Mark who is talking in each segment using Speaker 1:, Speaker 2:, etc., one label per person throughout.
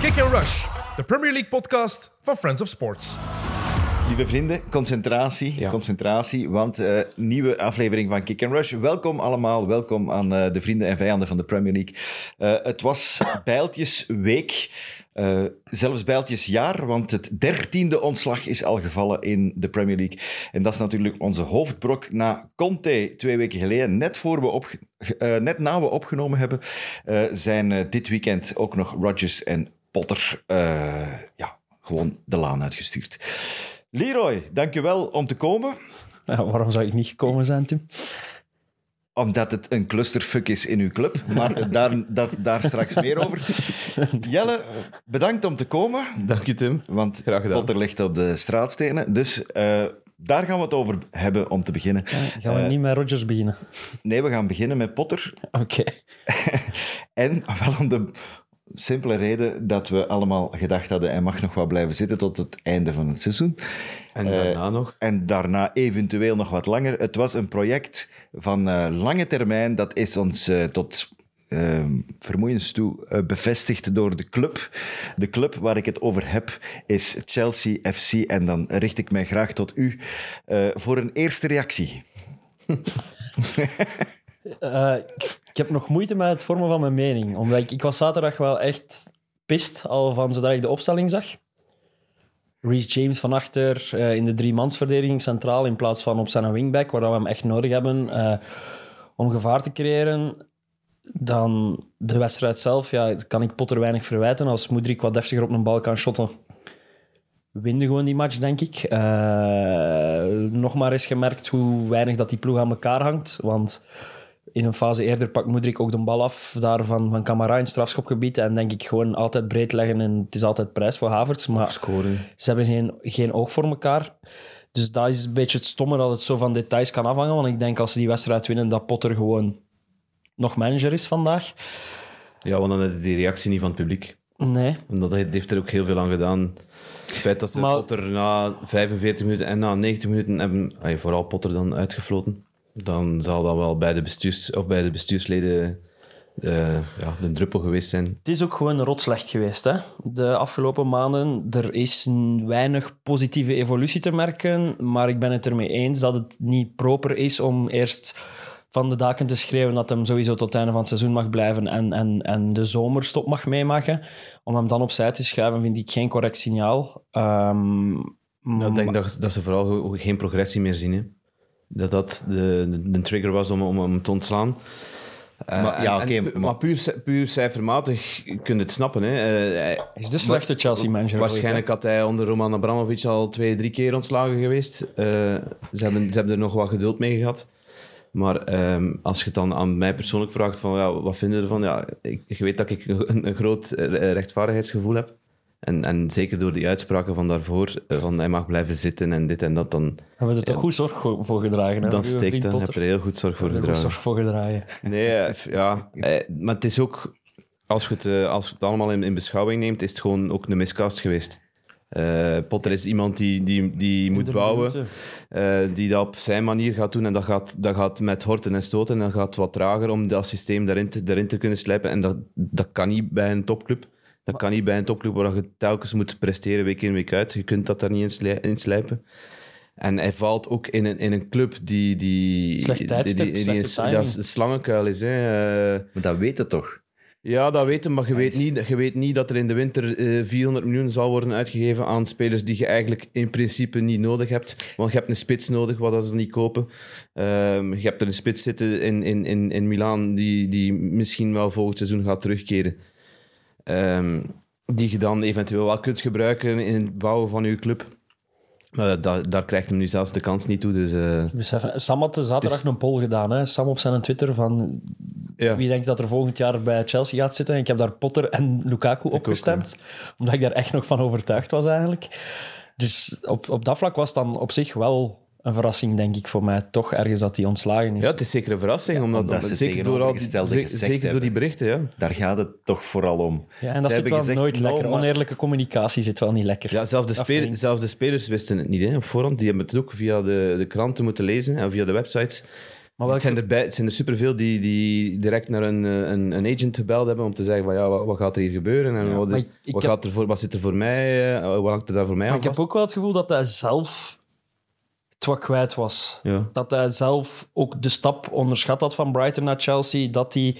Speaker 1: Kick and Rush, de Premier League podcast van Friends of Sports.
Speaker 2: Lieve vrienden, concentratie,
Speaker 3: Ja.
Speaker 2: concentratie, want eh, nieuwe aflevering van Kick and Rush. Welkom allemaal, welkom aan eh, de vrienden en vijanden van de Premier League. Eh, het was Bijltjesweek, eh, zelfs Bijltjesjaar, want het dertiende ontslag is al gevallen in de Premier League. En dat is natuurlijk onze hoofdbrok na Conte twee weken geleden. Net, voor we opge- eh, net na we opgenomen hebben, eh, zijn eh, dit weekend ook nog Rodgers en Potter eh, ja, gewoon de laan uitgestuurd. Leroy, dankjewel om te komen.
Speaker 3: Ja, waarom zou ik niet gekomen zijn, Tim?
Speaker 2: Omdat het een clusterfuck is in uw club. Maar daar, dat, daar straks meer over. Jelle, bedankt om te komen.
Speaker 4: Dank je, Tim.
Speaker 2: Want
Speaker 4: Graag gedaan.
Speaker 2: Potter ligt op de straatstenen. Dus eh, daar gaan we het over hebben om te beginnen.
Speaker 3: Gaan we niet met Rodgers beginnen?
Speaker 2: Nee, we gaan beginnen met Potter.
Speaker 3: Oké.
Speaker 2: En wel om de simpele reden dat we allemaal gedacht hadden... hij mag nog wel blijven zitten tot het einde van het seizoen.
Speaker 4: En
Speaker 2: Eh,
Speaker 4: daarna nog.
Speaker 2: En daarna eventueel nog wat langer. Het was een project van eh, lange termijn. Dat is ons eh, tot eh, vermoeiens toe eh, bevestigd door de club. De club waar ik het over heb is Chelsea FC. En dan richt ik mij graag tot u eh, voor een eerste reactie.
Speaker 3: Eh, ik- ik heb nog moeite met het vormen van mijn mening. Omdat ik, ik was zaterdag wel echt pist, al van zodra ik de opstelling zag. Reece James van achter eh, in de driemansverdediging centraal in plaats van op zijn wingback, waar we hem echt nodig hebben eh, om gevaar te creëren. Dan de wedstrijd zelf, ja, dat kan ik Potter weinig verwijten. Als Moedrik wat deftiger op een bal kan shotten, winnen gewoon die match, denk ik. Eh, nog maar eens gemerkt hoe weinig dat die ploeg aan elkaar hangt. Want in een fase eerder pakt Moedrik ook de bal af daar van, van Camara in strafschopgebied. En denk ik gewoon altijd breed leggen en het is altijd prijs voor Havertz. Maar
Speaker 4: Scoren.
Speaker 3: ze hebben geen, geen oog voor elkaar. Dus dat is een beetje het stomme dat het zo van details kan afhangen. Want ik denk als ze die wedstrijd winnen, dat Potter gewoon nog manager is vandaag.
Speaker 4: Ja, want dan had je die reactie niet van het publiek.
Speaker 3: Nee.
Speaker 4: En dat heeft- heeft er ook heel veel aan gedaan. Het feit dat ze
Speaker 3: Maar-
Speaker 4: Potter na 45 minuten en na 90 minuten hebben, ay, vooral Potter dan uitgefloten, dan zal dat wel bij de, bestuurs, of bij de bestuursleden eh, ja, de druppel geweest zijn.
Speaker 3: Het is ook gewoon rot slecht geweest. Hè? De afgelopen maanden, er is n- weinig positieve evolutie te merken. Maar ik ben het ermee eens dat het niet proper is om eerst van de daken te schreeuwen dat hem sowieso tot het einde van het seizoen mag blijven en, en, en de zomerstop mag meemaken. Om hem dan opzij te schuiven vind ik geen correct signaal. Ehm,
Speaker 4: Ja, ik denk dat, dat ze vooral ge- ook geen progressie meer zien. Hè. Dat dat de, de, de trigger was om, om hem te ontslaan. Eh,
Speaker 2: Maar- ja,
Speaker 4: en-
Speaker 2: oké,
Speaker 4: en
Speaker 2: maar-
Speaker 4: pu- maar puur, ci- puur cijfermatig kun je het snappen. Hè. Eh, hij-
Speaker 3: Hij is de slechtste Chelsea-manager ooit, hè.
Speaker 4: Waarschijnlijk had hij onder Roman Abramovic al twee, drie keer ontslagen geweest. Eh, ze, hebben, ze hebben er nog wat geduld mee gehad. Maar ehm, als je het dan aan mij persoonlijk vraagt, van, ja, wat vinden ervan? Ja, ik, je weet dat ik een, een groot eh, rechtvaardigheidsgevoel heb. En, en zeker door die uitspraken van daarvoor, eh, van hij mag blijven zitten en dit en dat, dan,
Speaker 3: Hebben we er toch goed zorg go- voor gedragen? hè,
Speaker 4: dan
Speaker 3: uw
Speaker 4: steekt
Speaker 3: vriend
Speaker 4: dat. Heb
Speaker 3: Potter?
Speaker 4: je er heel goed zorg voor
Speaker 3: Hebben we er goed
Speaker 4: gedragen.
Speaker 3: zorg voor gedragen.
Speaker 4: Nee, eh, f- ja. Eh, Maar het is ook, als je het, eh, als je het allemaal in, in beschouwing neemt, is het gewoon ook een miscast geweest. Eh, Potter is iemand die, die, die moet bouwen, eh, die dat op zijn manier gaat doen. En dat gaat, dat gaat met horten en stoten en dat gaat wat trager om dat systeem daarin te, daarin te kunnen slijpen. En dat, dat kan niet bij een topclub. Dat kan niet bij een topclub waar je telkens moet presteren, week in, week uit. Je kunt dat daar niet in, slij- in slijpen. En hij valt ook in een, in een club die... die
Speaker 3: Slecht
Speaker 4: die-
Speaker 3: tijdstip,
Speaker 4: die, die,
Speaker 3: slechte
Speaker 4: een s-
Speaker 3: timing.
Speaker 4: dat is een slangenkuil is. Hè. Eh,
Speaker 2: Maar dat weet het toch?
Speaker 4: ja, dat weten, maar je weet, niet, je weet niet dat er in de winter eh, 400 miljoen zal worden uitgegeven aan spelers die je eigenlijk in principe niet nodig hebt. Want je hebt een spits nodig, wat als ze niet kopen. Ehm, je hebt er een spits zitten in, in, in, in Milaan die, die misschien wel volgend seizoen gaat terugkeren. Ehm, die je dan eventueel wel kunt gebruiken in het bouwen van je club. Maar daar, daar krijgt hem nu zelfs de kans niet toe. Dus, eh,
Speaker 3: Beseffen. Sam had dus zaterdag een poll gedaan. Hè? Sam op zijn Twitter van
Speaker 4: Dus- ja.
Speaker 3: wie denkt dat er volgend jaar bij Chelsea gaat zitten. Ik heb daar Potter en Lukaku opgestemd. omdat ik daar echt nog van overtuigd was eigenlijk. Dus op, op dat vlak was het dan op zich wel een verrassing, denk ik, voor mij. Toch ergens dat hij ontslagen is.
Speaker 4: ja, het is zeker een verrassing. omdat,
Speaker 2: omdat ze
Speaker 4: omdat- zeker door, al die,
Speaker 2: tegenovergestelde
Speaker 4: zeker-
Speaker 2: gezegd
Speaker 4: zeker door die
Speaker 2: hebben.
Speaker 4: berichten, ja.
Speaker 2: Daar gaat het toch vooral om.
Speaker 3: Ja, en dat
Speaker 2: Ze
Speaker 3: zit
Speaker 2: hebben
Speaker 3: wel
Speaker 2: gezegd,
Speaker 3: nooit
Speaker 2: no,
Speaker 3: lekker.
Speaker 2: maar-
Speaker 3: Oneerlijke communicatie zit wel niet lekker.
Speaker 4: Ja, zelfs de,
Speaker 3: Dat
Speaker 4: spelers,
Speaker 3: vind ik.
Speaker 4: zelfs de spelers wisten het niet hè, op voorhand. Die hebben het ook via de, de kranten moeten lezen en via de websites.
Speaker 3: Maar
Speaker 4: Het
Speaker 3: welke,
Speaker 4: zijn er, bij- het zijn er superveel die, die direct naar een, eh, een, een agent gebeld hebben om te zeggen van ja, wat, wat gaat er hier gebeuren en wat,
Speaker 3: maar
Speaker 4: is-
Speaker 3: ik- ik
Speaker 4: wat,
Speaker 3: heb-
Speaker 4: gaat er voor, wat zit er voor mij, eh, wat hangt er daar voor mij
Speaker 3: maar
Speaker 4: aan
Speaker 3: ik heb
Speaker 4: vast?
Speaker 3: ook wel het gevoel dat hij zelf het wat kwijt was.
Speaker 4: Ja.
Speaker 3: Dat hij zelf ook de stap onderschat had van Brighton naar Chelsea. Dat hij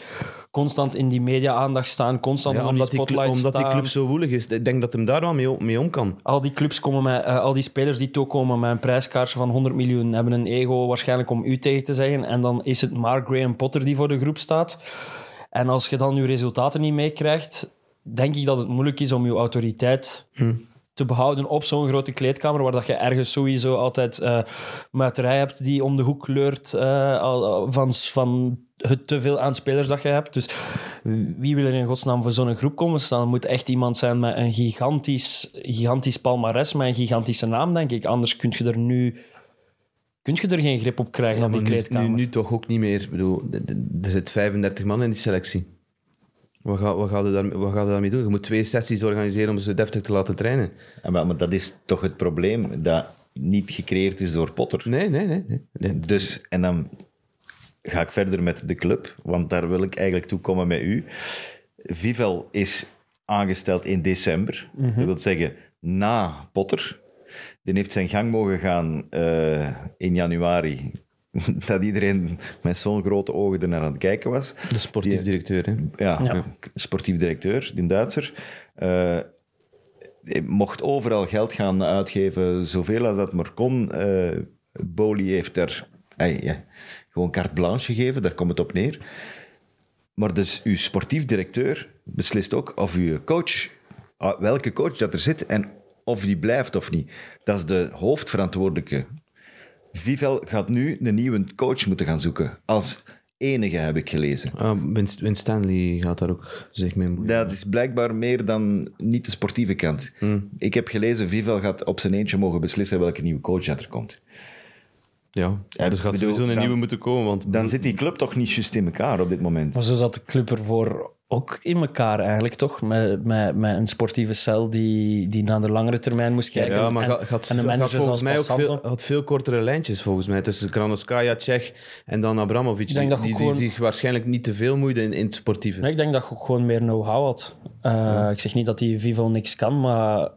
Speaker 3: constant in die media-aandacht staan, constant
Speaker 4: Ja,
Speaker 3: onder
Speaker 4: omdat,
Speaker 3: die
Speaker 4: die, cl-
Speaker 3: spotlight
Speaker 4: omdat die
Speaker 3: staan.
Speaker 4: club zo woelig is. Ik denk dat hem daar wel mee, om- mee om kan.
Speaker 3: Al die clubs komen met, eh, al die spelers die toekomen met een prijskaartje van 100 miljoen, hebben een ego waarschijnlijk om u tegen te zeggen. En dan is het maar Graham Potter die voor de groep staat. En als je dan je resultaten niet meekrijgt, denk ik dat het moeilijk is om je autoriteit
Speaker 4: Hm.
Speaker 3: te behouden op zo'n grote kleedkamer, waar dat je ergens sowieso altijd eh muiterij hebt die om de hoek kleurt eh, al- al- van, van het te veel aan spelers dat je hebt. Dus wie wil er in godsnaam voor zo'n groep komen staan? Het moet echt iemand zijn met een gigantisch, gigantisch palmares, met een gigantische naam, denk ik. Anders kun je er nu kun je er geen grip op krijgen op die
Speaker 4: Maar nu-
Speaker 3: kleedkamer.
Speaker 4: Nu, nu toch ook niet meer. Ik bedoel, d- d- er zit 35 man in die selectie. Wat ga, wat, ga je daar, wat ga je daarmee doen? Je moet twee sessies organiseren om ze deftig te laten trainen.
Speaker 2: Ja, Ah, maar, maar dat is toch het probleem dat niet gecreëerd is door Potter.
Speaker 4: Nee, nee, nee. nee. nee.
Speaker 2: Dus, en dan ga ik verder met de club, want daar wil ik eigenlijk toe komen met u. Vivel is aangesteld in december. Dat wil zeggen, na Potter. Die heeft zijn gang mogen gaan eh, in januari. Dat iedereen met zo'n grote ogen ernaar aan het kijken was.
Speaker 4: De sportief
Speaker 2: Die-
Speaker 4: directeur. Hè.
Speaker 2: ja, sportief directeur, die Duitser. eh, hij mocht overal geld gaan uitgeven, zoveel als dat maar kon. Eh Boli heeft daar ey, ja, gewoon carte blanche gegeven, daar komt het op neer. Maar dus uw sportief directeur beslist ook of uw coach, ah, welke coach dat er zit en of die blijft of niet. Dat is de hoofdverantwoordelijke. Vivel gaat nu een nieuwe coach moeten gaan zoeken. Als enige heb ik gelezen.
Speaker 4: Ah, Win- Win Stanley gaat daar ook zich mee bemoeien.
Speaker 2: Dat is blijkbaar meer dan niet de sportieve kant. Ik heb gelezen, Vivel gaat op zijn eentje mogen beslissen welke nieuwe coach dat er komt.
Speaker 4: Ja,
Speaker 2: Ja,
Speaker 4: Dus er
Speaker 2: bedoel,
Speaker 4: gaat sowieso een
Speaker 2: dan-
Speaker 4: nieuwe moeten komen. Want
Speaker 2: Dan zit die club toch niet juist in elkaar op dit moment.
Speaker 3: Maar zo zat de club ervoor ook in elkaar eigenlijk, toch? Met, met, met een sportieve cel die, die naar de langere termijn moest kijken.
Speaker 4: ja, maar
Speaker 3: en,
Speaker 4: gaat, gaat,
Speaker 3: en een
Speaker 4: gaat
Speaker 3: manager
Speaker 4: volgens
Speaker 3: zoals
Speaker 4: mij ook
Speaker 3: Passanto.
Speaker 4: veel, had veel kortere lijntjes volgens mij tussen Kranoskaja, Tsjech en dan Abramovic.
Speaker 3: denk dat
Speaker 4: die,
Speaker 3: je
Speaker 4: die,
Speaker 3: gewoon-
Speaker 4: die zich waarschijnlijk niet te veel moeite in, in het sportieve.
Speaker 3: Nee, ik denk dat je ook gewoon meer know-how had. Eh, Ik zeg niet dat die Vivo niks kan, maar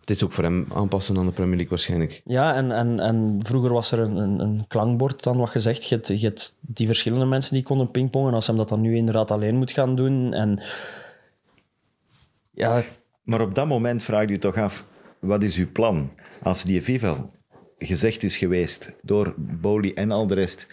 Speaker 4: Het is ook voor hem aanpassen aan de Premier League waarschijnlijk.
Speaker 3: Ja, en, en, en vroeger was er een, een, een klankbord dan wat gezegd. Je hebt, je hebt die verschillende mensen die konden pingpongen. Als hem dat dan nu inderdaad alleen moet gaan doen. En ja,
Speaker 2: Maar op dat moment vraagt u toch af, wat is uw plan? Als die Vivel gezegd is geweest door Boli en al de rest,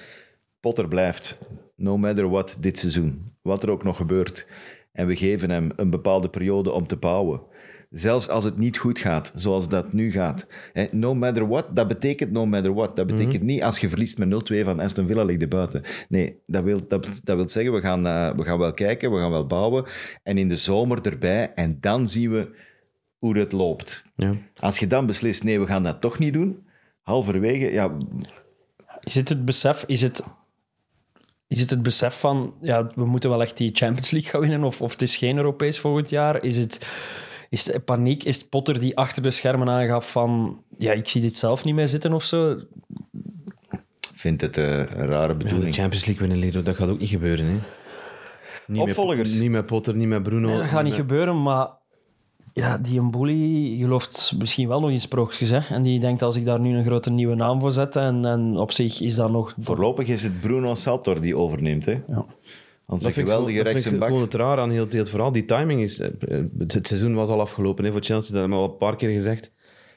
Speaker 2: Potter blijft, no matter what, dit seizoen. Wat er ook nog gebeurt. En we geven hem een bepaalde periode om te bouwen. Zelfs als het niet goed gaat, zoals dat nu gaat. Hè, No matter what, dat betekent no matter what. Dat betekent
Speaker 4: Mhm.
Speaker 2: niet als je verliest met 0-2 van Aston Villa ligt er buiten. Nee, dat wil, dat, dat wil zeggen, we gaan, eh, we gaan wel kijken, we gaan wel bouwen. En in de zomer erbij, en dan zien we hoe het loopt.
Speaker 4: Ja.
Speaker 2: Als je dan beslist, nee, we gaan dat toch niet doen, halverwege, ja,
Speaker 3: is het het besef, is het, is het, het besef van ja, we moeten wel echt die Champions League gaan winnen? Of, of het is geen Europees volgend jaar? Is het, is het paniek? Is het Potter die achter de schermen aangaf van ja, ik zie dit zelf niet meer zitten of zo?
Speaker 2: vindt het eh, een rare
Speaker 4: Ja, de
Speaker 2: bedoeling.
Speaker 4: Champions League winnen, Lero, dat gaat ook niet gebeuren. Hè. Niet
Speaker 2: Opvolgers.
Speaker 4: Met, niet met Potter, niet met Bruno.
Speaker 3: Nee, dat gaat niet gebeuren, maar ja, die Mbuli gelooft misschien wel nog in sprookjes. Hè? En die denkt, als ik daar nu een grote nieuwe naam voor zet, en, en op zich is dat nog...
Speaker 2: Voorlopig is het Bruno Saltor die overneemt. Hè? Ja. Anders een
Speaker 4: vind ik
Speaker 2: geweldige
Speaker 4: gewoon- dat
Speaker 2: rechts
Speaker 4: vind
Speaker 2: en
Speaker 4: ik
Speaker 2: bak.
Speaker 4: gewoon het raar aan heel, heel het verhaal. Die timing is... eh, eh, Het seizoen was al afgelopen hè, voor Chelsea. Dat hebben we al een paar keer gezegd.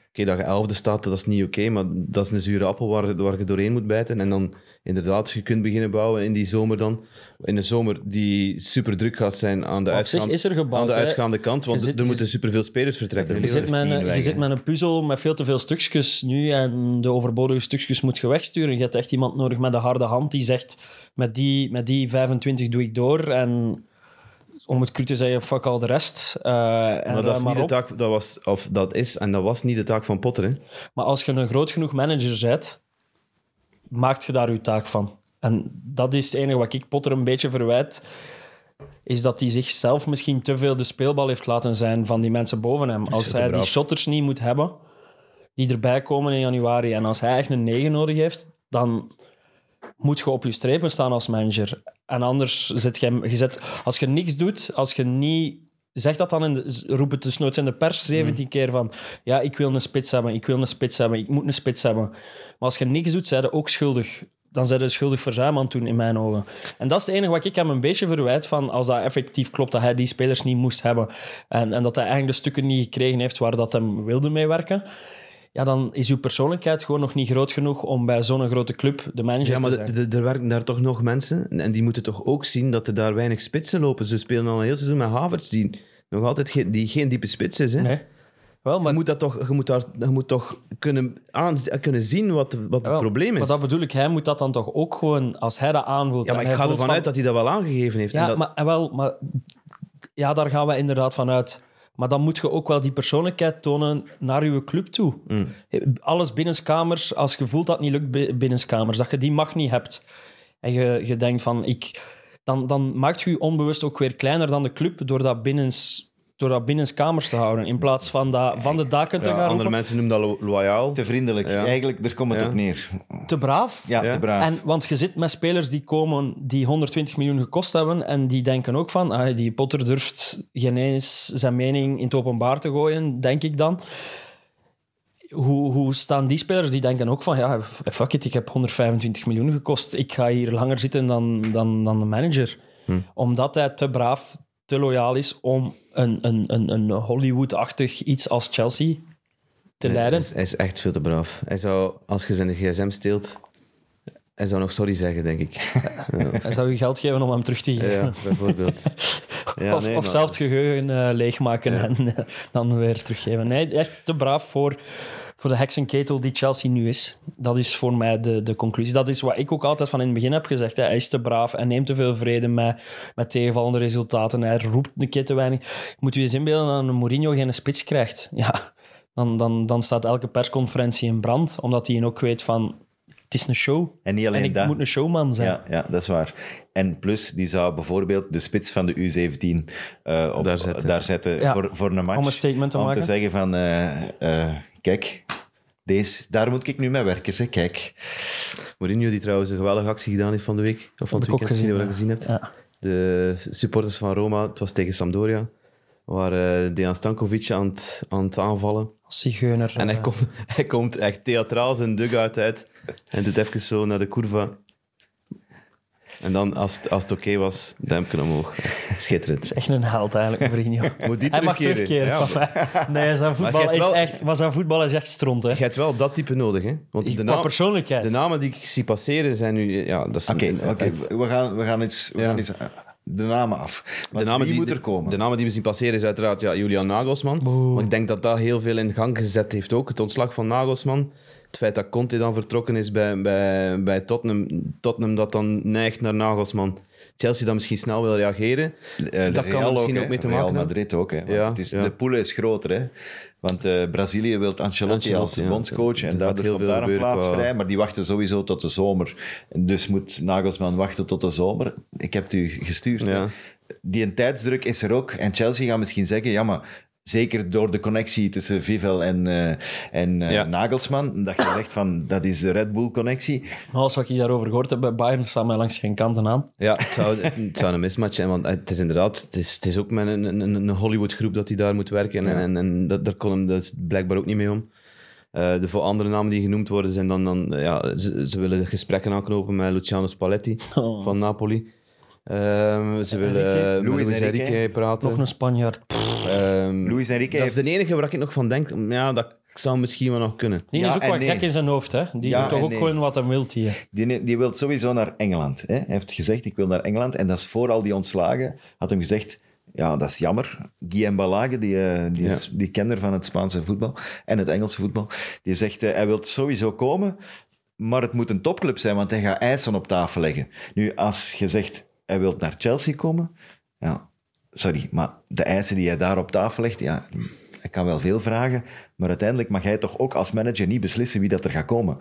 Speaker 4: Oké, dat je elfde staat, dat is niet oké. maar dat is een zure appel waar, waar je doorheen moet bijten. En dan inderdaad, je kunt beginnen bouwen in die zomer dan. In een zomer die super druk gaat zijn aan de,
Speaker 3: Op zich
Speaker 4: uitgaande-
Speaker 3: is er gebouwd,
Speaker 4: aan
Speaker 3: hè.
Speaker 4: de uitgaande kant. Want
Speaker 3: Je zit-
Speaker 4: er
Speaker 3: je
Speaker 4: moeten superveel spelers vertrekken.
Speaker 3: Je zit, met
Speaker 2: tien
Speaker 3: een, je
Speaker 2: leggen.
Speaker 3: zit met een puzzel met veel te veel stukjes nu en de overbodige stukjes moet je wegsturen. Je hebt echt iemand nodig met een harde hand die zegt, met die, met die 25 doe ik door en... Om het cru te zeggen, fuck al de rest. eh, en
Speaker 4: Maar dat is
Speaker 3: ruim maar
Speaker 4: niet de
Speaker 3: op.
Speaker 4: taak, dat was, of dat is en dat was niet de taak van Potter. Hè?
Speaker 3: Maar als je een groot genoeg manager bent, maakt je daar je taak van. En dat is het enige wat ik Potter een beetje verwijt, is dat hij zichzelf misschien te veel de speelbal heeft laten zijn van die mensen boven hem. Als hij die shotters niet moet hebben, die erbij komen in januari, en als hij echt een 9 nodig heeft, dan moet je op je strepen staan als manager. En anders zit je, je zet, als je niks doet, als je niet. Zeg dat dan in de, roep het desnoods in de pers 17
Speaker 4: Mm.
Speaker 3: keer van ja, ik wil een spits hebben, ik wil een spits hebben, ik moet een spits hebben. Maar als je niks doet, zijn je ook schuldig. Dan zijn je schuldig verzuim aan het doen, in mijn ogen. En dat is het enige wat ik hem een beetje verwijt van als dat effectief klopt, dat hij die spelers niet moest hebben. En, en dat hij eigenlijk de stukken niet gekregen heeft waar dat hem wilde meewerken. Ja, dan is uw persoonlijkheid gewoon nog niet groot genoeg om bij zo'n grote club de manager
Speaker 4: Ja, maar
Speaker 3: te zijn.
Speaker 4: d- d- er werken daar toch nog mensen. En die moeten toch ook zien dat er daar weinig spitsen lopen. Ze spelen al een heel seizoen met Havertz, die nog altijd geen, die geen diepe spits is. Hè?
Speaker 3: Nee. Wel, maar
Speaker 4: Je moet, dat toch, je, moet daar, je moet toch kunnen, aan, kunnen zien wat, wat het
Speaker 3: Wel,
Speaker 4: probleem is.
Speaker 3: Maar dat bedoel ik, hij moet dat dan toch ook gewoon, als hij dat aanvoelt.
Speaker 4: ja, maar
Speaker 3: en
Speaker 4: ik
Speaker 3: hij
Speaker 4: ga
Speaker 3: voelt
Speaker 4: ervan
Speaker 3: van-
Speaker 4: uit dat hij dat wel aangegeven heeft.
Speaker 3: Ja,
Speaker 4: en dat,
Speaker 3: maar, en wel, maar ja, daar gaan we inderdaad van uit. Maar dan moet je ook wel die persoonlijkheid tonen naar je club toe.
Speaker 4: Mm.
Speaker 3: Alles binnenskamers, als je voelt dat het niet lukt bi- binnenskamers, dat je die macht niet hebt. En je, je denkt van, ik, dan, dan maakt je je onbewust ook weer kleiner dan de club door dat, binnens, door dat binnenskamers te houden. In plaats van, dat, van de daken te
Speaker 4: ja,
Speaker 3: gaan
Speaker 4: andere
Speaker 3: roepen.
Speaker 4: mensen noemen dat lo- loyaal.
Speaker 2: Te vriendelijk.
Speaker 4: Ja.
Speaker 2: Eigenlijk, daar komt het
Speaker 4: Ja.
Speaker 2: op neer.
Speaker 3: Te braaf.
Speaker 2: Ja,
Speaker 4: Ja.
Speaker 2: te braaf.
Speaker 3: En, want je zit met spelers die komen die 120 miljoen gekost hebben en die denken ook van, ah, die Potter durft geen eens zijn mening in het openbaar te gooien, denk ik dan. Hoe, hoe staan die spelers die denken ook van, ja, fuck it, ik heb 125 miljoen gekost, ik ga hier langer zitten dan, dan, dan de manager.
Speaker 4: Hm.
Speaker 3: Omdat hij te braaf, te loyaal is om een, een, een, een Hollywood-achtig iets als Chelsea te
Speaker 4: Nee,
Speaker 3: leiden.
Speaker 4: Hij is, hij is echt veel te braaf. Hij zou, als je zijn gsm steelt, hij zou nog sorry zeggen, denk ik.
Speaker 3: Hij zou je geld geven om hem terug te geven.
Speaker 4: Ja, bijvoorbeeld. Ja,
Speaker 3: of
Speaker 4: nee,
Speaker 3: of
Speaker 4: maar-
Speaker 3: zelf het geheugen eh, leegmaken en eh, dan weer teruggeven. Nee, echt te braaf voor, voor de heksenketel die Chelsea nu is. Dat is voor mij de, de conclusie. Dat is wat ik ook altijd van in het begin heb gezegd. Hè. Hij is te braaf en neemt te veel vrede met, met tegenvallende resultaten. Hij roept een keer te weinig. Moet u eens inbeelden dat een Mourinho geen spits krijgt? Ja, dan, dan, dan staat elke persconferentie in brand. Omdat hij ook weet van, het is een show.
Speaker 2: En niet alleen
Speaker 3: en ik
Speaker 2: dat.
Speaker 3: moet een showman zijn.
Speaker 2: Ja, ja, dat is waar. En plus, die zou bijvoorbeeld de spits van de U17 eh, op,
Speaker 4: Daar zetten.
Speaker 2: daar zetten
Speaker 3: Ja.
Speaker 2: voor, voor een match.
Speaker 3: Om een statement te
Speaker 2: Om
Speaker 3: maken.
Speaker 2: te zeggen van, eh, eh, kijk, deze, daar moet ik nu mee werken. Zeg, kijk.
Speaker 4: Mourinho, die trouwens een geweldige actie gedaan heeft van de week. Of van
Speaker 3: ik
Speaker 4: het
Speaker 3: ook
Speaker 4: weekend, gezien,
Speaker 3: gezien,
Speaker 4: die we dat gezien hebt.
Speaker 3: Ja.
Speaker 4: De supporters van Roma, het was tegen Sampdoria, waar eh, Dejan Stankovic aan het, aan het aanvallen.
Speaker 3: Als zigeuner.
Speaker 4: En hij,
Speaker 3: eh,
Speaker 4: komt, hij komt echt theatraal zijn dugout uit en doet even zo naar de curva. En dan, als het, als het oké was, duimpje omhoog. Schitterend.
Speaker 3: Echt een held eigenlijk, Mourinho.
Speaker 4: Moet die
Speaker 3: Hij mag
Speaker 4: terugkeren.
Speaker 3: terugkeren.
Speaker 4: Ja,
Speaker 3: papa. Nee, zijn
Speaker 4: Maar je
Speaker 3: voetbal,
Speaker 4: hebt
Speaker 3: is
Speaker 4: wel-
Speaker 3: echt, maar zijn voetbal is echt stront, hè.
Speaker 4: Je hebt wel dat type nodig, hè? Want de,
Speaker 3: Qua
Speaker 4: naam-
Speaker 3: persoonlijkheid.
Speaker 4: de namen die ik zie passeren zijn nu... Ja, dat is
Speaker 2: Oké, oké, we, gaan, we gaan iets... We
Speaker 4: Ja.
Speaker 2: gaan iets de namen af.
Speaker 4: De
Speaker 2: Want
Speaker 4: namen,
Speaker 2: wie
Speaker 4: die,
Speaker 2: moet er komen?
Speaker 4: de namen die we zien passeren is uiteraard ja, Julian Nagelsman. Maar ik denk dat dat heel veel in gang gezet heeft ook. Het ontslag van Nagelsman. Het feit dat Conte dan vertrokken is bij, bij, bij Tottenham. Tottenham dat dan neigt naar Nagelsman. Chelsea dan misschien snel wil reageren.
Speaker 2: Eh,
Speaker 4: dat kan er
Speaker 2: Real
Speaker 4: misschien
Speaker 2: hè.
Speaker 4: ook mee te
Speaker 2: Real
Speaker 4: maken hebben.
Speaker 2: Madrid ook. Hè. Want
Speaker 4: Ja,
Speaker 2: het is,
Speaker 4: ja.
Speaker 2: De pool is groter. Hè. Want eh, Brazilië wil Ancelotti,
Speaker 4: Ancelotti,
Speaker 2: als
Speaker 4: ja.
Speaker 2: bondscoach.
Speaker 4: Er
Speaker 2: En
Speaker 4: gaat
Speaker 2: daardoor
Speaker 4: heel
Speaker 2: komt
Speaker 4: veel
Speaker 2: daar een
Speaker 4: gebeuren
Speaker 2: plaats
Speaker 4: qua-
Speaker 2: vrij. Maar die wachten sowieso tot de zomer. Dus moet Nagelsman wachten tot de zomer. Ik heb het u gestuurd. hè.
Speaker 4: Ja.
Speaker 2: Die een tijdsdruk is er ook. En Chelsea gaat misschien zeggen... Ja, maar Zeker door de connectie tussen Vivel en, eh, en eh,
Speaker 4: Ja.
Speaker 2: Nagelsman. Dat je zegt van, dat is de Red Bull-connectie.
Speaker 3: Maar als wat ik daarover gehoord heb bij Bayern, staan mij langs geen kanten aan.
Speaker 4: Ja, het zou, het zou een mismatch zijn. Want het is inderdaad... Het is, het is ook met een, een, een Hollywood-groep dat hij daar moet werken. En, en, en dat, daar kon hem dus blijkbaar ook niet mee om. Eh, de voor andere namen die genoemd worden zijn dan... dan eh, ja, ze, ze willen gesprekken aanknopen met Luciano Spalletti
Speaker 3: Oh.
Speaker 4: van Napoli. Ehm, ze willen
Speaker 3: Enrique?
Speaker 4: eh, met
Speaker 2: Luis
Speaker 4: Luis
Speaker 2: Enrique.
Speaker 4: Enrique praten.
Speaker 3: Nog een Spanjaard. Pff,
Speaker 4: Ehm,
Speaker 2: Luis Enrique
Speaker 4: dat is
Speaker 2: heeft-
Speaker 4: de enige waar ik nog van denk. Ja, dat zou misschien wel nog kunnen.
Speaker 3: Die
Speaker 2: Ja
Speaker 3: is ook
Speaker 2: en
Speaker 3: wel
Speaker 2: nee.
Speaker 3: gek in zijn hoofd, hè. Die
Speaker 2: Ja
Speaker 3: doet toch
Speaker 2: en
Speaker 3: ook
Speaker 2: nee.
Speaker 3: gewoon wat hij wil hier.
Speaker 2: Die, die wil sowieso naar Engeland. Hè? Hij heeft gezegd, ik wil naar Engeland. En dat is voor al die ontslagen. Had hem gezegd, ja, dat is jammer. Guillaume Balage, die, eh, die,
Speaker 4: Ja.
Speaker 2: is- die kenner van het Spaanse voetbal en het Engelse voetbal, die zegt, eh, hij wil sowieso komen, maar het moet een topclub zijn, want hij gaat eisen op tafel leggen. Nu, als je zegt, hij wil naar Chelsea komen, ja, sorry, maar de eisen die hij daar op tafel legt, ja... Ik kan wel veel vragen, maar uiteindelijk mag hij toch ook als manager niet beslissen wie dat er gaat komen.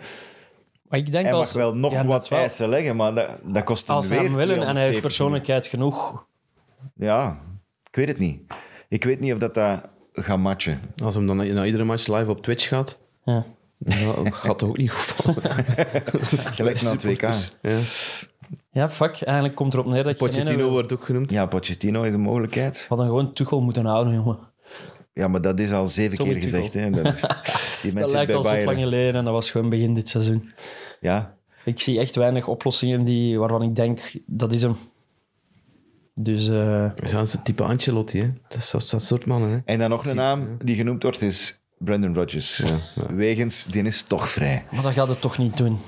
Speaker 3: Maar ik denk
Speaker 2: Hij
Speaker 3: als...
Speaker 2: mag wel nog
Speaker 3: ja, net
Speaker 2: wat eisen leggen, maar dat, dat kost hem
Speaker 3: Als
Speaker 2: weer
Speaker 3: hij hem willen en hij
Speaker 2: 270.
Speaker 3: heeft persoonlijkheid genoeg.
Speaker 2: Ja, ik weet het niet. Ik weet niet of dat, dat gaat matchen.
Speaker 4: Als hem dan na iedere match live op Twitch gaat,
Speaker 3: Ja.
Speaker 4: Ja, ook- gaat toch ook niet goed vallen.
Speaker 2: Gelijk na het WK.
Speaker 4: Ja.
Speaker 3: Ja, fuck. Eigenlijk komt erop neer dat je geen ene
Speaker 4: Pochettino
Speaker 3: wil.
Speaker 4: wordt ook genoemd.
Speaker 2: Ja, Pochettino is een mogelijkheid.
Speaker 3: We hadden gewoon Tuchel moeten houden, jongen.
Speaker 2: Ja, maar dat is al zeven
Speaker 3: Tommy
Speaker 2: keer
Speaker 3: Tuchel.
Speaker 2: gezegd. Hè. Dat, is, die
Speaker 3: Dat
Speaker 2: mensen
Speaker 3: lijkt
Speaker 2: bij
Speaker 3: al zo lang
Speaker 2: Bayern.
Speaker 3: geleden en dat was gewoon begin dit seizoen.
Speaker 2: Ja,
Speaker 3: Ik zie echt weinig oplossingen die, waarvan ik denk, dat is hem. Dus eh,
Speaker 4: Ja, zo'n type Ancelotti, hè. Dat is dat, dat soort mannen, hè.
Speaker 2: en dan nog een naam die genoemd wordt is Brendan Rodgers. Wegens, die is toch vrij.
Speaker 3: Maar dat gaat het toch niet doen.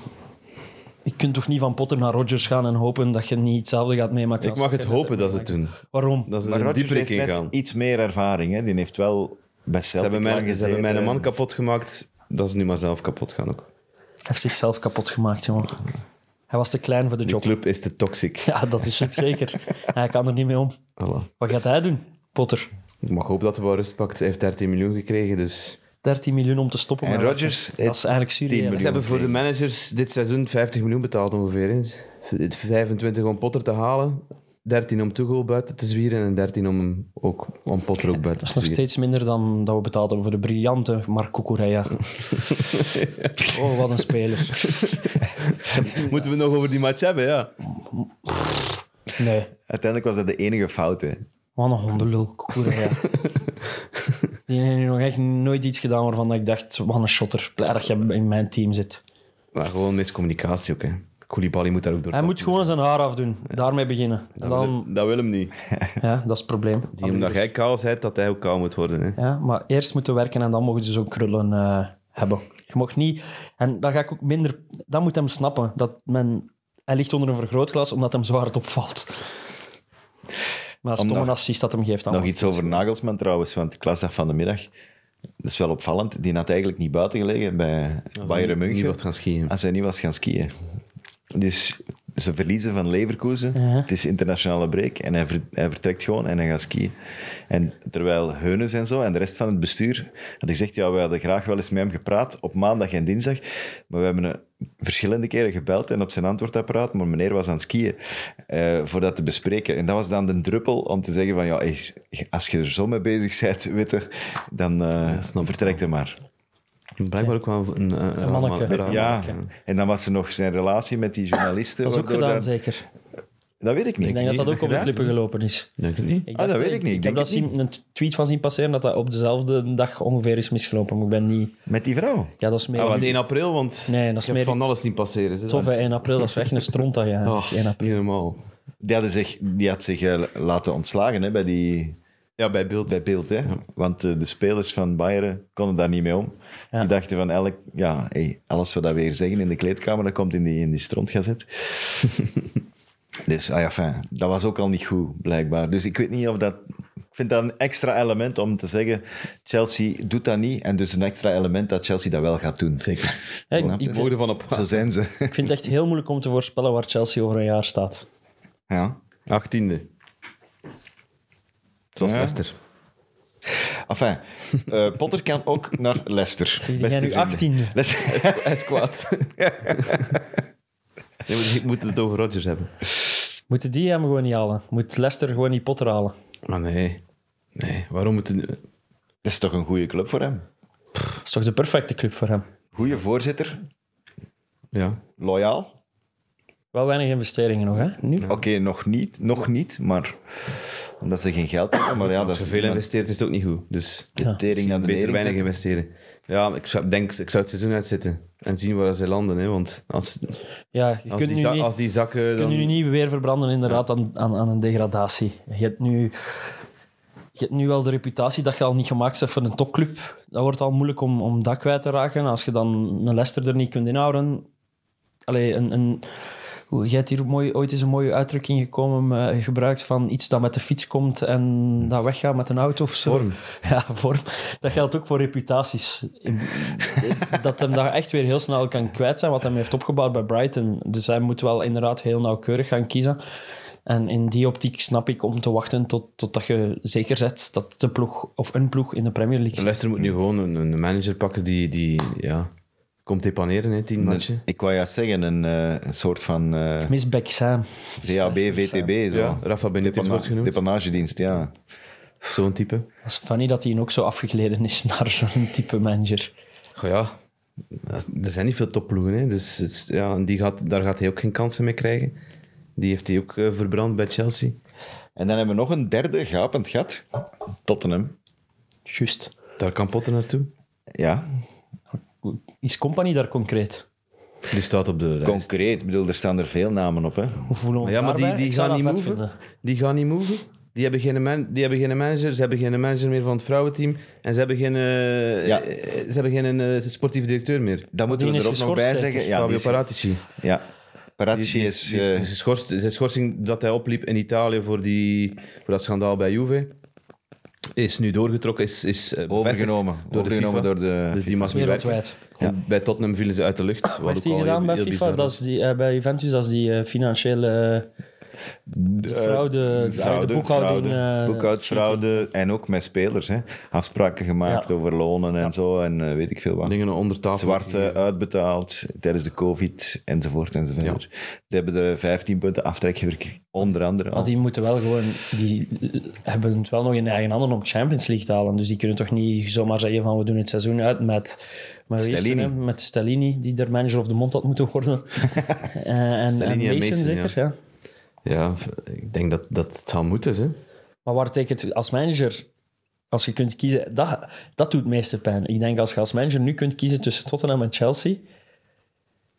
Speaker 3: Je kunt toch niet van Potter naar Rodgers gaan en hopen dat je niet hetzelfde gaat meemaken.
Speaker 4: Ik
Speaker 3: als
Speaker 4: mag het
Speaker 3: Potter.
Speaker 4: hopen dat ze het doen.
Speaker 3: Waarom?
Speaker 4: Dat ze
Speaker 2: Maar
Speaker 4: er
Speaker 2: Rodgers
Speaker 4: dieper
Speaker 2: heeft
Speaker 4: in
Speaker 2: net
Speaker 4: gaan.
Speaker 2: iets meer ervaring. Hè. Die heeft wel bij
Speaker 4: Ze
Speaker 2: Celtic
Speaker 4: hebben,
Speaker 2: lang
Speaker 4: mijn, ze
Speaker 2: gezeten.
Speaker 4: hebben mijn man kapot gemaakt. Dat ze nu maar zelf kapot gaan ook.
Speaker 3: Hij heeft zichzelf kapot gemaakt, jongen. Hij was te klein voor de
Speaker 4: De
Speaker 3: job.
Speaker 4: club is te toxic.
Speaker 3: Ja, dat is hem zeker. Hij kan er niet mee om.
Speaker 4: Voilà.
Speaker 3: Wat gaat hij doen, Potter?
Speaker 4: Ik mag hopen dat hij wel rust pakt. Hij heeft 13 miljoen gekregen, dus...
Speaker 3: 13 miljoen om te stoppen.
Speaker 2: En
Speaker 3: maar
Speaker 2: Rodgers
Speaker 3: Dat is
Speaker 2: heeft
Speaker 3: eigenlijk
Speaker 2: 10
Speaker 3: serieus.
Speaker 4: Ze hebben voor de managers dit seizoen 50 miljoen betaald ongeveer. hè. 25 om Potter te halen, 13 om Tuchel buiten te zwieren en 13 om, hem ook, om Potter ook buiten
Speaker 3: Dat
Speaker 4: te
Speaker 3: is nog
Speaker 4: zwieren.
Speaker 3: steeds minder dan dat we betaald hebben voor de briljante Marco Correa. Oh, wat een speler.
Speaker 4: Moeten we het nog over die match hebben, ja.
Speaker 3: Nee,
Speaker 2: Uiteindelijk was dat de enige fout. hè.
Speaker 3: wat een hondenlul. Correa. Die heeft nu nog echt nooit iets gedaan waarvan ik dacht, wat een shotter. Blij dat je in mijn team zit.
Speaker 4: Maar gewoon miscommunicatie ook, hè. Koulibaly moet daar ook door.
Speaker 3: Hij moet
Speaker 4: tasten.
Speaker 2: dus-
Speaker 3: gewoon zijn haar afdoen. Daarmee beginnen.
Speaker 4: Dat,
Speaker 3: Dan,
Speaker 4: wil, dat wil hem niet.
Speaker 3: ja, dat is het probleem.
Speaker 4: Die, omdat jij kaal bent, dat hij ook kaal moet worden, hè.
Speaker 3: Ja, maar eerst moeten werken en dan mogen ze zo'n krullen eh, hebben. Je mag niet... En dan ga ik ook minder... Dat moet hem snappen. Dat men, hij ligt onder een vergrootglas omdat hem zo hard opvalt. Maar dat is toch
Speaker 2: Omdat-
Speaker 3: een assist dat hem geeft. Dan
Speaker 2: Nog iets over Nagelsman trouwens, want de klasdag van de middag. Dat is wel opvallend. Die had eigenlijk niet buiten gelegen bij Bayern
Speaker 4: Niet- Niet
Speaker 2: München.
Speaker 4: wat gaan schieten.
Speaker 2: Als hij niet was gaan skiën. Dus ze verliezen van Leverkusen. Het is internationale break. En hij, ver- hij vertrekt gewoon en hij gaat skiën. En terwijl Heunes en zo en de rest van het bestuur had gezegd, ja, we hadden graag wel eens met hem gepraat op maandag en dinsdag. Maar we hebben eh, verschillende keren gebeld en op zijn antwoordapparaat, maar meneer was aan het skiën eh, voor dat te bespreken. En dat was dan de druppel om te zeggen van, ja, hey, als je er zo mee bezig bent, weet je, dan eh vertrekt hij maar.
Speaker 4: Blijkbaar ook wel een, een, een
Speaker 3: manneke.
Speaker 4: een raar
Speaker 2: Ja,
Speaker 4: manneke.
Speaker 2: en dan was er nog zijn relatie met die journalisten.
Speaker 3: Dat is ook
Speaker 2: waardoor
Speaker 3: gedaan,
Speaker 2: dat-
Speaker 3: zeker.
Speaker 2: dat weet ik niet.
Speaker 3: Ik denk dat dat ook op de
Speaker 2: gedaan?
Speaker 3: klippen gelopen is.
Speaker 4: Denk ik niet.
Speaker 3: Ik
Speaker 2: Ah, dat weet ik niet. Ik
Speaker 3: heb
Speaker 2: denk
Speaker 3: dat
Speaker 2: het niet.
Speaker 3: zien, een tweet van zien passeren dat dat op dezelfde dag ongeveer is misgelopen. Maar ik ben niet...
Speaker 2: Met die vrouw.
Speaker 3: Ja, dat is meer...
Speaker 2: Ah,
Speaker 4: Dat was 1 april, want
Speaker 3: Nee, dat
Speaker 4: ik
Speaker 3: is
Speaker 4: heb
Speaker 3: meer-
Speaker 4: van alles niet passeren. ze.
Speaker 3: tof, hè, 1 april. Dat is echt een strontdag, ja.
Speaker 4: Oh,
Speaker 3: 1 april.
Speaker 4: niet normaal.
Speaker 2: Die, hadden zich, die had zich eh, laten ontslagen hè, bij, die,
Speaker 4: Ja, bij beeld.
Speaker 2: bij beeld. Hè? Want eh, de spelers van Bayern konden daar niet mee om.
Speaker 3: Ja.
Speaker 2: Die dachten van elk, ja, hey, alles wat dat we hier zeggen in de kleedkamer, dat komt in die, in die strontgazet. dus ah ja, fijn. dat was ook al niet goed, blijkbaar. Dus ik weet niet of dat... Ik vind dat een extra element om te zeggen, Chelsea doet dat niet. En dus een extra element dat Chelsea dat wel gaat doen. Zeker.
Speaker 3: Ja, ik-
Speaker 2: Snap je?
Speaker 3: ik-
Speaker 4: Volgde van op
Speaker 2: Zo zijn ze.
Speaker 3: ik vind het echt heel moeilijk om te voorspellen waar Chelsea over een jaar staat.
Speaker 2: ja.
Speaker 4: 18e. Zoals
Speaker 2: Ja.
Speaker 4: Leicester.
Speaker 2: Enfin, eh, Potter kan ook naar Leicester.
Speaker 3: die
Speaker 2: Beste
Speaker 3: gaan nu
Speaker 2: vrienden.
Speaker 3: 18e.
Speaker 2: Leicester-
Speaker 4: Hij is kwaad. Nee, maar ik moet het over Rodgers hebben.
Speaker 3: Moeten die hem gewoon niet halen? Moet Leicester gewoon niet Potter halen?
Speaker 4: Maar nee. Nee, waarom moeten...
Speaker 2: Dat is toch een goede club voor hem?
Speaker 3: Dat is toch de perfecte club voor hem?
Speaker 2: Goede voorzitter,
Speaker 4: Ja.
Speaker 2: loyaal.
Speaker 3: Wel weinig investeringen nog, hè? Nu?
Speaker 2: Oké, nog niet, nog niet, maar omdat ze geen geld hebben. Maar ja,
Speaker 4: Als
Speaker 2: dat
Speaker 4: je
Speaker 2: is
Speaker 4: veel investeert, is het ook niet goed. Dus
Speaker 2: De tering naar
Speaker 4: beter
Speaker 2: beneden
Speaker 4: weinig
Speaker 2: zetten.
Speaker 4: investeren. Ja, ik zou, denk, ik zou het seizoen uitzitten. En zien waar ze landen. Hè. Want als,
Speaker 3: Ja, je
Speaker 4: als,
Speaker 3: kunt
Speaker 4: die,
Speaker 3: nu,
Speaker 4: za-
Speaker 3: niet,
Speaker 4: als die zakken...
Speaker 3: kunt
Speaker 4: eh, Dan...
Speaker 3: nu niet weer verbranden inderdaad aan, aan, aan een degradatie. Je hebt, nu, je hebt nu wel de reputatie dat je al niet gemaakt bent voor een topclub. Dat wordt al moeilijk om, om dat kwijt te raken. Als je dan een Leicester er niet kunt inhouden... Allee, een... een hoe- Jij hebt hier mooi, ooit eens een mooie uitdrukking gekomen, eh, gebruikt van iets dat met de fiets komt en dat weggaat met een auto of zo.
Speaker 4: Vorm.
Speaker 3: Ja, vorm. Dat geldt ook voor reputaties. Dat hem daar echt weer heel snel kan kwijt zijn wat hij heeft opgebouwd bij Brighton. Dus hij moet wel inderdaad heel nauwkeurig gaan kiezen. En in die optiek snap ik om te wachten tot, totdat je zeker zet dat de ploeg of een ploeg in de Premier League zit.
Speaker 4: Leicester moet nu gewoon een, een manager pakken die... die ja, komt depaneren, hè, tien matchen.
Speaker 2: Ik wou juist zeggen, een, eh, een soort van eh
Speaker 3: Miss Beck Sam.
Speaker 2: VAB, VTB. Zo.
Speaker 4: Ja, Rafa Benitez wordt
Speaker 2: Depana-
Speaker 4: genoemd.
Speaker 2: Depanagedienst, ja.
Speaker 4: Zo'n type.
Speaker 3: Dat is funny dat hij ook zo afgegleden is naar zo'n type manager.
Speaker 4: Goh, ja. Er zijn niet veel topploegen, hè. Dus het is- ja, en die gaat, daar gaat hij ook geen kansen mee krijgen. Die heeft hij ook eh, verbrand bij Chelsea.
Speaker 2: En dan hebben we nog een derde gapend gat. Tottenham.
Speaker 3: Juist.
Speaker 4: Daar kan Potter naartoe.
Speaker 2: Ja,
Speaker 3: Is Company daar concreet?
Speaker 4: Die staat op de lijst.
Speaker 2: concreet. Ik bedoel, er staan er veel namen op. Hè.
Speaker 3: Hoe voelen we
Speaker 4: ja, maar
Speaker 3: ons
Speaker 4: die,
Speaker 3: daarbij?
Speaker 4: die
Speaker 3: Ik zou
Speaker 4: gaan niet
Speaker 3: dat vet
Speaker 4: moven.
Speaker 3: vinden.
Speaker 4: Die gaan niet moven. Die hebben, geen man, die hebben geen manager, ze hebben geen manager meer van het vrouwenteam. En ze hebben geen, eh,
Speaker 2: Ja.
Speaker 4: eh, ze hebben geen eh, sportief directeur meer.
Speaker 2: Dat moeten we
Speaker 3: Die is
Speaker 2: er ook nog
Speaker 3: geschorst,
Speaker 2: bij zeggen.
Speaker 3: zeker?
Speaker 2: Ja, die
Speaker 4: Fabio
Speaker 2: is-
Speaker 4: Paratici.
Speaker 2: ja. Paratici
Speaker 4: Die- die
Speaker 2: is...
Speaker 4: die
Speaker 2: eh,
Speaker 4: is geschorst, zijn schorsing dat hij opliep in Italië voor, die, voor dat schandaal bij Juve is nu doorgetrokken, is, is eh, bevestigd
Speaker 2: Overgenomen.
Speaker 4: door
Speaker 2: Overgenomen
Speaker 4: de
Speaker 2: door
Speaker 4: FIFA.
Speaker 2: de
Speaker 4: dus die
Speaker 2: FIFA.
Speaker 4: mag niet werken.
Speaker 3: Wereldwijd.
Speaker 4: Ja. Bij Tottenham vielen ze uit de lucht.
Speaker 3: Wat heeft hij gedaan bij FIFA? Dat is die, eh, bij Juventus, dat is die eh, financiële eh, de fraude, Eh, de- de boekhouding.
Speaker 2: fraude,
Speaker 3: eh,
Speaker 2: boekhoudfraude en ook met spelers. Hè. Afspraken gemaakt
Speaker 3: Ja.
Speaker 2: over lonen en zo en eh, weet ik veel wat.
Speaker 4: Dingen onder tafel.
Speaker 2: Zwarte uitbetaald tijdens de covid enzovoort enzovoort. Ze hebben er 15 punten aftrek gewerkt, onder andere. al.
Speaker 3: Maar die moeten wel gewoon, die eh, hebben het wel nog in eigen handen om Champions League te halen. Dus die kunnen toch niet zomaar zeggen van we doen het seizoen uit met, met, wie is het,
Speaker 2: Stellini.
Speaker 3: hè? met Stellini, die er manager of de mond had moeten worden. Eh, en, en
Speaker 4: Stellini en
Speaker 3: Mason,
Speaker 4: Mason,
Speaker 3: zeker, ja.
Speaker 4: Ja, ik denk dat, dat het zal moeten. Hè.
Speaker 3: Maar waar tekent het als manager, als je kunt kiezen, dat, dat doet het meeste pijn. Ik denk als je als manager nu kunt kiezen tussen Tottenham en Chelsea,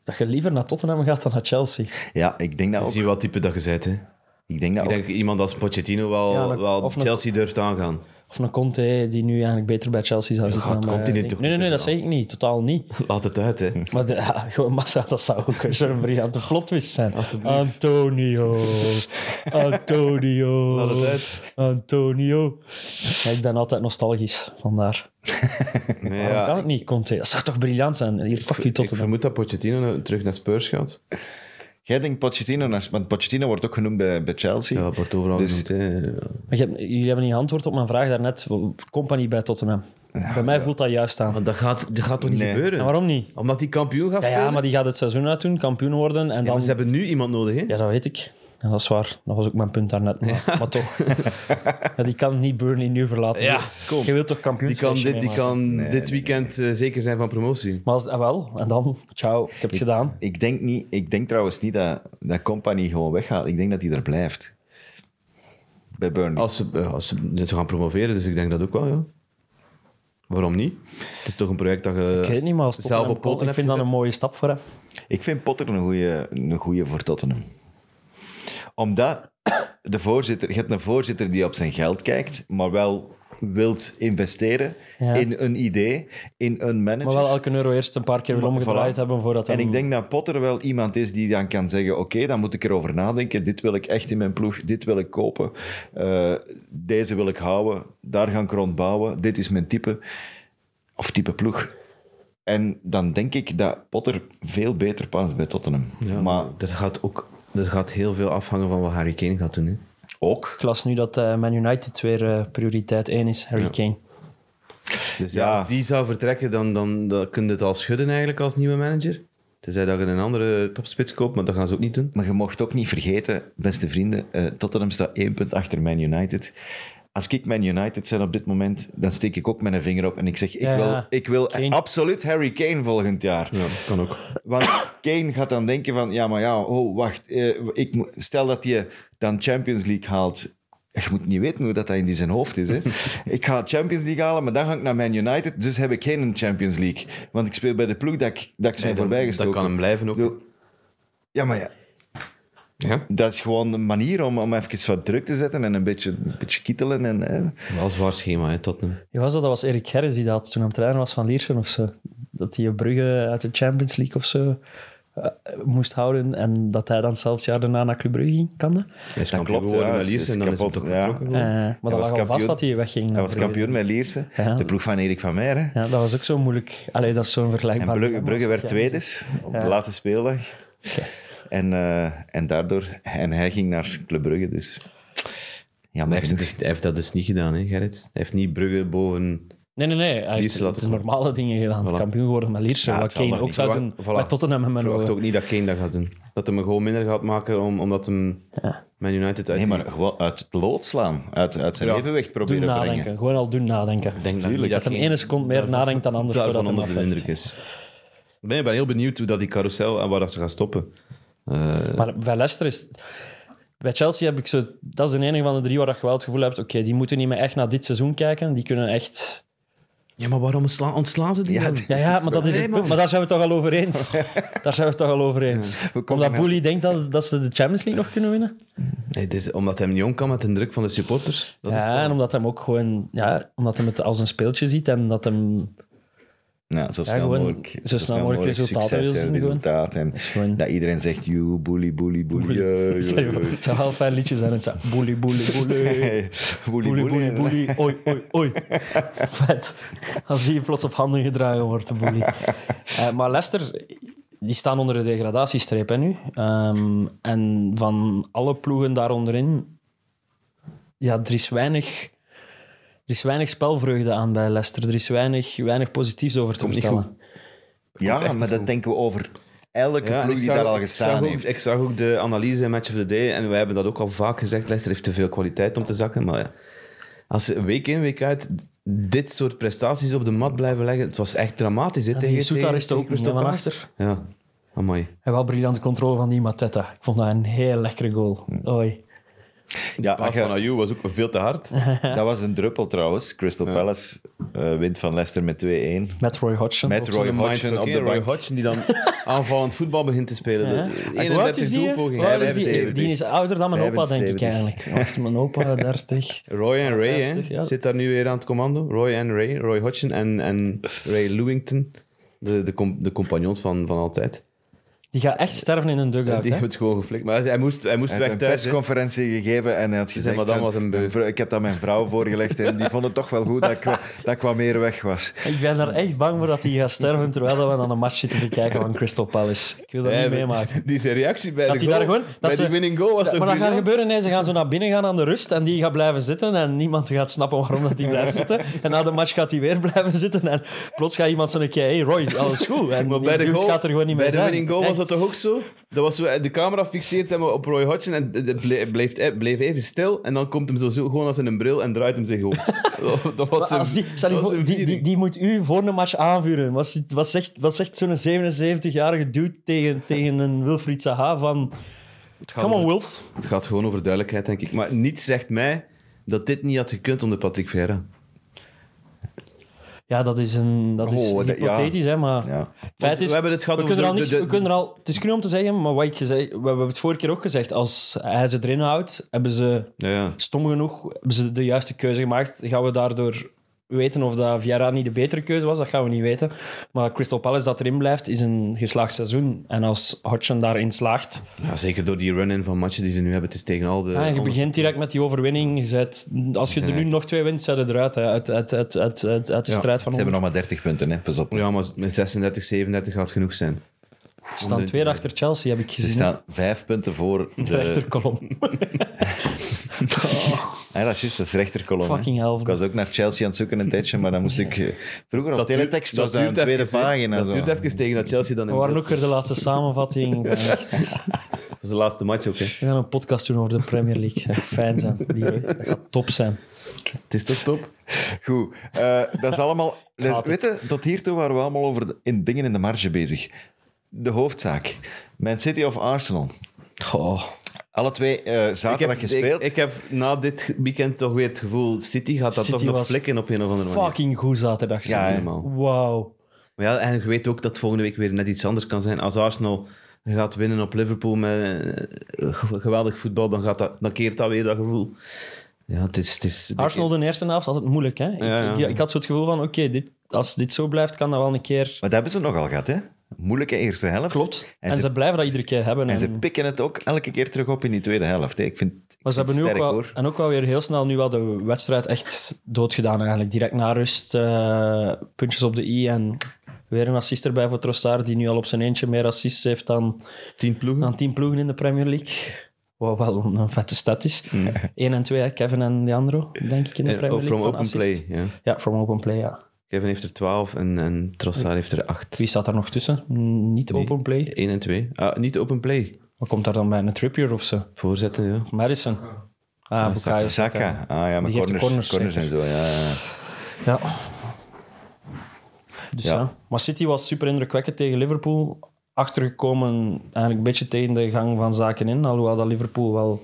Speaker 3: dat je liever naar Tottenham gaat dan naar Chelsea.
Speaker 2: Ja, ik denk dat ook.
Speaker 4: Zie wat type dat je bent, hè.
Speaker 2: Ik denk dat
Speaker 4: Ik
Speaker 2: ook.
Speaker 4: denk iemand als Pochettino wel,
Speaker 3: Ja, dat-
Speaker 4: wel
Speaker 3: of een-
Speaker 4: Chelsea durft aangaan.
Speaker 3: Of een Conte, die nu eigenlijk beter bij Chelsea zou zitten.
Speaker 4: gaat
Speaker 3: dan bij-
Speaker 4: Conte niet toch
Speaker 3: nee, nee, nee,
Speaker 4: niet
Speaker 3: dat zeg ik niet. Totaal niet.
Speaker 4: Laat het uit, hè.
Speaker 3: Maar de, ja, gewoon massa, dat zou ook een zo'n briljante plotwist zijn. Antonio. Antonio.
Speaker 4: Laat het uit.
Speaker 3: Antonio. Ja, ik ben altijd nostalgisch, vandaar.
Speaker 4: Nee,
Speaker 3: Waarom
Speaker 4: ja,
Speaker 3: kan het niet, Conte? Dat zou toch briljant zijn? Hier, fuck je
Speaker 4: ik
Speaker 3: tot en
Speaker 4: vermoed dat Pochettino nou terug naar Spurs gaat.
Speaker 2: Jij denkt Pochettino, naar, want Pochettino wordt ook genoemd bij, bij Chelsea.
Speaker 4: Ja, dat wordt overal
Speaker 2: Dus-
Speaker 4: genoemd, hè.
Speaker 3: Maar je hebt- jullie hebben niet antwoord op mijn vraag daarnet. Company bij Tottenham. bij mij voelt dat juist aan.
Speaker 4: Maar dat gaat, dat gaat toch niet
Speaker 2: Nee.
Speaker 4: gebeuren?
Speaker 3: En waarom niet?
Speaker 4: Omdat die kampioen gaat
Speaker 3: Ja,
Speaker 4: spelen?
Speaker 3: ja, maar die gaat het seizoen uitdoen, kampioen worden. En
Speaker 4: Ja,
Speaker 3: dan...
Speaker 4: maar ze hebben nu iemand nodig, hè.
Speaker 3: Ja, dat weet ik. Ja, dat is waar. Dat was ook mijn punt daarnet. Maar, maar toch. Ja, die kan niet Burnley nu verlaten.
Speaker 4: Ja, kom.
Speaker 3: Je wilt toch kampioen
Speaker 4: Die kan, dit, die kan dit weekend eh, zeker zijn van promotie.
Speaker 3: Maar als, ah, wel, en dan, ciao, ik heb het gedaan.
Speaker 2: Ik denk, niet, ik denk trouwens niet dat, dat Company gewoon weggaat. Ik denk dat hij er blijft. Bij Burnley.
Speaker 4: Als ze, eh, als ze net zo gaan promoveren, dus ik denk dat ook wel, ja. Waarom niet? Het is toch een project dat je
Speaker 3: Ik weet niet, maar als
Speaker 4: zelf op poten
Speaker 3: Tottenham, ik
Speaker 4: hebt
Speaker 3: vind dat
Speaker 4: gezet.
Speaker 3: een mooie stap voor hem.
Speaker 2: Ik vind Potter een goede een goeie voor Tottenham. Omdat de voorzitter, je hebt een voorzitter die op zijn geld kijkt, maar wel wilt investeren
Speaker 3: Ja.
Speaker 2: in een idee, in een manager.
Speaker 3: Maar wel elke euro eerst een paar keer weer omgedraaid
Speaker 2: Voilà.
Speaker 3: hebben voordat
Speaker 2: En
Speaker 3: hem-
Speaker 2: ik denk dat Potter wel iemand is die dan kan zeggen: Oké, dan moet ik erover nadenken. Dit wil ik echt in mijn ploeg. Dit wil ik kopen. Eh, deze wil ik houden. Daar ga ik rond bouwen. Dit is mijn type. Of type ploeg. En dan denk ik dat Potter veel beter past bij Tottenham.
Speaker 4: Ja,
Speaker 2: maar
Speaker 4: dat gaat ook dat gaat heel veel afhangen van wat Harry Kane gaat doen. Hè.
Speaker 2: ook.
Speaker 3: Ik las nu dat eh, Man United weer eh, prioriteit 1 is, Harry Kane.
Speaker 4: Dus ja,
Speaker 2: Ja.
Speaker 4: als die zou vertrekken, dan, dan, dan kun je het al schudden eigenlijk als nieuwe manager. Tenzij dat je een andere topspits koopt, maar dat gaan ze ook niet doen.
Speaker 2: Maar je mocht ook niet vergeten, beste vrienden, eh, Tottenham staat één punt achter Man United. Als ik Man United ben op dit moment, dan steek ik ook mijn vinger op en ik zeg, ik
Speaker 3: Ja,
Speaker 2: wil,
Speaker 3: ja.
Speaker 2: ik wil
Speaker 3: Kane.
Speaker 2: absoluut Harry Kane volgend jaar.
Speaker 4: Ja, kan ook.
Speaker 2: Want Kane gaat dan denken van, ja, maar ja, oh, wacht. eh, ik, mo- stel dat je dan Champions League haalt. Je moet niet weten hoe dat, dat in die zijn hoofd is. Hè. ik ga Champions League halen, maar dan ga ik naar Man United. Dus heb ik geen Champions League. Want ik speel bij de ploeg dat ik, dat ik zijn voorbij
Speaker 4: dat
Speaker 2: gestoken.
Speaker 4: kan hem blijven
Speaker 2: Ik
Speaker 4: ook.
Speaker 2: bedoel, Ja, maar ja,
Speaker 4: Ja.
Speaker 2: dat is gewoon een manier om, om even wat druk te zetten en een beetje, een beetje kietelen. En, eh,
Speaker 4: Wel een zwaar schema, hè, Tottenham.
Speaker 3: Wie was dat? Dat was Erik Gerrits die dat had toen hij trainer was van Liersen of zo. Dat hij Brugge uit de Champions League of zo eh, moest houden. En dat hij dan zelfs het jaar daarna naar Club Brugge ging, kan dat?
Speaker 4: Hij
Speaker 2: Dat
Speaker 4: is kampioen
Speaker 2: klopt,
Speaker 4: geworden
Speaker 2: ja,
Speaker 4: met
Speaker 2: is-
Speaker 4: Liers
Speaker 2: is
Speaker 4: en dan is hij
Speaker 2: kapot,
Speaker 4: toch
Speaker 2: ja.
Speaker 4: vertrokken.
Speaker 3: Eh,
Speaker 4: geworden.
Speaker 3: maar dat
Speaker 2: was
Speaker 3: lag al vast
Speaker 2: kampioen.
Speaker 3: dat hij wegging. naar
Speaker 2: dat was
Speaker 3: Brugge.
Speaker 2: kampioen met Lierse,
Speaker 3: Ja.
Speaker 2: de ploeg van Erik van Meijer. hè.
Speaker 3: Ja, dat was ook zo moeilijk. Allee, dat is zo'n
Speaker 2: En
Speaker 3: vergelijkbaar...
Speaker 2: Brugge,
Speaker 3: programma.
Speaker 2: Brugge werd tweede op de
Speaker 3: Ja.
Speaker 2: laatste speeldag.
Speaker 3: Oké.
Speaker 2: En, eh, en daardoor... En hij ging naar Club Brugge, dus... Ja,
Speaker 4: Hij
Speaker 2: maar
Speaker 4: heeft, dus, hij heeft dat dus niet gedaan, hè, Gerrit. Hij heeft niet Brugge boven...
Speaker 3: Nee, nee, nee. Hij heeft
Speaker 4: Lierse laten
Speaker 3: de normale dingen gedaan.
Speaker 4: Voilà.
Speaker 3: Kampioen geworden met Lierse.
Speaker 2: Ja,
Speaker 3: wat
Speaker 2: het zal
Speaker 3: Kane
Speaker 2: nog
Speaker 3: ook
Speaker 2: niet.
Speaker 3: zou
Speaker 4: Verwacht-
Speaker 3: doen
Speaker 4: voilà.
Speaker 3: met Tottenham en
Speaker 4: Ik
Speaker 3: met
Speaker 4: verwacht ook niet dat Kane dat gaat doen. Dat hij hem gewoon minder gaat maken om, omdat hem Man United uit...
Speaker 2: Nee, maar gewoon uit het lood slaan. Uit, uit zijn
Speaker 4: Ja.
Speaker 2: evenwicht
Speaker 3: Doen
Speaker 2: proberen
Speaker 3: nadenken.
Speaker 2: brengen.
Speaker 3: Gewoon al doen nadenken.
Speaker 4: Ik denk dat,
Speaker 2: Tuurlijk.
Speaker 4: niet
Speaker 3: Dat hem
Speaker 4: Kane
Speaker 3: ene seconde meer
Speaker 4: daarvan-
Speaker 3: nadenkt dan anders
Speaker 4: daarvan
Speaker 3: voordat hij
Speaker 4: onder de
Speaker 3: hem
Speaker 4: indruk
Speaker 3: afwerkt.
Speaker 4: is. Ik ben, ik ben heel benieuwd hoe dat die carousel en waar dat ze gaan stoppen. Eh,
Speaker 3: Maar bij Leicester is... Bij Chelsea heb ik zo... Dat is de enige van de drie waar dat je wel het gevoel hebt... Oké, die moeten niet meer echt naar dit seizoen kijken. Die kunnen echt...
Speaker 4: ja, maar waarom ontslaan, ontslaan ze die
Speaker 2: Ja,
Speaker 4: dan?
Speaker 2: die-
Speaker 3: Ja, ja maar, dat is het
Speaker 4: Nee,
Speaker 3: punt.
Speaker 4: man.
Speaker 3: maar daar zijn we het toch al over eens. Daar zijn we het toch al over eens.
Speaker 2: Hoe komt
Speaker 3: Omdat
Speaker 2: dat
Speaker 3: Boeli denkt dat, dat ze de Champions League nog kunnen winnen.
Speaker 4: Nee, dit is omdat hij niet om kan met de druk van de supporters. Dat is
Speaker 3: ja,
Speaker 4: het.
Speaker 3: en omdat hem ook gewoon... Ja, omdat hem het als een speeltje ziet en dat hem...
Speaker 2: Ja, zo snel
Speaker 3: gewoon
Speaker 2: mogelijk.
Speaker 3: zo snel mogelijk resultaten
Speaker 2: succes
Speaker 3: willen
Speaker 2: en
Speaker 3: zien doen.
Speaker 2: resultaat. En
Speaker 3: gewoon-
Speaker 2: dat iedereen zegt, you, boelie, boelie, boelie. eh,
Speaker 3: Het zou-
Speaker 2: joh, joh.
Speaker 3: het zou wel een fijn liedje zijn. Het zou... Boeli, boeli, boeli.
Speaker 2: Hey, boelie,
Speaker 3: Boeli,
Speaker 2: boelie.
Speaker 3: boeli, boeli. Oi, oi, oi. Vet. Als die plots op handen gedragen wordt, de boeli. Eh, maar Leicester, die staan onder de degradatiestreep hè, nu. Ehm, en van alle ploegen daaronderin... Ja, er is weinig... Er is weinig spelvreugde aan bij Leicester. Er is weinig, weinig positiefs over te
Speaker 4: Komt niet
Speaker 3: vertellen.
Speaker 2: Ja, maar dat denken we over elke
Speaker 4: Ja, en
Speaker 2: ploeg
Speaker 4: ik
Speaker 2: die
Speaker 4: zag-
Speaker 2: daar al
Speaker 4: ik
Speaker 2: gestaan
Speaker 4: zag ook-
Speaker 2: heeft.
Speaker 4: Ik zag ook de analyse in Match of the Day, en wij hebben dat ook al vaak gezegd, Leicester heeft te veel kwaliteit om te zakken, maar ja, als ze week in, week uit dit soort prestaties op de mat blijven leggen, het was echt dramatisch. Hè,
Speaker 3: Ja,
Speaker 4: tegen
Speaker 3: tegen Soutar
Speaker 4: tegen-
Speaker 3: is er ook
Speaker 4: tegen
Speaker 3: niet hè, van
Speaker 4: Crystal
Speaker 3: achter.
Speaker 4: Palace. Ja, amai.
Speaker 3: En wel briljante controle van die Mateta. Ik vond dat een heel lekkere goal.
Speaker 4: Mm.
Speaker 3: Oei.
Speaker 2: Ja,
Speaker 4: Paas
Speaker 2: ach,
Speaker 4: van
Speaker 2: ja,
Speaker 4: Ayew was ook veel te hard.
Speaker 2: dat was een druppel trouwens. Crystal Palace eh, wint van Leicester met 2-1.
Speaker 3: Met Roy Hodgson.
Speaker 2: Met Roy
Speaker 4: Zo'n mindfuck,
Speaker 2: Hodgson op
Speaker 4: hè,
Speaker 2: de
Speaker 4: Roy
Speaker 2: bank.
Speaker 4: Hodgson die dan aanvallend voetbal begint te spelen.
Speaker 3: Ja.
Speaker 4: De-
Speaker 3: En hoe oud
Speaker 4: 31
Speaker 3: is die, hè?
Speaker 4: doelpogingen.
Speaker 3: Hoe oud is die?
Speaker 2: 75.
Speaker 3: Die is ouder dan mijn opa, denk ik
Speaker 2: 75.
Speaker 3: eigenlijk. Wacht, mijn opa, 30.
Speaker 4: Roy en Ray, hè?
Speaker 3: 50, ja.
Speaker 4: Zit daar nu weer aan het commando. Roy en Ray. Roy Hodgson en, en Ray Lewington. De, de, com- de compagnons van, van altijd.
Speaker 3: Die gaat echt sterven in een
Speaker 4: die
Speaker 3: dugout. hè?
Speaker 4: hebben het gewoon geflikt. Maar hij moest, hij moest
Speaker 2: Hij had
Speaker 4: weg
Speaker 2: een
Speaker 4: thuis. hè.
Speaker 2: persconferentie gegeven en hij had gezegd...
Speaker 4: madame
Speaker 2: van,
Speaker 4: was een beu.
Speaker 2: mijn vrou- Ik had dat mijn vrouw voorgelegd en die vond het toch wel goed dat ik, wa- dat ik wat meer weg was.
Speaker 3: Ik ben er echt bang voor dat hij gaat sterven terwijl dat we aan een match zitten te kijken van Crystal Palace. Ik wil dat
Speaker 4: Hij-
Speaker 3: niet meemaken.
Speaker 4: Die zijn reactie bij
Speaker 3: Dat
Speaker 4: de
Speaker 3: hij
Speaker 4: goal,
Speaker 3: daar gewoon...
Speaker 4: bij
Speaker 3: Dat
Speaker 4: die
Speaker 3: ze-
Speaker 4: winning goal was
Speaker 3: Ja,
Speaker 4: toch
Speaker 3: Maar dat gaat
Speaker 4: briljant?
Speaker 3: gebeuren. Nee, ze gaan zo naar binnen gaan aan de rust en die gaat blijven zitten en niemand gaat snappen waarom dat die blijft zitten. En na de match gaat hij weer blijven zitten en plots gaat iemand zo'n keer... Hey Roy, alles goed. En
Speaker 4: Maar
Speaker 3: die
Speaker 4: bij de,
Speaker 3: dude
Speaker 4: goal,
Speaker 3: gaat er gewoon niet meer
Speaker 4: bij de
Speaker 3: zijn.
Speaker 4: winning goal was
Speaker 3: Echt.
Speaker 4: dat toch ook zo? Dat was zo eh, de camera fixeert hem op Roy Hodgson en het ble- bleef, eh, bleef even stil. En dan komt hem zo, zo gewoon als in een bril en draait hem zich om. dat was
Speaker 3: Maar als
Speaker 4: een,
Speaker 3: die, stel je
Speaker 4: dat was
Speaker 3: voor,
Speaker 4: een
Speaker 3: die, die,
Speaker 4: viering.
Speaker 3: die moet u voor een match aanvuren. Wat, zit- wat zegt, wat zegt zo'n 77-jarige dude tegen, tegen een Wilfried Zaha van...
Speaker 4: gaat
Speaker 3: Come on,
Speaker 4: over-
Speaker 3: Wilf.
Speaker 4: Het gaat gewoon over duidelijkheid, denk ik. Maar niets zegt mij dat dit niet had gekund onder Patrick Vieira.
Speaker 3: Ja, dat is, een, dat is
Speaker 2: Oh, dat- ja.
Speaker 3: hypothetisch, hè, maar...
Speaker 2: Ja.
Speaker 3: het Feit
Speaker 4: we
Speaker 3: is,
Speaker 4: hebben het gehad
Speaker 3: we
Speaker 4: over
Speaker 3: kunnen er al
Speaker 4: de-
Speaker 3: niks...
Speaker 4: de-
Speaker 3: We kunnen er al, het is cru om te zeggen, maar wat ik gezegd, we hebben het vorige keer ook gezegd. Als hij ze erin houdt, hebben ze
Speaker 4: Ja, ja.
Speaker 3: stom genoeg hebben ze de juiste keuze gemaakt. Gaan we daardoor weten of dat Vieira niet de betere keuze was? Dat gaan we niet weten. Maar Crystal Palace dat erin blijft, is een geslaagd seizoen. En als Hodgson daarin slaagt...
Speaker 4: Ja, zeker door die run-in van matchen die ze nu hebben. Het is tegen al
Speaker 2: Eh,
Speaker 4: de...
Speaker 3: Ja, en Ah, je
Speaker 4: alle-
Speaker 3: begint direct met die overwinning. Je zet- als je er nu
Speaker 4: Zijn-
Speaker 3: nog twee wint, zet het eruit. Hè. Uit, uit, uit, uit, uit, uit de
Speaker 4: Ja,
Speaker 3: strijd van
Speaker 2: Ze hebben nog maar 30 punten, hè. pas op.
Speaker 4: Ja, maar met 36, 37 gaat genoeg zijn.
Speaker 3: onder. Ze staan twee achter Chelsea, heb ik
Speaker 2: Ze
Speaker 3: gezien.
Speaker 2: staan eh, vijf punten voor
Speaker 3: De
Speaker 2: de...
Speaker 3: rechterkolom.
Speaker 2: Ja, dat is juist, dat is rechterkolom. hè.
Speaker 3: Fucking helft.
Speaker 2: Ik was ook naar Chelsea aan het zoeken een tijdje, maar dan moest ik... eh, Vroeger op
Speaker 4: Dat duurt-
Speaker 2: teletext was dat,
Speaker 4: duurt
Speaker 2: een tweede
Speaker 4: even, hè.
Speaker 2: pagina.
Speaker 4: Dat
Speaker 2: zo.
Speaker 4: duurt even tegen dat Chelsea dan
Speaker 3: We
Speaker 4: in
Speaker 3: waren
Speaker 4: beeld-
Speaker 3: ook weer de laatste samenvatting. Ik ben echt-
Speaker 4: Dat is de laatste match ook, hè.
Speaker 3: We gaan een podcast doen over de Premier League. Dat gaat fijn zijn. Die, dat gaat top zijn.
Speaker 4: Het is toch top?
Speaker 2: Goed, eh, dat is allemaal... dus
Speaker 3: Haat
Speaker 2: weet je, tot hiertoe waren we allemaal over de- in dingen in de marge bezig. De hoofdzaak. Man City of Arsenal. Alle twee eh,
Speaker 4: Ik heb,
Speaker 2: zaterdag
Speaker 4: ik,
Speaker 2: gespeeld.
Speaker 4: ik heb na dit weekend toch weer het gevoel, City gaat dat
Speaker 3: City
Speaker 4: toch nog
Speaker 3: was
Speaker 4: flikken op een of andere manier.
Speaker 3: Fucking goed zaterdag.
Speaker 2: Ja,
Speaker 3: City.
Speaker 2: hè.
Speaker 4: Helemaal.
Speaker 3: Wauw.
Speaker 4: Maar ja, en je weet ook dat volgende week weer net iets anders kan zijn. Als Arsenal gaat winnen op Liverpool met eh, ge- geweldig voetbal, dan, gaat dat, dan keert dat weer dat gevoel. Ja, het is... Het is
Speaker 3: Arsenal de eerste helft altijd moeilijk. Hè? Ik,
Speaker 4: Ja, ja.
Speaker 3: ik- ik had zo het gevoel van, oké, dit, als dit zo blijft, kan dat wel een keer...
Speaker 2: Maar dat hebben ze nog al gehad, hè? Moeilijke eerste helft.
Speaker 3: Klopt.
Speaker 2: En,
Speaker 3: En,
Speaker 2: ze,
Speaker 3: ze blijven dat iedere keer hebben.
Speaker 2: en ze
Speaker 3: En-
Speaker 2: pikken het ook elke keer terug op in die tweede helft. Hè. Ik vind, ik
Speaker 3: Maar ze
Speaker 2: vind
Speaker 3: hebben nu
Speaker 2: het
Speaker 3: ook
Speaker 2: sterk,
Speaker 3: wel,
Speaker 2: hoor.
Speaker 3: en ook wel weer heel snel nu wel de wedstrijd echt doodgedaan eigenlijk. Direct na rust, eh, puntjes op de i en weer een assist erbij voor Trossard, die nu al op zijn eentje meer assists heeft dan,
Speaker 4: Tien ploegen.
Speaker 3: dan tien ploegen in de Premier League. Wat wel een vette stad is. 1 en 2, hè, Kevin en Leandro, denk ik, in de
Speaker 4: Eh,
Speaker 3: Premier
Speaker 4: oh,
Speaker 3: League.
Speaker 4: from
Speaker 3: van
Speaker 4: open
Speaker 3: assists.
Speaker 4: play, ja.
Speaker 3: Ja, from open play, ja.
Speaker 4: Kevin heeft er 12 en, en Trossard heeft er 8.
Speaker 3: Wie staat daar nog tussen? Mm, Niet open play.
Speaker 4: 1 en 2. Ah, niet open play.
Speaker 3: Wat komt daar dan bij? Een Trippier of zo?
Speaker 4: Voorzetten, ja.
Speaker 3: Madison? Ah, Bukayo Saka.
Speaker 2: Saka. Ah ja, maar
Speaker 3: Die geeft de
Speaker 2: corners,
Speaker 3: corners,
Speaker 2: corners en zo. Ja, ja.
Speaker 3: Ja. Dus
Speaker 2: Ja.
Speaker 3: ja. Maar City was super indrukwekkend tegen Liverpool. Achtergekomen eigenlijk een beetje tegen de gang van zaken in. Alhoewel dat Liverpool wel...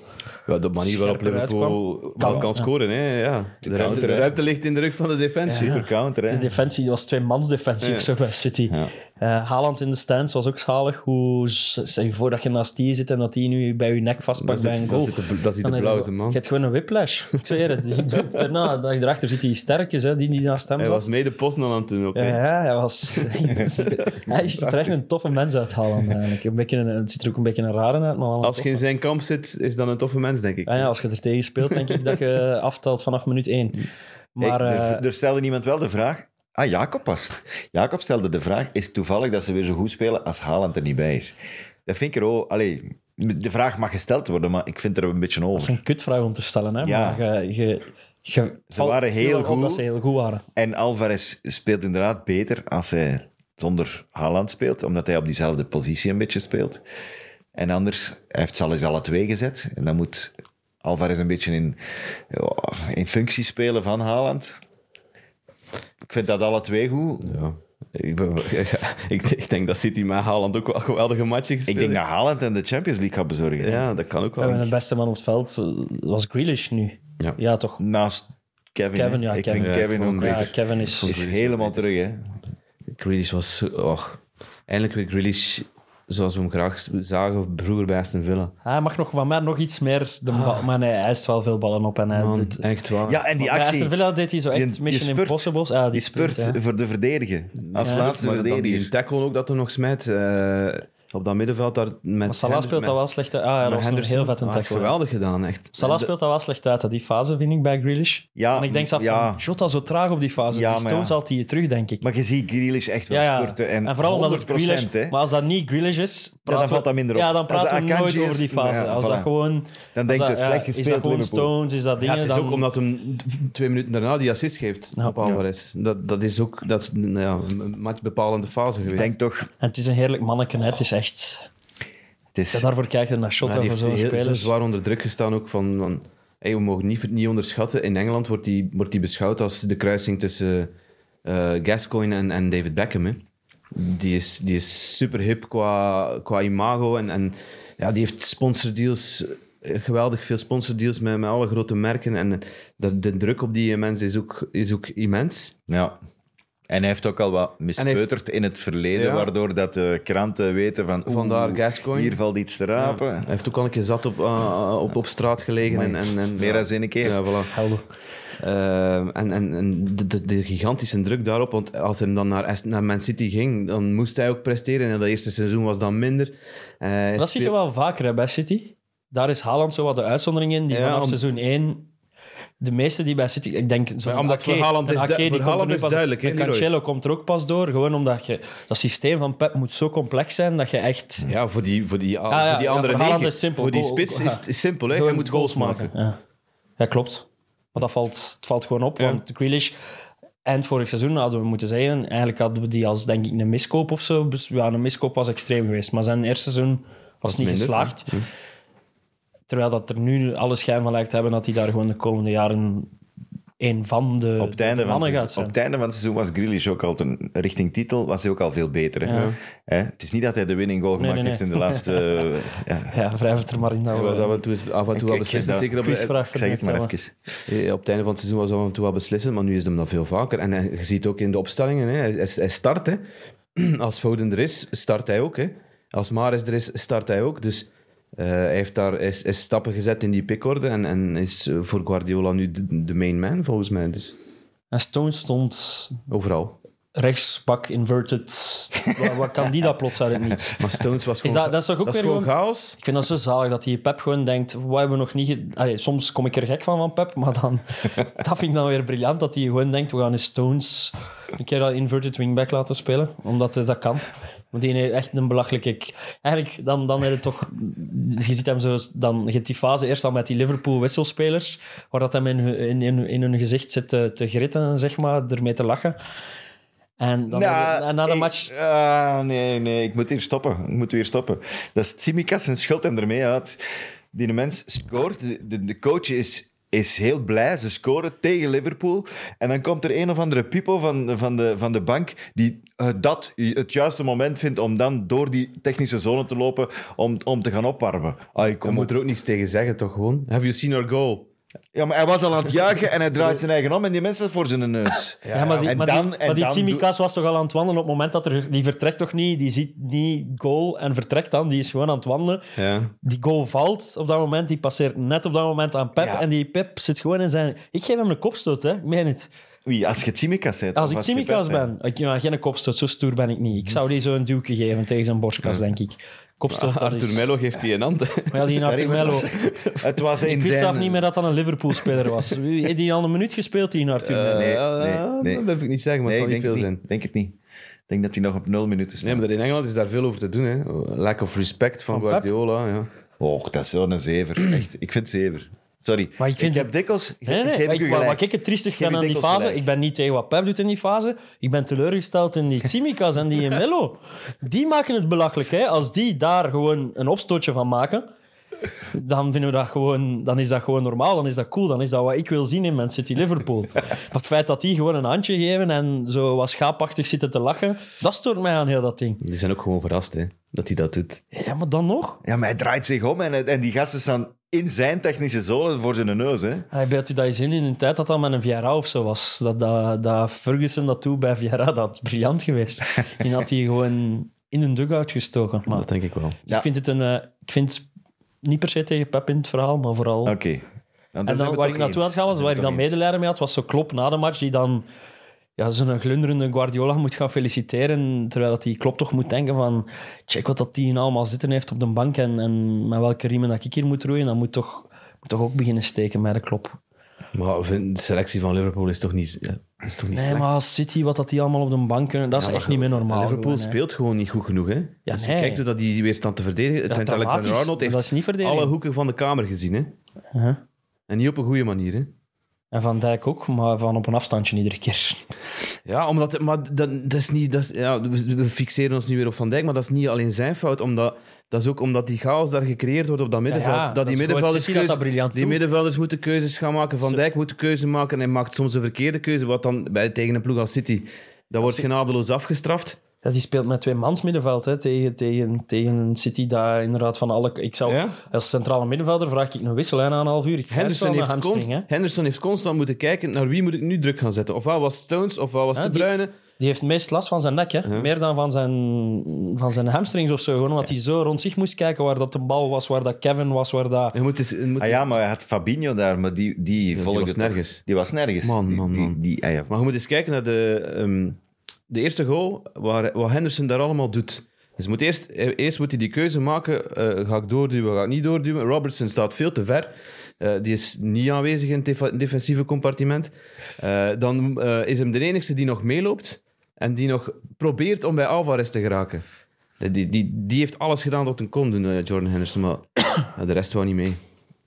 Speaker 4: Ja, de manier waarop
Speaker 3: Scherper
Speaker 4: Liverpool wel
Speaker 3: Ja.
Speaker 4: kan scoren. Hè? Ja. De,
Speaker 2: counter,
Speaker 4: ruimte, de
Speaker 2: hè.
Speaker 4: ruimte ligt in de rug van de defensie.
Speaker 2: Super counter, hè?
Speaker 3: De defensie die was twee-mans-defensie of zo bij City.
Speaker 2: Ja.
Speaker 3: Eh, Haaland in de stands was ook zalig. Hoe, zeg je voor dat je naast die zit en dat die nu bij je nek vastpakt bij een goal.
Speaker 4: Dat is de, dat is de
Speaker 3: Dan heb je-
Speaker 4: blauwste man.
Speaker 3: Je hebt gewoon een whiplash. Ik zweer het. Die doet daarna, de dag erachter zit hij sterkjes, hè, die, die naast hem
Speaker 4: Hij
Speaker 3: zat.
Speaker 4: was mee de post nog aan het doen ook.
Speaker 3: Ja,
Speaker 4: hè.
Speaker 3: ja, hij was... hij is er echt een toffe mens uit Haaland eigenlijk. Een beetje een, het ziet er ook een beetje een rare uit, maar wel een
Speaker 4: Als je in zijn kamp zit, is dan een toffe mens, denk ik.
Speaker 3: Ah, Ja, ja, als je er tegen speelt, denk ik dat je aftelt vanaf minuut 1.
Speaker 4: Mm.
Speaker 3: Maar
Speaker 2: Hey, er,
Speaker 3: eh,
Speaker 2: er stelde iemand wel de vraag. Ah, Jacob past. Jacob stelde de vraag: is het toevallig dat ze weer zo goed spelen als Haaland er niet bij is? Dat vind ik er ook. Allee, de vraag mag gesteld worden, maar ik vind er een beetje
Speaker 3: dat
Speaker 2: over.
Speaker 3: is een kutvraag om te stellen. Hè?
Speaker 2: Ja.
Speaker 3: Maar je, je, je valt
Speaker 2: waren heel
Speaker 3: veel op
Speaker 2: goed.
Speaker 3: dat ze heel goed waren.
Speaker 2: En Alvarez speelt inderdaad beter als hij zonder Haaland speelt, omdat hij op diezelfde positie een beetje speelt. En anders, hij heeft ze al eens alle twee gezet. En dan moet Alvarez een beetje in, in functie spelen van Haaland. Ik vind dat alle twee goed.
Speaker 4: Ja. Ik, ben- ik, ik denk dat City met Haaland ook wel geweldige matchen gespeeld
Speaker 2: Ik denk dat
Speaker 4: heeft.
Speaker 2: Haaland en de Champions League gaat bezorgen.
Speaker 4: Ja, dat kan ook wel.
Speaker 3: En de beste man op het veld eh, was Grealish nu.
Speaker 4: Ja.
Speaker 3: ja toch?
Speaker 2: Naast Kevin.
Speaker 3: Kevin,
Speaker 2: hè.
Speaker 3: ja,
Speaker 2: ik
Speaker 3: Kevin.
Speaker 2: vind
Speaker 4: Ja,
Speaker 2: Kevin
Speaker 4: ik vond
Speaker 2: ook
Speaker 4: hem
Speaker 3: Ja,
Speaker 2: beter.
Speaker 3: Kevin is...
Speaker 2: Is helemaal terug, hè.
Speaker 4: Grealish was... zo- Och, eindelijk weer Grealish zoals we hem graag zagen vroeger bij Aston Villa.
Speaker 3: Hij mag nog van mij nog iets meer de bal, maar nee, hij is wel veel ballen op en hij
Speaker 4: Man,
Speaker 3: doet...
Speaker 4: echt waar.
Speaker 2: Ja, Ah. en die
Speaker 3: Maar bij
Speaker 2: actie,
Speaker 3: Aston Villa deed hij zo echt
Speaker 2: die
Speaker 3: Mission
Speaker 2: spurt.
Speaker 3: Impossibles. Ja, die,
Speaker 2: die spurt
Speaker 3: spurt, ja.
Speaker 2: voor de verdediger. Als
Speaker 3: Ja,
Speaker 2: laatste
Speaker 4: Maar dan die
Speaker 2: verdediger.
Speaker 4: tackle ook dat hij nog smijt. eh, op dat middenveld daar met...
Speaker 3: Maar Salah speelt dat wel slecht uit. Ah, ja, dat was een heel vet een
Speaker 4: Dat
Speaker 3: tackle. ja.
Speaker 4: geweldig gedaan, echt.
Speaker 3: Salah
Speaker 4: De-
Speaker 3: speelt dat wel slecht uit, dat die fase, vind ik, bij Grealish.
Speaker 2: Ja,
Speaker 3: en ik denk zelf
Speaker 2: ja.
Speaker 3: van, Jota zo traag op die fase.
Speaker 2: Ja,
Speaker 3: die
Speaker 2: maar
Speaker 3: stoot
Speaker 2: ja.
Speaker 3: zal hij je terug, denk ik.
Speaker 2: Maar je ziet Grealish echt wel
Speaker 3: ja, ja.
Speaker 2: spurten. En,
Speaker 3: vooral omdat het
Speaker 2: 100
Speaker 3: Grealish...
Speaker 2: hè.
Speaker 3: Maar als dat niet Grealish is... praten
Speaker 2: dan valt
Speaker 3: we-
Speaker 2: dat minder op.
Speaker 3: Ja, dan
Speaker 2: Als
Speaker 3: praten
Speaker 2: dat
Speaker 3: we
Speaker 2: Akanji
Speaker 3: nooit
Speaker 2: is, nou
Speaker 3: over die fase.
Speaker 2: ja,
Speaker 3: als dat
Speaker 2: voilà.
Speaker 3: gewoon...
Speaker 2: Dan
Speaker 3: als
Speaker 2: denkt
Speaker 3: dat-
Speaker 2: het slecht
Speaker 3: ja, Is
Speaker 2: gespeeld,
Speaker 3: dat gewoon
Speaker 2: Liverpool.
Speaker 3: Stones, is dat
Speaker 4: Ja,
Speaker 3: dingen...
Speaker 4: het is
Speaker 3: dan-
Speaker 4: ook omdat hem twee minuten daarna die assist geeft
Speaker 3: Ja.
Speaker 4: op Alvarez. Dat, dat is ook dat is, nou ja, een matchbepalende fase
Speaker 2: Ik
Speaker 4: geweest.
Speaker 2: denk toch,
Speaker 3: En het is een heerlijk manneken, hè. het is echt...
Speaker 2: het is...
Speaker 3: Ja, daarvoor kijkt hij naar
Speaker 4: Ja,
Speaker 3: Shota
Speaker 4: die
Speaker 3: voor
Speaker 4: heeft
Speaker 3: zo'n
Speaker 4: heel- zo
Speaker 3: spelers.
Speaker 4: zwaar onder druk gestaan ook van... van hey, we mogen niet, niet onderschatten. In Engeland wordt die, wordt die beschouwd als de kruising tussen eh, Gascoigne en, en David Beckham. Hè. Die, is, die is super hip qua, qua imago. En, en ja, die heeft sponsordeals... eh, Geweldig veel sponsordeals met, met alle grote merken. En de, de druk op die mensen is ook, is ook immens.
Speaker 2: Ja. En hij heeft ook al wat
Speaker 4: hij heeft-
Speaker 2: mispeuterd in het verleden,
Speaker 4: Ja.
Speaker 2: waardoor dat de kranten weten van... oeh,
Speaker 4: Vandaar Gascoigne.
Speaker 2: Hier valt iets te rapen.
Speaker 4: Ja, Hij heeft ook al een keer zat op, eh, op, op straat gelegen. En, en, en,
Speaker 2: Meer dan één keer.
Speaker 4: Ja, voilà.
Speaker 3: Helder.
Speaker 4: Ehm, en en, en de, de, de gigantische druk daarop. Want als hij dan naar, Est- naar Man City ging, dan moest hij ook presteren. En dat eerste seizoen was dan minder. Eh,
Speaker 3: Dat zie je wel vaker hè, bij City. Daar is Haaland zo wat de uitzondering in. Die
Speaker 4: Ja,
Speaker 3: vanaf
Speaker 4: om-
Speaker 3: seizoen 1... De meeste die bij City... Ik denk... zo'n
Speaker 4: Maar omdat
Speaker 3: Ake-
Speaker 4: voor Haaland
Speaker 3: een
Speaker 4: is
Speaker 3: Ake,
Speaker 4: du-
Speaker 3: die
Speaker 4: voor
Speaker 3: komt er
Speaker 4: Haaland
Speaker 3: nu
Speaker 4: is
Speaker 3: pas-
Speaker 4: duidelijk, hè,
Speaker 3: een
Speaker 4: Leroy?
Speaker 3: Cancelo komt er ook pas door. Gewoon omdat je... Dat systeem van Pep moet zo complex zijn dat je echt...
Speaker 4: Ja, voor die, voor die,
Speaker 3: Ah, ja,
Speaker 4: voor die
Speaker 3: ja,
Speaker 4: andere
Speaker 3: voor Haaland
Speaker 4: negen.
Speaker 3: is simpel.
Speaker 4: Voor die
Speaker 3: Goal-
Speaker 4: spits
Speaker 3: ja.
Speaker 4: is is simpel. Hè. Hij
Speaker 3: gewoon
Speaker 4: moet goals maken.
Speaker 3: Ja. Ja, klopt. Maar dat valt, het valt gewoon op. Want Grealish... Eind vorig seizoen hadden we moeten zeggen... Eigenlijk hadden we die als, denk ik, een miskoop of zo. Dus ja, een miskoop was extreem geweest. Maar zijn eerste seizoen was niet
Speaker 4: minder,
Speaker 3: geslaagd. Terwijl dat er nu alle schijn van lijkt te hebben dat hij daar gewoon de komende jaren een van de,
Speaker 2: Op het, einde
Speaker 3: de
Speaker 2: van
Speaker 3: mannen
Speaker 2: het seizoen,
Speaker 3: gaat zijn.
Speaker 2: op het einde van het seizoen was Grealish ook al ten, richting titel was hij ook al veel beter. Hè?
Speaker 3: Ja.
Speaker 2: Hè? Het is niet dat hij de winning goal gemaakt
Speaker 3: nee,
Speaker 2: heeft in de laatste... eh, ja.
Speaker 3: Ja, wrijf het er maar in. Dat
Speaker 4: Hij was
Speaker 3: we
Speaker 4: af en toe, is- af en toe
Speaker 2: Ik-
Speaker 4: al
Speaker 2: ik-
Speaker 4: beslissend.
Speaker 2: dat-
Speaker 4: Zeker op,
Speaker 3: quizvraag
Speaker 2: Ik zeg het
Speaker 3: verneemt,
Speaker 2: maar
Speaker 3: hè,
Speaker 2: even.
Speaker 4: Eh, Op het einde van het seizoen was hij af en toe wel beslissend, maar nu is hem dat veel vaker. En hij- je ziet ook in de opstellingen, hè, hij, hij- hij start. Hè. Als Foden er is, start hij ook. Hè. Als Maris er is, start hij ook. Dus eh, hij heeft daar hij is, is stappen gezet in die pickorde en, en is eh, voor Guardiola nu de, de main man, volgens mij. Dus
Speaker 3: En Stone stond
Speaker 4: overal.
Speaker 3: rechtsbak inverted. wat, wat kan die dat plots uit het niets?
Speaker 4: Maar Stones was gewoon,
Speaker 3: dat- dat is toch ook weer
Speaker 4: gewoon
Speaker 3: gewoon-
Speaker 4: chaos?
Speaker 3: Ik vind dat zo zalig dat die Pep gewoon denkt, wat hebben we nog niet... ge- Allee, soms kom ik er gek van, van Pep, maar dan, dat vind ik dan weer briljant, dat hij gewoon denkt, we gaan eens Stones een keer dat inverted wingback laten spelen, omdat hij dat kan. Want die heeft echt een belachelijke... k- Eigenlijk, dan, dan heb je toch... Je ziet hem zo... Dan je hebt die fase eerst al met die Liverpool-wisselspelers, waar dat hem in, hun- in, in, in hun gezicht zit te, te gritten, zeg maar, ermee te lachen. En, dan heb je- en na de
Speaker 2: Nou, ik-
Speaker 3: match...
Speaker 2: ah, nee, nee, ik moet hier stoppen. Ik moet weer stoppen. Dat is Tsimikas en schuld hem ermee uit. Die mens scoort. De, de, de coach is is heel blij. Ze scoren tegen Liverpool. En dan komt er een of andere pipo van, van, de, van de bank die het dat het juiste moment vindt om dan door die technische zone te lopen om, om te gaan opwarmen. Ai,
Speaker 4: Dan
Speaker 2: kom op.
Speaker 4: moet er ook niks tegen zeggen, toch gewoon? Have you seen our goal?
Speaker 2: Ja, maar hij was al aan het juichen en hij draait zijn eigen om en die mensen voor zijn neus.
Speaker 3: Ja, maar die,
Speaker 2: En
Speaker 3: maar die,
Speaker 2: dan- en
Speaker 3: maar die
Speaker 2: dan
Speaker 3: Tsimikas was toch al aan het wandelen op het moment dat er... Die vertrekt toch niet? Die ziet niet goal en vertrekt dan. Die is gewoon aan het wandelen.
Speaker 4: Ja.
Speaker 3: Die goal valt op dat moment. Die passeert net op dat moment aan Pep.
Speaker 2: Ja.
Speaker 3: En die Pep zit gewoon in zijn... Ik geef hem een kopstoot, hè. Ik meen het.
Speaker 2: Wie, als je Tsimikas bent?
Speaker 3: Als
Speaker 2: of
Speaker 3: ik
Speaker 2: je
Speaker 3: Tsimikas
Speaker 2: Pep bent?
Speaker 3: ben... Ik, ja, geen kopstoot, zo stoer ben ik niet. Ik zou die zo een duwtje geven tegen zijn borstkas, denk ik. Kopstoot, dat
Speaker 4: Arthur
Speaker 3: is-
Speaker 4: Mello geeft die een hand.
Speaker 3: Maar ja, die Arthur
Speaker 2: Sorry, maar
Speaker 3: Mello...
Speaker 2: het was- Het was in
Speaker 3: Ik wist zelf
Speaker 2: zijn...
Speaker 3: niet meer dat dat een Liverpool-speler was. Wie- Heeft die al een minuut gespeeld, die Arthur Mello?
Speaker 2: nee,
Speaker 4: Eh,
Speaker 2: nee,
Speaker 4: eh,
Speaker 2: nee.
Speaker 4: Dat durf ik niet zeggen, maar
Speaker 2: Nee,
Speaker 4: het
Speaker 2: ik
Speaker 4: zal
Speaker 2: denk,
Speaker 4: niet veel
Speaker 2: niet,
Speaker 4: zijn.
Speaker 2: denk het niet. Ik denk dat hij nog op nul minuten staat.
Speaker 4: Nee, maar in Engeland is daar veel over te doen. Hè. Lack of respect van,
Speaker 3: Van Pep?
Speaker 4: Guardiola. Ja.
Speaker 2: Och, dat is zo'n zever. Echt, ik vind zever. Sorry.
Speaker 3: Maar ik vind
Speaker 2: heb
Speaker 3: het-
Speaker 2: dikwijls...
Speaker 3: Nee, nee,
Speaker 2: geef ik u
Speaker 3: maar ik, wat,
Speaker 2: gelijk.
Speaker 3: wat ik het triestig
Speaker 2: Geef
Speaker 3: vind
Speaker 2: ik
Speaker 3: aan die
Speaker 2: dikwijls
Speaker 3: fase,
Speaker 2: gelijk.
Speaker 3: ik ben niet tegen wat Pep doet in die fase, ik ben teleurgesteld in die Tsimikas en die Mello. Die maken het belachelijk. Hè? Als die daar gewoon een opstootje van maken, dan, vinden we dat gewoon, dan is dat gewoon normaal, dan is dat cool, dan is dat wat ik wil zien in Man City Liverpool. Maar het feit dat die gewoon een handje geven en zo wat schaapachtig zitten te lachen, dat stoort mij aan heel dat ding.
Speaker 4: Die zijn ook gewoon verrast hè, dat hij dat doet.
Speaker 3: Ja, maar dan nog?
Speaker 2: Ja, maar hij draait zich om en, en die gasten staan in zijn technische zone voor zijn neus. Hè.
Speaker 3: Hij beeldt u dat eens in in een tijd dat dat met een VRA of zo was. Dat, dat, dat Ferguson dat toe bij VRA, dat is briljant geweest. Die had hij gewoon in een dugout gestoken. Maar,
Speaker 4: Dat denk ik wel.
Speaker 3: dus ik vind het een... eh, ik vind het niet per se tegen Pep in het verhaal, maar vooral...
Speaker 4: dus
Speaker 2: Oké.
Speaker 3: en dan, waar ik naartoe aan het gaan was, waar ik dan medelijden mee had, was zo Klopp na de match die dan ja, zo'n glunderende Guardiola moet gaan feliciteren, terwijl dat die Klopp toch moet denken van check wat dat die nou allemaal zitten heeft op de bank en, en met welke riemen dat ik hier moet roeien, dat moet toch, moet toch ook beginnen steken met de Klopp.
Speaker 4: Maar vind- de selectie van Liverpool is toch niet, ja, is toch niet
Speaker 3: Nee,
Speaker 4: slecht.
Speaker 3: maar als City, wat dat die allemaal op de bank kunnen, dat is echt niet meer normaal.
Speaker 4: Liverpool
Speaker 3: gewoon, hè.
Speaker 4: speelt gewoon niet goed genoeg. Hè. Ja, Als je
Speaker 3: nee.
Speaker 4: kijkt hoe dat die weer staat te verdedigen. Trent
Speaker 3: dramatisch,
Speaker 4: Alexander-Arnold
Speaker 3: maar dat is niet
Speaker 4: heeft
Speaker 3: verdediging.
Speaker 4: alle hoeken van de kamer gezien. Hè.
Speaker 3: Uh-huh.
Speaker 4: En niet op een goede manier. Hè.
Speaker 3: En Van Dijk ook, maar van op een afstandje iedere keer.
Speaker 4: Ja, omdat, maar dat, dat is niet, dat, is- ja, we we fixeren ons nu weer op Van Dijk, maar dat is niet alleen zijn fout. Omdat, dat is ook omdat die chaos daar gecreëerd wordt op dat middenveld.
Speaker 3: ja,
Speaker 4: dat,
Speaker 3: dat
Speaker 4: die,
Speaker 3: is gewoon
Speaker 4: middenvelders
Speaker 3: City dat dat briljant
Speaker 4: die
Speaker 3: doet.
Speaker 4: middenvelders moeten keuzes gaan maken. Van Dijk moet keuze maken en maakt soms een verkeerde keuze. Wat dan bij, tegen een ploeg als City, dat wordt genadeloos afgestraft.
Speaker 3: Ja, die speelt met twee mans middenveld hè, tegen, tegen, tegen een City daar inderdaad van alle... Ik zou,
Speaker 4: Ja?
Speaker 3: Als centrale middenvelder vraag ik een wissel hè, na een half uur. Ik
Speaker 4: Henderson heeft,
Speaker 3: hamstring,
Speaker 4: const-
Speaker 3: hè.
Speaker 4: Henderson heeft constant moeten kijken naar wie moet ik nu druk gaan zetten. Ofwel was Stones, ofwel was
Speaker 3: Ja,
Speaker 4: De
Speaker 3: die-
Speaker 4: Bruyne.
Speaker 3: Die heeft het meest last van zijn nek, hè. meer dan van zijn, van zijn hamstrings of zo. Gewoon omdat hij zo rond zich moest kijken waar dat de bal was, waar dat Kevin was, waar dat...
Speaker 4: Je moet eens- je moet
Speaker 2: Ah ja, maar hij had Fabinho daar, maar die, die volgde...
Speaker 4: was
Speaker 2: toch-
Speaker 4: nergens.
Speaker 2: Die was nergens.
Speaker 4: Man,
Speaker 2: Die-
Speaker 4: man,
Speaker 2: die,
Speaker 4: man.
Speaker 2: Die, ah ja.
Speaker 4: Maar je moet eens kijken naar de, ehm, de eerste goal, waar, wat Henderson daar allemaal doet. Dus je moet eerst, eh, eerst moet hij die keuze maken, eh, ga ik doorduwen, ga ik niet doorduwen. Robertson staat veel te ver. Eh, die is niet aanwezig in het defa- defensieve compartiment. Eh, dan eh, is hem de enige die nog meeloopt en die nog probeert om bij Alvarez te geraken. Die, die, die, die heeft alles gedaan wat hem kon doen, eh, Jordan Henderson, maar eh, de rest wou niet mee.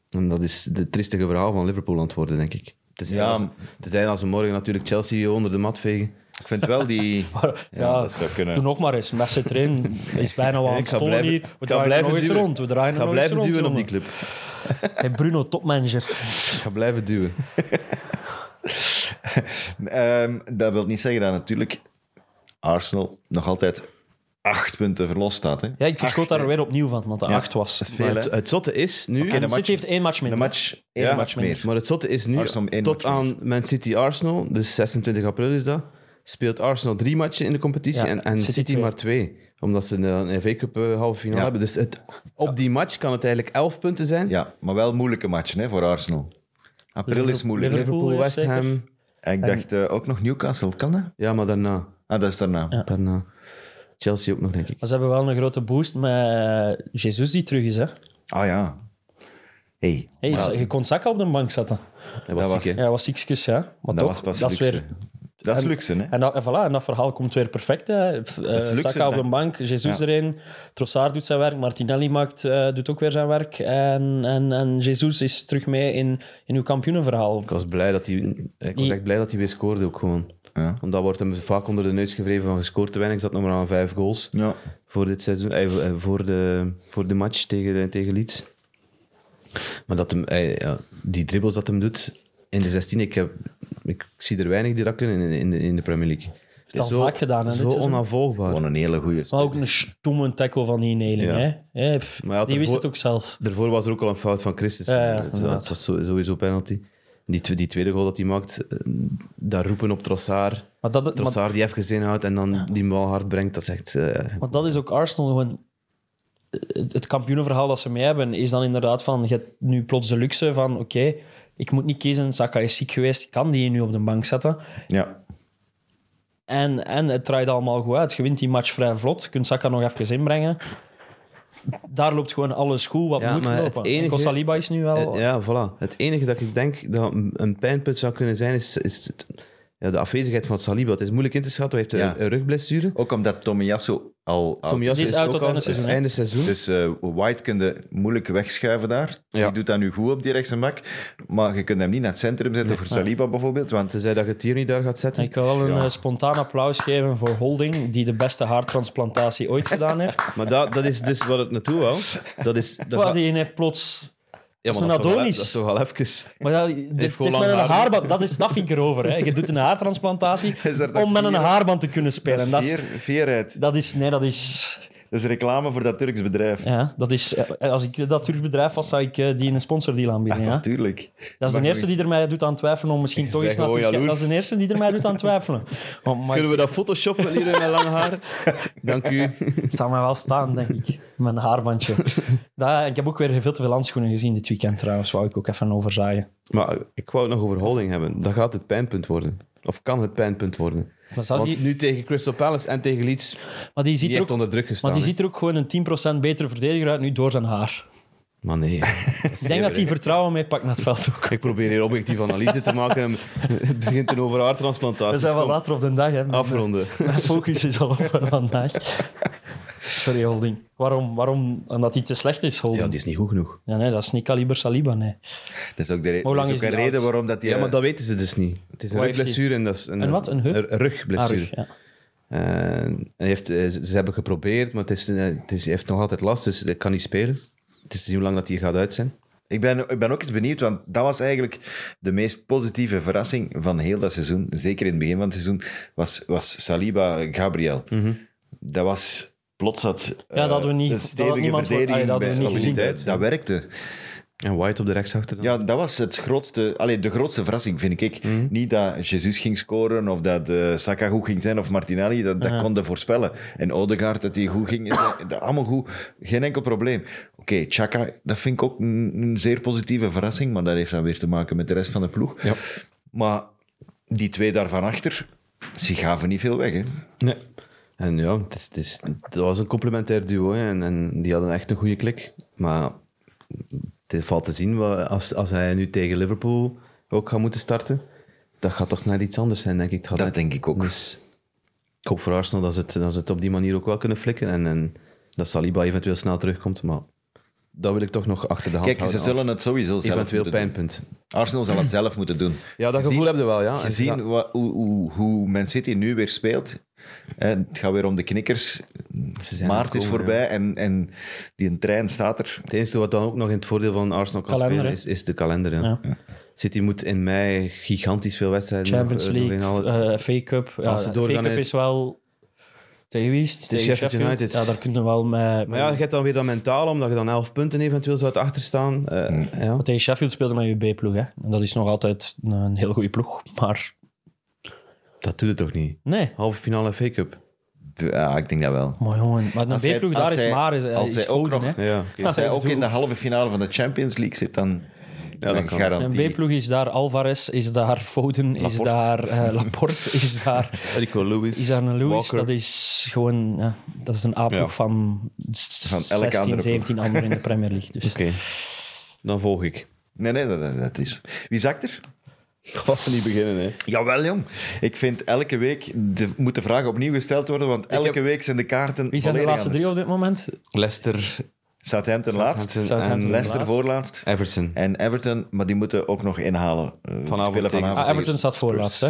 Speaker 4: En dat is het triestige verhaal van Liverpool aan het worden, denk ik. Tenzij,
Speaker 2: Ja,
Speaker 4: ja, als, tenzij als ze morgen natuurlijk Chelsea weer onder de mat vegen.
Speaker 2: Ik vind wel die...
Speaker 3: Maar,
Speaker 2: Ja, dat zou kunnen.
Speaker 3: Doe nog maar eens. Messi erin is bijna wel aan
Speaker 4: Ik
Speaker 3: het
Speaker 4: ga
Speaker 3: stolen
Speaker 4: blijven,
Speaker 3: hier.
Speaker 4: ik
Speaker 3: We
Speaker 4: ga
Speaker 3: draaien er
Speaker 4: blijven
Speaker 3: nog eens
Speaker 4: duwen.
Speaker 3: rond. We draaien
Speaker 4: Ik
Speaker 3: er
Speaker 4: ga
Speaker 3: nog eens
Speaker 4: blijven
Speaker 3: rond,
Speaker 4: duwen op die
Speaker 3: jongen.
Speaker 4: club.
Speaker 3: Hey, Bruno, topmanager.
Speaker 4: Ik ga blijven duwen.
Speaker 2: Ehm, dat wil niet zeggen dat natuurlijk Arsenal nog altijd acht punten verlost staat. Hè?
Speaker 3: Ja, ik verschoot daar weer opnieuw van, want de
Speaker 2: Ja.
Speaker 3: 8 was.
Speaker 2: Dat is
Speaker 3: En
Speaker 2: veel,
Speaker 4: Maar het,
Speaker 2: hè?
Speaker 4: het zotte is nu...
Speaker 2: Oké, de match-
Speaker 3: City heeft één match
Speaker 2: Een
Speaker 3: minder.
Speaker 2: match, één
Speaker 4: Ja,
Speaker 2: match meer.
Speaker 4: Maar het zotte is nu,
Speaker 2: Arsenal één
Speaker 4: tot
Speaker 2: match
Speaker 4: aan Man City Arsenal, dus 26 april is dat, speelt Arsenal drie matchen in de competitie
Speaker 3: Ja,
Speaker 4: en, en
Speaker 3: City
Speaker 4: City,
Speaker 3: twee.
Speaker 4: maar twee. Omdat ze een, een FA Cup eh, halve finale
Speaker 2: Ja.
Speaker 4: hebben. Dus het, op die match kan het eigenlijk 11 punten zijn.
Speaker 2: Ja, maar wel moeilijke matchen hè, voor Arsenal. April is moeilijk.
Speaker 3: Liverpool,
Speaker 4: Liverpool,
Speaker 3: ja,
Speaker 4: West
Speaker 3: zeker.
Speaker 4: Ham.
Speaker 2: En ik dacht eh, ook nog Newcastle, kan dat?
Speaker 4: Ja, maar daarna.
Speaker 2: Ah, dat is daarna.
Speaker 3: Ja.
Speaker 4: daarna. Chelsea ook nog, denk ik.
Speaker 3: Maar ze hebben wel een grote boost met eh, Jesus die terug is. Hè.
Speaker 2: Ah ja. hey,
Speaker 3: Hey,
Speaker 2: maar
Speaker 3: Je kon Saka op de bank zetten.
Speaker 4: Hij was,
Speaker 2: Dat was-
Speaker 4: ziek, hè.
Speaker 3: Ja, hij was ziekjes, ja. Maar
Speaker 2: dat
Speaker 3: toch,
Speaker 2: was pas
Speaker 3: dat is
Speaker 2: luxe.
Speaker 3: weer...
Speaker 2: Dat is luxe, hè?
Speaker 3: En dat, en voilà, en dat verhaal komt weer perfect. Hè. F- eh,
Speaker 2: is luxe,
Speaker 3: Saka op
Speaker 2: hè.
Speaker 3: de bank, Jesus
Speaker 2: Ja.
Speaker 3: erin. Trossard doet zijn werk, Martinelli maakt, eh, doet ook weer zijn werk. En, en, en Jesus is terug mee in, in uw kampioenenverhaal.
Speaker 4: Ik was, blij dat hij, ik was
Speaker 3: Die-
Speaker 4: echt blij dat hij weer scoorde ook gewoon.
Speaker 2: Ja.
Speaker 4: Omdat wordt hem vaak onder de neus gevreven van gescoord te weinig. Ik zat nog maar aan vijf goals
Speaker 2: Ja.
Speaker 4: eh, voor dit seizoen. eh, voor, de, voor de match tegen, tegen Leeds. eh, Maar dat hem, hij- ja, die dribbles dat hem doet in de 16, ik, heb, ik zie er weinig die dat kunnen in, in, de- in de Premier League. Het
Speaker 3: al vaak gedaan, hè, dit
Speaker 4: Zo
Speaker 3: seizoen.
Speaker 4: onafvolgbaar.
Speaker 2: Gewoon een hele goede.
Speaker 3: Maar ook een stomme tackle van die Neling.
Speaker 4: Ja.
Speaker 3: Hè? Hè, pff,
Speaker 4: Maar ja,
Speaker 3: die wist
Speaker 4: ervoor-
Speaker 3: het ook zelf.
Speaker 4: Daarvoor was er ook al een fout van Christus.
Speaker 3: Ja, ja,
Speaker 4: Dus dat-
Speaker 3: inderdaad.
Speaker 4: dat was zo- sowieso penalty. Die, twe- die tweede goal dat hij maakt, eh, dat roepen op Trossard.
Speaker 3: Maar dat, maar,
Speaker 4: Trossard die even gezien houdt en dan die bal hard brengt, dat is echt... eh,
Speaker 3: maar dat is ook Arsenal gewoon... Het, het kampioenenverhaal dat ze mee hebben, is dan inderdaad van... Je hebt nu plots de luxe van... Oké, ik moet niet kiezen. Saka is ziek geweest. Ik kan die nu op de bank zetten.
Speaker 2: Ja.
Speaker 3: En, en het draait allemaal goed uit. Je wint die match vrij vlot. Je kunt Saka nog even inbrengen. Daar loopt gewoon alles goed wat
Speaker 4: Ja,
Speaker 3: moet
Speaker 4: maar het
Speaker 3: lopen.
Speaker 4: enige-
Speaker 3: En Kosaliba is nu wel...
Speaker 4: Eh, ja, voilà. Het enige dat ik denk dat een- een pijnpunt zou kunnen zijn, is, is het- ja, de afwezigheid van Saliba. Het is moeilijk in te schatten, hij heeft een-
Speaker 2: Ja. Oh,
Speaker 4: een rugblessure.
Speaker 2: Ook omdat Tomiyasu al oud
Speaker 4: Tomiyasu
Speaker 3: Die is uit
Speaker 4: ook
Speaker 3: tot
Speaker 4: al-
Speaker 3: einde seizoen, hè?
Speaker 4: einde seizoen.
Speaker 2: Dus eh, White kun je moeilijk wegschuiven daar.
Speaker 4: Hm? Ja.
Speaker 2: Die doet dat nu goed op die rechtse bak. Maar je kunt hem niet naar het centrum zetten voor Saliba bijvoorbeeld. Want
Speaker 4: Tenzij dat je het hier niet daar gaat zetten.
Speaker 3: Ik wil wel een
Speaker 2: Ja.
Speaker 3: eh, spontaan applaus geven voor Holding, die de beste haartransplantatie ooit gedaan heeft.
Speaker 4: Maar dat, dat is dus wat het naartoe wou. Dat is... Dat
Speaker 3: Wat
Speaker 4: gaat-
Speaker 3: die heeft plots...
Speaker 4: ja,
Speaker 3: is
Speaker 4: maar
Speaker 3: een
Speaker 4: toch wel-
Speaker 3: Adonis.
Speaker 4: Dat is toch wel even...
Speaker 3: Maar dat, dit- dit
Speaker 4: gewoon
Speaker 3: is met een
Speaker 4: lang haar.
Speaker 3: haarband. Dat, is, dat vind ik erover. Hè. Je doet een haartransplantatie
Speaker 2: Is daar dat
Speaker 3: om met een
Speaker 2: vier-
Speaker 3: haarband te kunnen spelen.
Speaker 2: dat is,
Speaker 3: dat, is,
Speaker 2: veer, veerheid.
Speaker 3: dat is... Nee, dat is...
Speaker 2: Dat is reclame voor dat Turks bedrijf.
Speaker 3: Ja, dat is eh, als ik dat Turk bedrijf was, zou ik eh, die een sponsordeal
Speaker 2: Ah,
Speaker 3: aanbieden. Ja.
Speaker 2: Natuurlijk.
Speaker 3: Dat is de
Speaker 2: Maar
Speaker 3: eerste die er mij doet aan twijfelen om misschien toch
Speaker 4: bent
Speaker 3: eens naar
Speaker 4: gewoon
Speaker 3: Turkije... Dat
Speaker 4: jaloers.
Speaker 3: is de eerste die er mij doet aan twijfelen. Want, maar
Speaker 4: Kunnen we dat photoshoppen hier met lang haar? Dank u.
Speaker 3: het zou mij wel staan, denk ik. Mijn haarbandje. Dat, ik heb ook weer veel te veel handschoenen gezien dit weekend trouwens. Wou ik ook even overzaaien.
Speaker 4: Maar ik wou het nog over holding hebben. Dat gaat het pijnpunt worden. Of kan het pijnpunt worden.
Speaker 3: Maar, zou
Speaker 4: Want
Speaker 3: die,
Speaker 4: nu tegen Crystal Palace en tegen Leeds,
Speaker 3: maar die ziet
Speaker 4: die
Speaker 3: er
Speaker 4: heeft
Speaker 3: ook...
Speaker 4: onder druk gestaan.
Speaker 3: Maar die
Speaker 4: hè.
Speaker 3: ziet er ook gewoon een 10% betere verdediger uit nu door zijn haar.
Speaker 4: Maar nee.
Speaker 3: Ik denk dat hij vertrouwen meepakt naar het veld ook.
Speaker 4: Ik probeer hier objectief analyse te maken. Het begint een over haartransplantaties.
Speaker 3: We zijn wel
Speaker 4: Kom,
Speaker 3: later op de dag. Hè. Mijn-
Speaker 4: Afronden.
Speaker 3: Mijn focus is al op eh, vandaag. Sorry, Holding. Waarom? Waarom? Omdat hij te slecht is, Holding.
Speaker 4: Ja,
Speaker 3: Ja,
Speaker 4: die is niet goed genoeg.
Speaker 3: nee, dat is niet kaliber Saliba, nee.
Speaker 2: Dat is ook, de re-
Speaker 3: Hoe
Speaker 2: dat
Speaker 3: lang
Speaker 2: is ook
Speaker 3: is
Speaker 2: een
Speaker 3: die
Speaker 2: reden
Speaker 3: oud?
Speaker 2: waarom dat die...
Speaker 4: Ja, maar dat weten ze dus niet. Het is een
Speaker 3: Wat heeft
Speaker 4: rugblessure en dat is...
Speaker 3: Een wat? Een heup?
Speaker 4: rugblessure.
Speaker 3: Ah, rug, ja.
Speaker 4: En hij heeft, eh, ze ze hebben geprobeerd, maar het is, eh, het is, hij heeft nog altijd last, dus hij kan niet spelen. Het is niet hoe lang dat hij gaat uit zijn.
Speaker 2: Ik ben, ik ben ook eens benieuwd, want dat was eigenlijk de meest positieve verrassing van heel dat seizoen. Zeker in het begin van het seizoen was, was Saliba Gabriel. Dat was plots dat, eh,
Speaker 3: Ja, dat hadden we niet-
Speaker 2: een
Speaker 3: dat had
Speaker 2: stevige
Speaker 3: niemand voor-
Speaker 2: verdediging
Speaker 3: ah, ja, dat
Speaker 2: bij
Speaker 3: hadden we niet gezien.
Speaker 2: stabiliteit. Dat werkte.
Speaker 4: En White op de rechtsachter dan.
Speaker 2: Ja, dat was het grootste, allee, de grootste verrassing, vind ik.
Speaker 4: Mhm.
Speaker 2: Niet dat Jesus ging scoren of dat eh, Saka goed ging zijn of Martinelli, dat, dat konden voorspellen. En Odegaard, dat hij goed ging, is, eh, dat, allemaal goed, geen enkel probleem. Oké, Chaka, dat vind ik ook een, een zeer positieve verrassing, maar dat heeft dan weer te maken met de rest van de ploeg.
Speaker 4: Ja.
Speaker 2: Maar die twee daarvan achter, ze gaven niet veel weg. Hè?
Speaker 4: Nee. En ja, het, is, het, is, het was een complementair duo hè, en, en die hadden echt een goede klik. Maar het valt te zien, wat- als, als hij nu tegen Liverpool ook gaat moeten starten, dat gaat toch net iets anders zijn, denk ik. Het gaat
Speaker 2: Dat
Speaker 4: net-
Speaker 2: denk ik ook.
Speaker 4: Dus ik hoop voor Arsenal dat ze het, dat ze het op die manier ook wel kunnen flikken en, en dat Saliba eventueel snel terugkomt, maar dat wil ik toch nog achter de hand
Speaker 2: Kijk, ze
Speaker 4: houden.
Speaker 2: zullen
Speaker 4: als
Speaker 2: het sowieso zelf
Speaker 4: eventueel
Speaker 2: moeten doen.
Speaker 4: pijnpunt.
Speaker 2: Arsenal zal het zelf moeten doen.
Speaker 4: Ja, dat
Speaker 2: Gezien-
Speaker 4: gevoel heb je wel, ja. En
Speaker 2: gezien
Speaker 4: ja,
Speaker 2: wa- hoe, hoe, hoe Man City nu weer speelt. hè, het gaat weer om de knikkers.
Speaker 4: ze zijn
Speaker 2: Maart is
Speaker 4: gekomen, ja.
Speaker 2: voorbij en, en die trein staat er.
Speaker 4: Het enige wat dan ook nog in het voordeel van Arsenal kan
Speaker 3: Kalender,
Speaker 4: spelen
Speaker 3: hè?
Speaker 4: is, is de kalender. Ja.
Speaker 3: Ja.
Speaker 4: City moet in mei gigantisch veel wedstrijden
Speaker 3: Champions
Speaker 4: nog, eh, nog
Speaker 3: League,
Speaker 4: inhalen.
Speaker 3: eh FA Cup. Ja,
Speaker 4: Als ze
Speaker 3: FA
Speaker 4: doorgaan
Speaker 3: Cup
Speaker 4: in-
Speaker 3: is wel... Tegen wie is het?
Speaker 4: is
Speaker 3: Tegen
Speaker 4: Sheffield United.
Speaker 3: Ja, daar kun je wel mee...
Speaker 4: maar ja, je hebt dan weer dat mentaal, omdat je dan 11 punten eventueel zou achterstaan. Eh ja.
Speaker 3: Want tegen Sheffield speelde met je B-ploeg, hè. En dat is nog altijd een, een heel goede ploeg. Maar
Speaker 4: Dat doet het toch niet?
Speaker 3: nee.
Speaker 4: Halve finale FA Cup.
Speaker 2: Ja, ik denk dat wel.
Speaker 3: Maar jongen, maar
Speaker 2: Als hij-
Speaker 3: een B-ploeg
Speaker 2: als
Speaker 3: daar is
Speaker 2: hij-
Speaker 3: maar... Is,
Speaker 2: als
Speaker 3: is
Speaker 2: hij ook
Speaker 3: Foden,
Speaker 2: nog-
Speaker 3: hè.
Speaker 4: Ja, oké.
Speaker 2: Als hij ook in de halve finale van de Champions League zit, dan
Speaker 4: dat
Speaker 2: dan
Speaker 4: kan.
Speaker 2: garantie.
Speaker 3: Een B-ploeg is daar Alvarez, is daar Foden, is
Speaker 2: Laporte.
Speaker 3: daar eh, Laporte, is daar,
Speaker 4: Rico Lewis.
Speaker 3: is daar een Lewis.
Speaker 4: Walker.
Speaker 3: Dat is gewoon... Ja, dat is een A-ploeg
Speaker 4: Ja.
Speaker 3: van,
Speaker 2: Van
Speaker 3: van
Speaker 2: elke
Speaker 3: 16,
Speaker 2: andere ploeg.
Speaker 3: 17 anderen in de Premier League. Dus.
Speaker 4: Oké. Dan volg ik.
Speaker 2: Nee, nee, dat, dat- dat is. Wie zakt er?
Speaker 4: Ga niet beginnen, hè.
Speaker 2: Jawel, jong. Ik vind elke week de, moet de vraag opnieuw gesteld worden, want elke
Speaker 4: heb-
Speaker 2: week zijn de kaarten.
Speaker 3: Wie zijn de
Speaker 2: volledig
Speaker 3: laatste drie op dit moment?
Speaker 4: Leicester,
Speaker 2: Southampton laatst,
Speaker 4: Southampton
Speaker 3: Southampton
Speaker 4: en
Speaker 3: laatst.
Speaker 2: Leicester
Speaker 3: laatst.
Speaker 2: voorlaatst
Speaker 4: Everton.
Speaker 2: en Everton, maar die moeten ook nog inhalen. Eh, die
Speaker 4: Vanavond
Speaker 2: spelen
Speaker 4: tegen-
Speaker 2: vanavond
Speaker 3: Ah, Everton
Speaker 2: tegen
Speaker 3: staat voorlaatst, hè?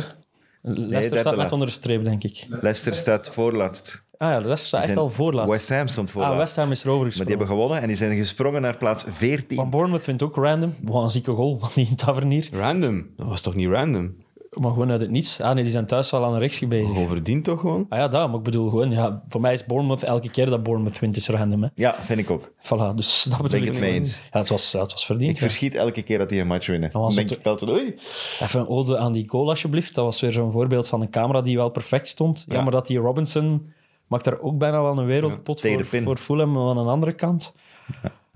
Speaker 3: Leicester
Speaker 2: derde
Speaker 3: staat net
Speaker 2: laatst.
Speaker 3: onder de streep, denk ik.
Speaker 2: Leicester staat voorlaatst.
Speaker 3: Ah ja, de rest staat echt
Speaker 2: zijn-
Speaker 3: al voorlaatst.
Speaker 2: West Ham stond voor.
Speaker 3: ah, West Ham is erover
Speaker 2: Maar
Speaker 3: gesprongen.
Speaker 2: die hebben gewonnen en die zijn gesprongen naar plaats 14.
Speaker 3: Maar Bournemouth wint ook random. Wat een zieke goal van die tavernier.
Speaker 4: Random. Dat was toch niet random?
Speaker 3: Maar gewoon uit het niets. Ah nee, die zijn thuis wel aan de rechts bezig.
Speaker 4: Gewoon verdiend toch gewoon?
Speaker 3: Ah ja, dat. Maar ik bedoel gewoon, ja, voor mij is Bournemouth elke keer dat Bournemouth wint is random. Hè.
Speaker 2: Ja, vind ik ook.
Speaker 3: Voilà, dus dat bedoel
Speaker 2: Ben ik
Speaker 3: ik.
Speaker 2: het mee eens.
Speaker 3: Ja, het was, ja, het was verdiend.
Speaker 2: Ik
Speaker 3: ja.
Speaker 2: verschiet elke keer dat die een match winnen. Dan
Speaker 3: was
Speaker 2: denk
Speaker 3: het-
Speaker 2: ik wel tot oei.
Speaker 3: Even een ode aan die goal, alsjeblieft. Dat was weer zo'n voorbeeld van een camera die wel perfect stond. Jammer dat die Robinson maakt daar ook bijna wel een wereldpot
Speaker 2: tegen de
Speaker 3: voor,
Speaker 2: pin.
Speaker 3: voor Fulham maar aan de andere kant.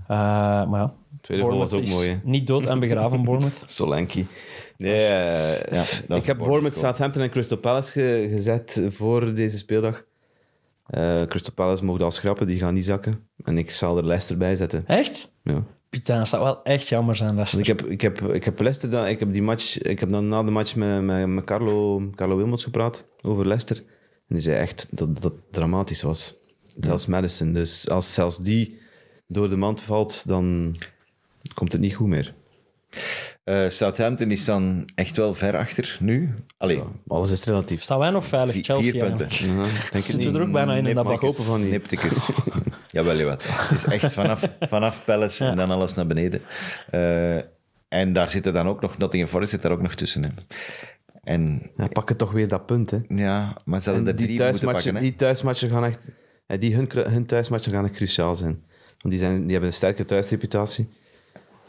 Speaker 3: Eh, maar ja,
Speaker 4: Tweede goal was ook
Speaker 3: is
Speaker 4: mooi, hè?
Speaker 3: niet dood en begraven, Bournemouth.
Speaker 4: Solanke. Nee,
Speaker 2: is een
Speaker 4: eh, ik heb
Speaker 2: Bournemouth
Speaker 4: Bournemouth, Southampton en Crystal Palace ge- gezet voor deze speeldag. Eh, Crystal Palace mocht al schrappen, die gaan niet zakken. En ik zal er Leicester bij zetten.
Speaker 3: Echt?
Speaker 4: Ja.
Speaker 3: Putain, dat zou wel echt jammer zijn, Leicester.
Speaker 4: Dus ik heb, ik heb, ik heb Leicester dan, ik heb die match, ik heb dan na de match met, met, met Carlo, Carlo Wilmots gepraat over Leicester. En die zei echt dat dat het dramatisch was. Zelfs Madison. Dus als zelfs die door de mand valt, dan komt het niet goed meer.
Speaker 2: Eh, Southampton is dan echt wel ver achter nu. Allee,
Speaker 4: Alles is relatief.
Speaker 3: Staan wij nog veilig?
Speaker 2: vi-
Speaker 3: Chelsea
Speaker 2: vier punten.
Speaker 3: eigenlijk.
Speaker 4: Ja, denk het
Speaker 3: Zitten
Speaker 4: niet.
Speaker 3: we er ook bijna in in dat
Speaker 2: Niptickets.
Speaker 3: vak
Speaker 4: hopen van niet.
Speaker 2: Niptickets. jawel, jawel. Het is echt vanaf, vanaf Palace en dan alles naar beneden. Eh, en daar zitten dan ook nog... Nottingham Forest zit daar ook nog tussen. Hè. En
Speaker 4: Ja, pakken toch weer dat punt, hè.
Speaker 2: ja, maar ze hadden
Speaker 4: En
Speaker 2: er
Speaker 4: die,
Speaker 2: drie moeten
Speaker 4: thuismatchen,
Speaker 2: pakken. hè.
Speaker 4: die thuismatchen gaan echt... en Die hun, cru- hun thuismatchen gaan echt cruciaal zijn. Want die, zijn, die hebben een sterke thuisreputatie.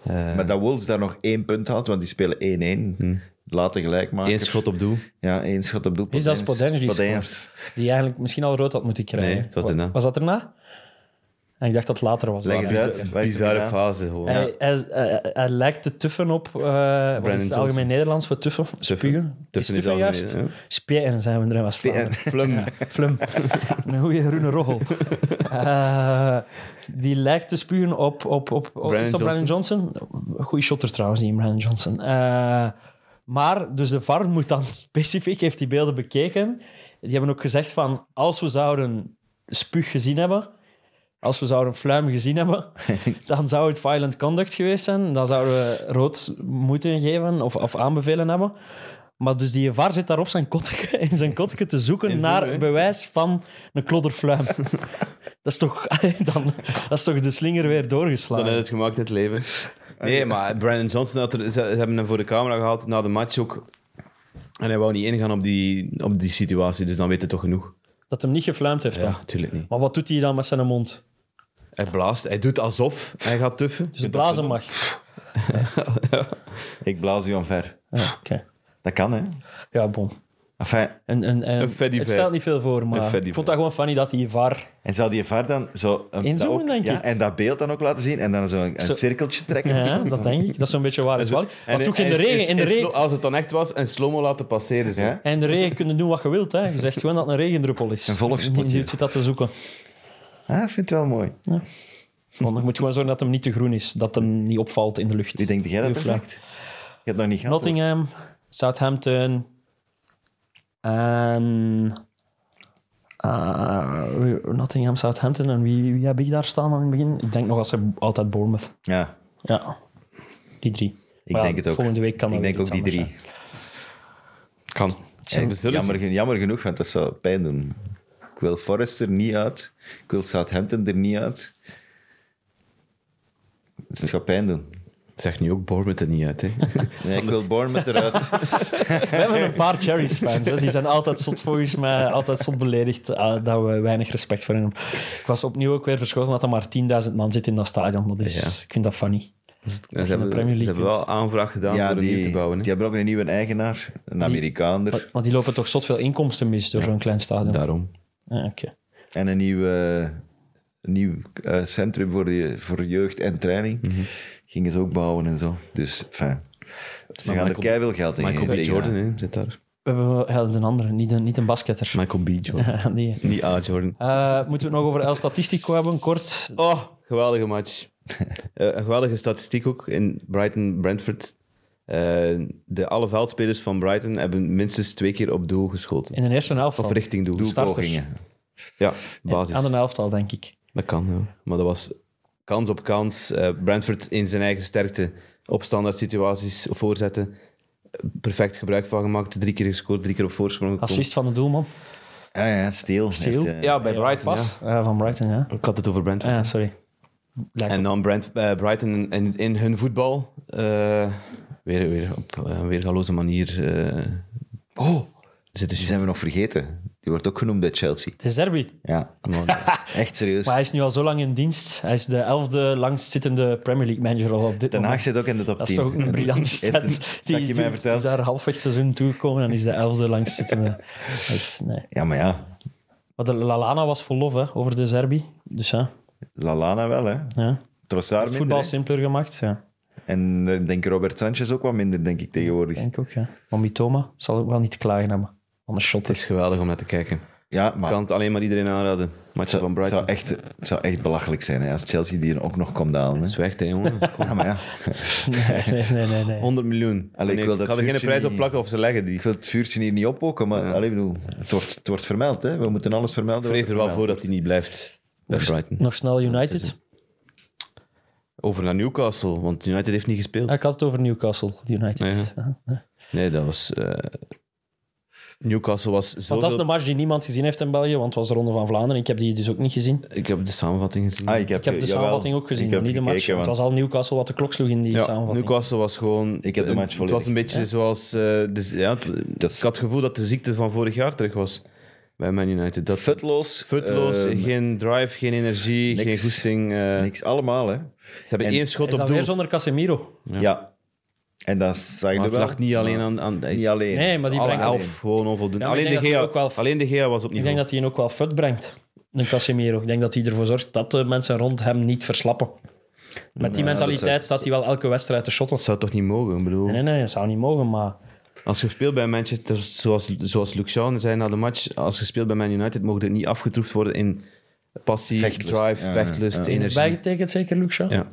Speaker 2: Maar dat Wolves daar nog één punt haalt, want die spelen 1-1. Later gelijk maken.
Speaker 4: Hmm. Eén schot op doel.
Speaker 2: Ja, één schot op doel.
Speaker 3: Is dat Podence die
Speaker 2: Podence.
Speaker 3: Die eigenlijk misschien al rood had moeten krijgen.
Speaker 4: Nee, het was daarna.
Speaker 3: Was dat erna? En ik dacht dat het later was.
Speaker 2: Leg eens
Speaker 3: Ja.
Speaker 2: uit. Waar heeft hij
Speaker 4: Bizarre
Speaker 2: gedaan?
Speaker 4: fase, gewoon.
Speaker 3: Hij, hij, hij- hij lijkt te tuffen op. eh, wat is het
Speaker 4: Johnson.
Speaker 3: algemeen Nederlands voor tuffen? Spugen. Is
Speaker 4: Tuffen is
Speaker 3: tuffen
Speaker 4: algemeen,
Speaker 3: juist?
Speaker 4: hè?
Speaker 3: Spijten zijn we erin als Vlaanderen.
Speaker 4: Plum.
Speaker 3: Flum. Een goede groene roggel. Eh, die lijkt te spugen op... op, op, op
Speaker 4: Brandon
Speaker 3: is dat Brandon Johnson? Goeie shotter trouwens, die Brandon Johnson. Eh, maar, dus de VAR moet dan specifiek, heeft die beelden bekeken. Die hebben ook gezegd van, als we zouden spuug gezien hebben, als we zouden fluim gezien hebben, dan zou het violent conduct geweest zijn. Dan zouden we rood moeten geven of, of aanbevelen hebben. Maar dus die VAR zit daar op zijn kotteke, in zijn kotteke te zoeken
Speaker 4: In zoen,
Speaker 3: naar
Speaker 4: hè?
Speaker 3: bewijs van een klodderfluim. dat, is toch, dan, dat is toch de slinger weer
Speaker 4: Dan eh,
Speaker 3: doorgeslagen.
Speaker 4: heb je het gemaakt in het leven. Nee, maar Brandon Johnson, had er, ze, ze hebben hem voor de camera gehaald na de match ook. En hij wou niet ingaan op die, op die situatie, dus dan weet hij toch genoeg.
Speaker 3: Dat hem niet gefluimd heeft dan.
Speaker 4: Ja, tuurlijk niet.
Speaker 3: Maar wat doet hij dan met zijn mond?
Speaker 4: Hij blaast, hij doet alsof hij gaat tuffen.
Speaker 3: Dus blazen mag.
Speaker 2: Ik blaas u omver.
Speaker 3: Ja, oké.
Speaker 2: Dat kan, hè.
Speaker 3: ja bon.
Speaker 2: Enfin,
Speaker 3: En, en, en,
Speaker 4: Een fatty
Speaker 3: het
Speaker 4: ver.
Speaker 3: stelt niet veel voor,
Speaker 4: Een
Speaker 3: maar
Speaker 4: fatty
Speaker 3: ik vond dat gewoon funny dat die VAR...
Speaker 2: en zou die VAR dan zo... Een,
Speaker 3: Inzoomen,
Speaker 2: dat ook-
Speaker 3: denk
Speaker 2: ja,
Speaker 3: ik.
Speaker 2: En dat beeld dan ook laten zien en dan zo een, een
Speaker 3: Zo-
Speaker 2: cirkeltje trekken.
Speaker 3: Ja, dat denk ik. Dat is zo'n beetje waar is wel.
Speaker 4: En-
Speaker 3: Maar toch in de
Speaker 4: en-
Speaker 3: regen...
Speaker 4: en-
Speaker 3: In de
Speaker 4: en
Speaker 3: regen
Speaker 4: slo- Als het dan echt was, en slow laten passeren. Zo.
Speaker 2: Ja?
Speaker 3: En in de regen kunnen doen wat je wilt. Hè. Je zegt gewoon dat het een regendruppel is.
Speaker 2: Een volksspotje.
Speaker 3: Die- die zit dat te zoeken.
Speaker 2: Ah, ik vind het wel mooi.
Speaker 3: Want je moet gewoon zorgen dat hem niet te groen is. Dat hem niet opvalt in de lucht.
Speaker 2: Wie denkt jij dat
Speaker 3: Uw
Speaker 2: er
Speaker 3: vlag.
Speaker 2: zegt? Je hebt nog niet gehad.
Speaker 3: Nottingham, Southampton. En... eh, Nottingham, Southampton. En wie, wie heb ik daar staan aan het begin? Ik denk nog als ze altijd Bournemouth.
Speaker 2: Ja,
Speaker 3: Ja, die drie.
Speaker 2: ik
Speaker 3: Maar ja,
Speaker 2: denk het ook.
Speaker 3: Volgende week kan dat
Speaker 2: ik denk
Speaker 3: weer
Speaker 2: ook
Speaker 3: iets
Speaker 2: die drie.
Speaker 3: anders
Speaker 4: Kan.
Speaker 2: Eh,
Speaker 4: we zullen
Speaker 2: jammer, gen- jammer genoeg, want dat zou pijn doen. Ik wil Forrest er niet uit. Ik wil Southampton er niet uit. Dus het gaat pijn doen.
Speaker 4: Zeg nu ook Bournemouth er niet uit, hè.
Speaker 2: Nee, ik wil Bournemouth eruit.
Speaker 3: zijn. We hebben een paar Cherries fans. Hè. Die zijn altijd zot volgens mij, altijd zot beledigd eh, dat we weinig respect voor hen hebben. Ik was opnieuw ook weer verschoten dat er maar 10.000 man zit in dat stadion. Dat is,
Speaker 4: Ja.
Speaker 3: Ik vind dat funny.
Speaker 4: Ja, ze
Speaker 3: de
Speaker 4: hebben,
Speaker 3: Premier League
Speaker 4: ze hebben
Speaker 3: kunt.
Speaker 4: wel aanvraag gedaan
Speaker 2: Ja,
Speaker 4: door een nieuw
Speaker 2: die,
Speaker 4: te bouwen. Hè.
Speaker 2: die hebben ook een nieuwe eigenaar. Een Amerikaaner.
Speaker 3: Maar- Want die lopen toch zot veel inkomsten mis door zo'n klein stadion.
Speaker 4: Daarom.
Speaker 3: Ja, oké.
Speaker 2: En een nieuw, eh, een nieuw eh, centrum voor, je, voor jeugd en training.
Speaker 3: Mhm.
Speaker 2: Gingen ze ook bouwen en zo. Dus, fijn. Ze gaan er
Speaker 4: Michael-
Speaker 2: keihard geld in
Speaker 4: Michael B.
Speaker 2: tegenaan.
Speaker 4: Jordan, hè, zit daar.
Speaker 3: We hebben wel- ja, een andere, niet een, niet een basketter.
Speaker 4: Michael B. Jordan.
Speaker 3: nee.
Speaker 4: Niet A. Jordan.
Speaker 3: Eh, moeten we het nog over El Statistico hebben, kort?
Speaker 4: Oh, geweldige match. Eh, een geweldige statistiek ook in Brighton-Brentford. Eh, de alle veldspelers van Brighton hebben minstens twee keer op doel geschoten.
Speaker 3: In de eerste helft
Speaker 4: Of
Speaker 3: al.
Speaker 4: richting doel.
Speaker 2: Doelpogingen.
Speaker 4: Ja, basis.
Speaker 3: Aan de helft al, denk ik.
Speaker 4: Dat kan, ja. Maar dat was kans op kans. Eh, Brentford in zijn eigen sterkte op standaard situaties voorzetten. Perfect gebruik van gemaakt. Drie keer gescoord, drie keer op voorsprong. gekomen.
Speaker 3: Assist van de doelman.
Speaker 2: Ja, ja, Steel.
Speaker 3: Steel?
Speaker 2: Heeft, eh,
Speaker 4: Ja, bij Brighton. Ja.
Speaker 3: Pas
Speaker 4: Eh,
Speaker 3: eh, van Brighton, ja.
Speaker 4: Ik had het over Brentford.
Speaker 3: Ah, sorry. Lijkt
Speaker 4: En
Speaker 3: op-
Speaker 4: dan Brent, eh, Brighton in, in hun voetbal. eh, weer, weer op eh, een weergaloze manier. eh,
Speaker 2: Oh,
Speaker 4: zitten
Speaker 2: die
Speaker 4: ze-
Speaker 2: zijn we nog vergeten. Die wordt ook genoemd bij Chelsea.
Speaker 3: Het is derby.
Speaker 2: Ja,
Speaker 4: man.
Speaker 2: echt serieus.
Speaker 3: Maar hij is nu al zo lang in dienst. Hij is de elfde langstzittende Premier League manager al op dit
Speaker 2: Den Haag
Speaker 3: moment.
Speaker 2: zit ook in de top 10.
Speaker 3: Dat is toch ook een briljante stat.
Speaker 2: Die je
Speaker 3: doet-
Speaker 2: mij verteld.
Speaker 3: is daar halfweg het seizoen toegekomen en is de elfde langstzittende. Echt, nee.
Speaker 2: Ja, maar ja.
Speaker 3: Maar de Lalana was vol lof hè, over de Zerbi. Dus ja,
Speaker 2: Lalana wel, hè.
Speaker 3: ja.
Speaker 2: Trossard
Speaker 3: het
Speaker 2: minder,
Speaker 3: voetbal
Speaker 2: hè.
Speaker 3: simpeler gemaakt. Ja,
Speaker 2: En eh, denk Robert Sanchez ook wat minder, denk ik, tegenwoordig.
Speaker 3: denk ik ook. Ja. Maar Mitoma zal ook wel niet klagen hebben. Van een shot.
Speaker 4: Het is geweldig om naar te kijken.
Speaker 2: Ja,
Speaker 4: Ik
Speaker 2: maar
Speaker 4: kan
Speaker 2: het
Speaker 4: het alleen maar iedereen aanraden. Matchen
Speaker 2: zou,
Speaker 4: van
Speaker 2: het
Speaker 4: Brighton.
Speaker 2: zou echt, het zou echt belachelijk zijn hè, als Chelsea die er ook nog komt halen. Hè.
Speaker 4: Dat is weg, hè, jongen. Kom.
Speaker 2: Ja, maar ja.
Speaker 3: Nee, nee, nee. nee, nee.
Speaker 4: 100 miljoen.
Speaker 2: Allee, ik wil dat
Speaker 4: ik had er geen
Speaker 2: vuurtje
Speaker 4: prijs op
Speaker 2: niet-
Speaker 4: plakken of ze leggen die.
Speaker 2: Ik wil het vuurtje hier niet oppoken, maar allee, ik bedoel, het, wordt, het wordt vermeld. Hè. We moeten alles vermelden. wat
Speaker 4: Ik vrees er wel voor dat hij niet blijft bij Brighton.
Speaker 3: Nog snel United.
Speaker 4: Over naar Newcastle, want United heeft niet
Speaker 3: Ah, ik
Speaker 4: gespeeld.
Speaker 3: had het over Newcastle, United. Ja.
Speaker 4: Nee, dat was... eh, Newcastle was zo...
Speaker 3: Want dat is de match die niemand gezien heeft in België, want het was de Ronde van Vlaanderen. Ik heb die dus ook niet gezien.
Speaker 4: Ik heb de samenvatting gezien.
Speaker 2: Ah, ik heb,
Speaker 3: Ik heb de
Speaker 2: jawel,
Speaker 3: samenvatting ook gezien,
Speaker 2: ik heb
Speaker 3: niet de match.
Speaker 2: gekeken,
Speaker 3: Het
Speaker 2: want-
Speaker 3: was al Newcastle wat de klok sloeg in die
Speaker 4: ja,
Speaker 3: samenvatting.
Speaker 4: Newcastle was gewoon...
Speaker 2: Ik heb de
Speaker 4: eh,
Speaker 2: match
Speaker 4: Het
Speaker 2: volledig
Speaker 4: was een beetje zoals... eh, dus, ja, het-
Speaker 2: Dat is-
Speaker 4: Ik had het gevoel dat de ziekte van vorig jaar terug was bij Man United. Dat
Speaker 2: Futloos.
Speaker 4: futloos,
Speaker 2: eh,
Speaker 4: geen drive, geen energie,
Speaker 2: niks.
Speaker 4: geen goesting. eh,
Speaker 2: niks, allemaal, hè.
Speaker 4: Ze hebben
Speaker 2: En-
Speaker 4: één
Speaker 3: Is
Speaker 4: schot
Speaker 3: dat
Speaker 4: op doel.
Speaker 3: weer zonder Casemiro?
Speaker 2: Ja. En dat zag je
Speaker 4: Maar het
Speaker 2: wel.
Speaker 4: lag niet alleen aan... aan
Speaker 2: Niet alleen.
Speaker 3: Nee, maar die
Speaker 4: alle
Speaker 3: brengt...
Speaker 4: elf gewoon onvoldoende.
Speaker 3: Ja, maar ik
Speaker 4: alleen,
Speaker 3: denk
Speaker 4: de
Speaker 3: dat
Speaker 4: Gea,
Speaker 3: hij ook wel-
Speaker 4: alleen de Gea was op
Speaker 3: Ik
Speaker 4: niveau.
Speaker 3: denk dat hij hem ook wel fut brengt, een Casemiro. Ik denk dat hij ervoor zorgt dat de mensen rond hem niet verslappen. Met die mentaliteit staat hij wel elke wedstrijd te shotten.
Speaker 4: Dat zou toch niet mogen? Ik bedoel,
Speaker 3: Nee, nee, nee, dat zou niet mogen, maar...
Speaker 4: Als je speelt bij Manchester, zoals, zoals Luc Shawn zei na de match, als je speelt bij Man United, mocht het niet afgetroefd worden in passie,
Speaker 2: Vechtlust.
Speaker 4: drive,
Speaker 2: Ja,
Speaker 4: vechtlust, energie.
Speaker 3: Bijgetekend zeker, Luc Shaw?
Speaker 4: Ja.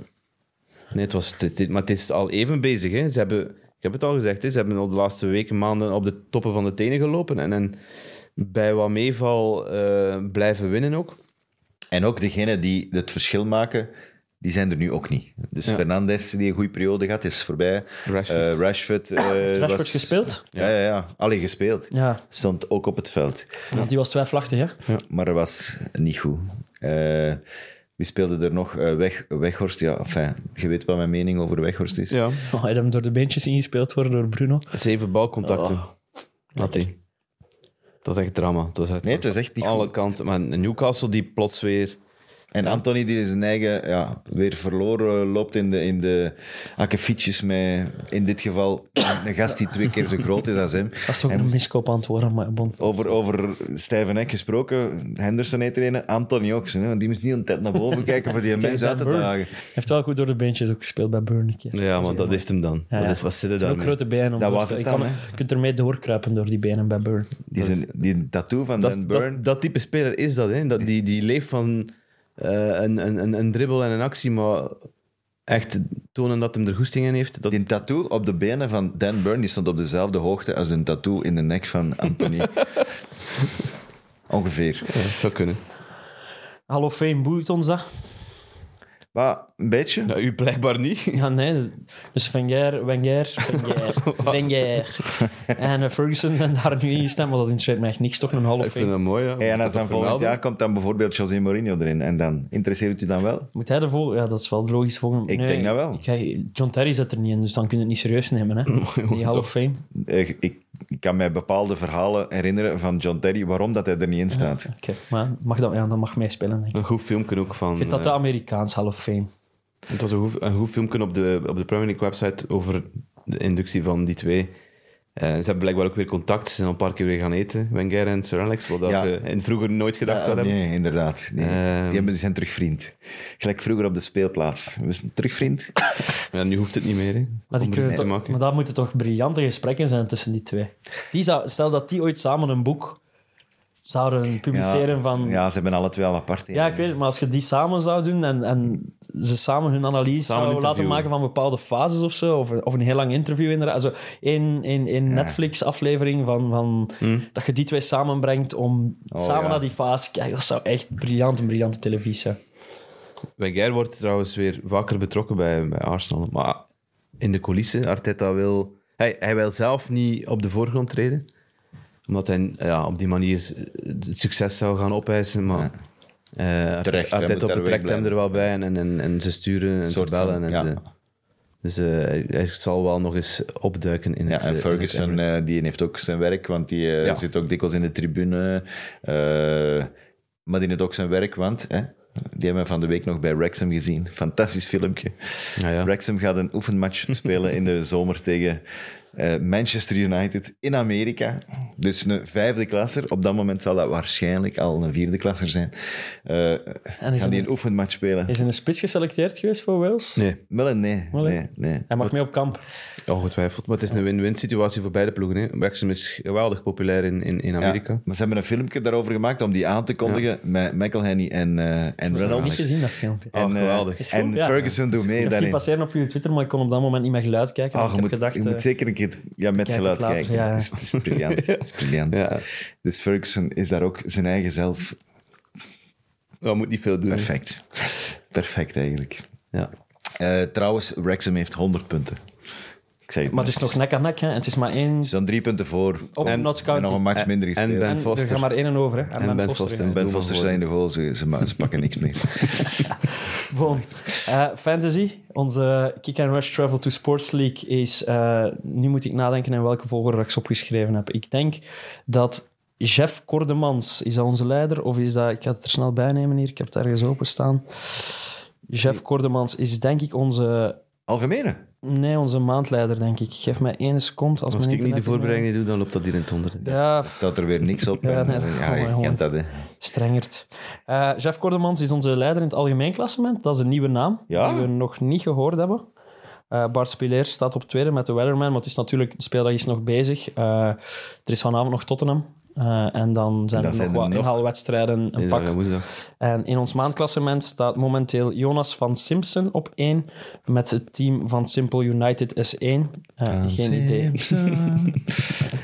Speaker 4: Nee, het was, dit, dit- maar het is al even bezig. Hè. Ze hebben, ik heb het al gezegd, hè, ze hebben al de laatste weken, maanden op de toppen van de tenen gelopen. En, en bij wat meeval eh, blijven winnen ook.
Speaker 2: En ook degenen die het verschil maken, die zijn er nu ook niet. Dus Fernandes, die een goede periode gaat, is voorbij.
Speaker 4: Rashford.
Speaker 2: Eh, Rashford, eh,
Speaker 3: Rashford
Speaker 2: was-
Speaker 3: gespeeld?
Speaker 2: Ja, ja, ja. Allee, gespeeld.
Speaker 3: Ja,
Speaker 2: Stond ook op het veld.
Speaker 3: want die was twijfelachtig, hè?
Speaker 2: Maar dat was niet goed. Eh, wie speelde er nog? Eh, Weg, Weghorst, ja. Enfin, je weet wat mijn mening over Weghorst is.
Speaker 4: Ja.
Speaker 3: Oh, hij had hem door de beentjes ingespeeld worden door Bruno.
Speaker 4: Zeven balcontacten. Had hij. Dat is echt drama. Dat is echt
Speaker 2: Nee, het is echt niet
Speaker 4: alle
Speaker 2: goed.
Speaker 4: kanten. Maar Newcastle die plots weer...
Speaker 2: En Anthony, die zijn eigen ja, weer verloren loopt in de, in de akkefietjes met, in dit geval, een gast die twee keer zo groot is als hem.
Speaker 3: Dat is toch een miskoop aan het worden, maar bon.
Speaker 2: Over, over stijve nek gesproken, Henderson heet er een, Anthony ook. zo, hè, want Die moest niet een tijd naar boven kijken voor die mens uit te
Speaker 3: Burn.
Speaker 2: dagen.
Speaker 3: Hij heeft wel goed door de beentjes ook gespeeld bij Burn een keer.
Speaker 4: Ja, maar dat heeft hem dan.
Speaker 3: Ja,
Speaker 4: Wat
Speaker 3: ja.
Speaker 4: is- Wat zit er
Speaker 3: Hij heeft
Speaker 4: daarmee?
Speaker 3: ook grote benen. Om
Speaker 2: Dat
Speaker 3: door
Speaker 2: was
Speaker 3: te-
Speaker 2: het
Speaker 3: je
Speaker 2: dan,
Speaker 3: kan-
Speaker 2: hè?
Speaker 3: Je kunt ermee doorkruipen door die benen bij Burn.
Speaker 2: Die, zijn, die tattoo van
Speaker 4: Dat,
Speaker 2: Dan Burn.
Speaker 4: dat, dat type speler is dat, hè? dat die, die leeft van eh, een, een, een, een dribbel en een actie, maar echt tonen dat hem er goesting in heeft. Dat,
Speaker 2: Die tattoo op de benen van Dan Burn die stond op dezelfde hoogte als een tattoo in de nek van Anthony. Ongeveer.
Speaker 4: Ja, zou kunnen.
Speaker 3: Hallo Fame boeit ons dat?
Speaker 2: Maar een beetje.
Speaker 4: Nou, u blijkbaar niet.
Speaker 3: Ja, nee. Dus Wenger, Wenger, Wenger, Wenger. En eh, Ferguson zijn daar nu in stemmen, maar dat interesseert mij echt niks. Toch een Hallo
Speaker 4: Ik vind
Speaker 3: Fame.
Speaker 4: dat mooi. Ja.
Speaker 2: Hey, en
Speaker 4: Moet
Speaker 2: als
Speaker 4: dat
Speaker 2: dan
Speaker 4: toch
Speaker 2: volgend
Speaker 4: vermelden?
Speaker 2: jaar komt dan bijvoorbeeld José Mourinho erin. En dan interesseert u dan wel?
Speaker 3: Moet hij ervoor? Ja, dat is wel logisch. Volgende...
Speaker 2: Ik denk dat wel.
Speaker 3: ik ga- John Terry zit er niet in, dus dan kun je het niet serieus nemen. Hè? Die Hallo Fame.
Speaker 2: Eh, Ik, ik kan mij bepaalde verhalen herinneren van John Terry, waarom dat hij er niet in staat.
Speaker 3: Oké, maar mag dat, ja, dat mag meespelen, denk ik.
Speaker 4: Een goed filmpje ook van...
Speaker 3: Ik vind dat de
Speaker 4: eh,
Speaker 3: Amerikaans Hallo Fame.
Speaker 4: Het was een goed, een goed filmpje op de, op de Premier League website over de inductie van die twee. Eh, ze hebben blijkbaar ook weer contact. Ze zijn al een paar keer weer gaan eten, Wenger en Sir Alex. Wat dat
Speaker 2: Ja.
Speaker 4: je in vroeger nooit gedacht
Speaker 2: Ah,
Speaker 4: zou hebben.
Speaker 2: nee, inderdaad. Nee.
Speaker 4: Ehm.
Speaker 2: Die hebben, die zijn terug vriend. Gelijk vroeger op de speelplaats. Dus We zijn terug vriend.
Speaker 4: Ja, nu hoeft het niet meer. Hè,
Speaker 3: Maar, die
Speaker 4: om
Speaker 3: kunnen
Speaker 4: ruzie te
Speaker 3: toch-
Speaker 4: maken.
Speaker 3: maar daar moeten toch briljante gesprekken zijn tussen die twee. Die zou, stel dat die ooit samen een boek zouden publiceren
Speaker 2: ja,
Speaker 3: van... Ja,
Speaker 2: ja, ze hebben alle twee al apart. hè.
Speaker 3: ik weet het, maar als je die samen zou doen en, en ze samen hun analyse
Speaker 4: Samen
Speaker 3: zouden laten
Speaker 4: interviewen.
Speaker 3: maken van bepaalde fases of zo, of, of een heel lang interview inderdaad. Also, één, één, één Netflix-aflevering van, van dat je die twee samenbrengt om
Speaker 2: Oh,
Speaker 3: samen
Speaker 2: ja.
Speaker 3: naar die fase... Kijk, dat zou echt briljant, een briljante televisie zijn.
Speaker 4: Wenger wordt trouwens weer vaker betrokken bij, bij Arsenal. Maar in de coulissen, Arteta wil... Hij, hij wil zelf niet op de voorgrond treden. Omdat hij ja, op die manier eh, het succes zou gaan opeisen. Maar eh, Arte-
Speaker 2: Terecht, hij
Speaker 4: Arteta
Speaker 2: moet daar weg
Speaker 4: betrekt hem
Speaker 2: blijven.
Speaker 4: er wel bij en, en, en, en ze sturen en ze
Speaker 2: soort
Speaker 4: bellen.
Speaker 2: van,
Speaker 4: en
Speaker 2: ja.
Speaker 4: ze- dus eh, hij- hij zal wel nog eens opduiken in
Speaker 2: Ja,
Speaker 4: het... eh, in
Speaker 2: en
Speaker 4: het
Speaker 2: Ferguson
Speaker 4: Emirates.
Speaker 2: eh, die heeft ook zijn werk, want die eh,
Speaker 4: Ja.
Speaker 2: zit ook dikwijls in de tribune. eh, maar die heeft ook zijn werk, want hè, die hebben we van de week nog bij Wrexham gezien. Fantastisch filmpje. eh,
Speaker 4: Nou Ja, ja.
Speaker 2: Wrexham gaat een oefenmatch spelen in de zomer tegen eh, Manchester United in Amerika. Dus een vijfde klasser. Op dat moment zal dat waarschijnlijk al een vierde klasser zijn. Eh
Speaker 3: En is
Speaker 2: gaan die
Speaker 3: er,
Speaker 2: een oefenmatch spelen?
Speaker 3: is er een spits geselecteerd geweest voor Wales?
Speaker 4: Nee,
Speaker 2: Mullen, nee.
Speaker 3: Mullen?
Speaker 2: nee, nee.
Speaker 3: Hij mag mee op kamp.
Speaker 4: ongetwijfeld. Maar het is een win-win situatie voor beide ploegen. Hè. Wrexham is geweldig populair in, in, in
Speaker 2: Ja,
Speaker 4: Amerika.
Speaker 2: maar ze hebben een filmpje daarover gemaakt om die aan te kondigen met McElhenney en, eh, en
Speaker 3: Niet
Speaker 2: Reynolds.
Speaker 3: gezien, dat filmpje.
Speaker 4: Oh,
Speaker 2: en, eh,
Speaker 4: geweldig.
Speaker 3: Is goed,
Speaker 2: en
Speaker 3: ja.
Speaker 2: Ferguson doet mee
Speaker 3: ik heb zien
Speaker 2: daarin.
Speaker 3: passeren op je Twitter, maar ik kon op dat moment niet met geluid kijken.
Speaker 2: Ah,
Speaker 3: ik
Speaker 2: je,
Speaker 3: heb
Speaker 2: moet,
Speaker 3: gedacht,
Speaker 2: je moet
Speaker 3: eh,
Speaker 2: zeker een keer ja, met
Speaker 3: kijk
Speaker 2: geluid
Speaker 3: het later,
Speaker 2: kijken.
Speaker 3: ja, ja.
Speaker 2: Het, is, het is briljant. Het is briljant.
Speaker 4: Ja.
Speaker 2: Dus Ferguson is daar ook zijn eigen zelf.
Speaker 4: Dat moet niet veel doen. hè.
Speaker 2: Perfect. Perfect eigenlijk.
Speaker 4: Ja.
Speaker 2: Eh, trouwens, Wrexham heeft 100 punten. Ik zei het
Speaker 3: maar het is nog Oh, nek aan nek, hè. en het is maar één.
Speaker 2: Ze staan drie punten voor.
Speaker 3: Op
Speaker 2: en,
Speaker 3: Notts
Speaker 2: en
Speaker 3: County.
Speaker 2: nog een match
Speaker 4: En-
Speaker 2: minder
Speaker 4: en
Speaker 2: gespeeld.
Speaker 4: Ben
Speaker 3: En er
Speaker 4: Foster.
Speaker 3: gaat maar één en over. Hè. En,
Speaker 4: Ben Foster.
Speaker 2: Ben
Speaker 4: Doelman
Speaker 2: Foster
Speaker 4: worden.
Speaker 2: zijn de goal. Ze, ze, ma- ze pakken niks meer.
Speaker 3: Bon. Eh, fantasy. Onze Kick and Rush Travel to Sports League is... eh, nu moet ik nadenken in welke volgorde ik ze opgeschreven heb. Ik denk dat Jeff Cordemans... Is dat onze leider? Of is dat... Ik ga het er snel bij nemen hier. Ik heb het ergens openstaan. Jeff Cordemans is denk ik onze...
Speaker 2: Algemene.
Speaker 3: Nee, onze maandleider, denk ik. Geef mij één seconde. Als,
Speaker 4: Als
Speaker 3: mijn
Speaker 4: ik niet de
Speaker 3: internet-
Speaker 4: voorbereiding doe, dan loopt dat hier in het onder.
Speaker 3: Ja,
Speaker 2: Staat er weer niks op.
Speaker 3: Ja,
Speaker 2: En,
Speaker 3: nee,
Speaker 2: eh,
Speaker 3: dat-
Speaker 2: ja,
Speaker 3: oh,
Speaker 2: je
Speaker 3: jongen.
Speaker 2: kent dat, hè.
Speaker 3: Strengert. Eh Jeff Cordemans is onze leider in het algemeen klassement. Dat is een nieuwe naam
Speaker 2: Ja.
Speaker 3: die we nog niet gehoord hebben. Eh, Bart Spileer staat op tweede met de Wellerman, maar het is natuurlijk, de speeldag is nog bezig. Eh, er is vanavond nog Tottenham. Eh, en dan zijn
Speaker 2: Dan
Speaker 3: er
Speaker 2: zijn
Speaker 3: nog
Speaker 2: er
Speaker 3: wat
Speaker 2: nog-
Speaker 3: inhaalwedstrijden, een
Speaker 4: Dinsdag
Speaker 3: pak.
Speaker 4: en woensdag.
Speaker 3: En in ons maandklassement staat momenteel Jonas van Simpson op één met het team van Simple United S1. Eh, geen idee.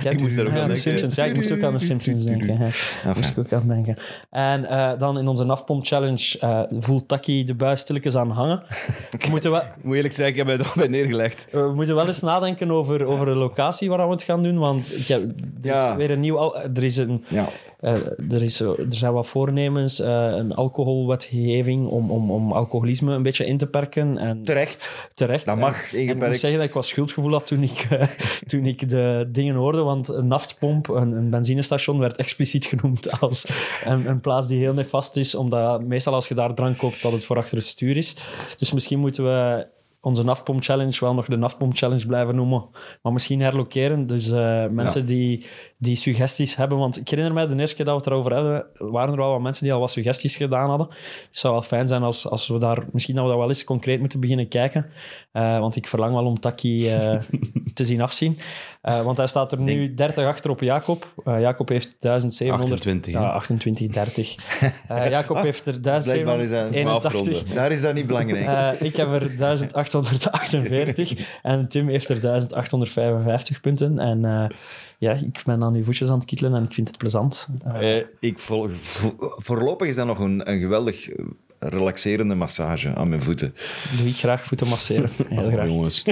Speaker 3: Kijk,
Speaker 2: Ik moest daar ook
Speaker 3: ja,
Speaker 2: aan
Speaker 3: de
Speaker 2: denken.
Speaker 3: Simpsons. Ja, ik moest ook aan de Simpsons denken. hè. Moest ik ook aan denken. En eh, dan in onze afpomp challenge eh voelt Taki de buis stilletjes aan hangen. We, moeten wel,
Speaker 4: Moet eerlijk zijn, ik heb mij er al bij neergelegd.
Speaker 3: we moeten wel eens nadenken over, over de locatie waar we het gaan doen, want ik heb, er is
Speaker 2: Ja.
Speaker 3: weer een nieuw... al- Er is een...
Speaker 2: Ja.
Speaker 3: Eh, er, is, er zijn wat voornemens, eh, een alcoholwetgeving om, om, om alcoholisme een beetje in te perken. En
Speaker 2: Terecht.
Speaker 3: terecht.
Speaker 2: Dat
Speaker 3: hè.
Speaker 2: mag, eh,
Speaker 3: En ik moet
Speaker 2: ingeperkt.
Speaker 3: zeggen dat ik wat schuldgevoel had toen ik, eh, toen ik de dingen hoorde, want een naftpomp, een, een benzinestation, werd expliciet genoemd als een, een plaats die heel nefast is, omdat meestal als je daar drank koopt, dat het voor achter het stuur is. Dus misschien moeten we onze naftpomp challenge wel nog de naftpomp challenge blijven noemen, maar misschien herlokeren. Dus eh, mensen die, die suggesties hebben, want ik herinner mij de eerste keer dat we het erover hadden, waren er wel wat mensen die al wat suggesties gedaan hadden. Dus het zou wel fijn zijn als, als we daar, misschien dat we dat wel eens concreet moeten beginnen kijken, Eh, want ik verlang wel om Taki eh, te zien afzien. Eh, want hij staat er nu 30 achter op Jacob. Eh, Jacob heeft 1700...
Speaker 4: 28, hè?
Speaker 3: Ja, 28, 30. Eh, Jacob heeft er
Speaker 2: blijkbaar is hij-
Speaker 3: 1781.
Speaker 4: Afronden.
Speaker 2: Daar is dat niet belangrijk.
Speaker 3: Eh, ik heb er 1848 en Tim heeft er 1855 punten. En eh, ja, ik ben aan uw voetjes aan het kittelen en ik vind het plezant. Eh,
Speaker 2: Eh, ik vol- vo- voorlopig is dat nog een, een geweldig eh, relaxerende massage aan mijn voeten.
Speaker 3: doe ik graag voeten masseren. Heel graag.
Speaker 4: Oh, Jongens,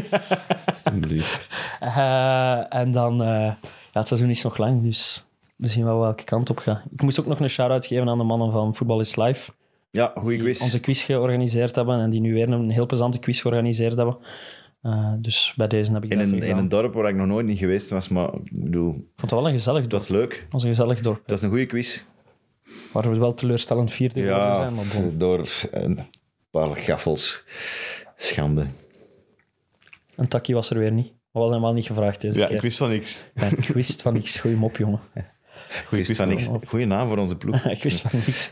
Speaker 4: alsjeblieft.
Speaker 3: Eh, en dan, eh, ja, het seizoen is nog lang, dus we zien wel welke kant op gaat. Ik moest ook nog een shout-out geven aan de mannen van Voetbal is Live.
Speaker 2: Ja, goeie
Speaker 3: die
Speaker 2: quiz.
Speaker 3: onze quiz georganiseerd hebben en die nu weer een heel plezante quiz georganiseerd hebben. Eh, dus bij deze heb ik
Speaker 2: In
Speaker 3: dat
Speaker 2: een,
Speaker 3: even
Speaker 2: in
Speaker 3: gedaan.
Speaker 2: een dorp waar ik nog nooit niet geweest was, maar ik bedoel,
Speaker 3: Ik vond het wel een gezellig
Speaker 2: het
Speaker 3: dorp.
Speaker 2: was leuk.
Speaker 3: Ons een gezellig dorp.
Speaker 2: Het was een goede quiz.
Speaker 3: Waar we wel teleurstellend vierde geworden
Speaker 2: Ja,
Speaker 3: zijn, maar bon.
Speaker 2: door een paar gaffels. Schande.
Speaker 3: En Taki was er weer niet. We hadden hem al niet gevraagd deze
Speaker 4: Ja,
Speaker 3: keer.
Speaker 4: ik wist van niks.
Speaker 3: Ja, ik wist van niks. Goeie mop, jongen.
Speaker 4: Goeie
Speaker 2: Wist van niks. Goeie naam voor onze ploeg.
Speaker 3: ik wist van niks.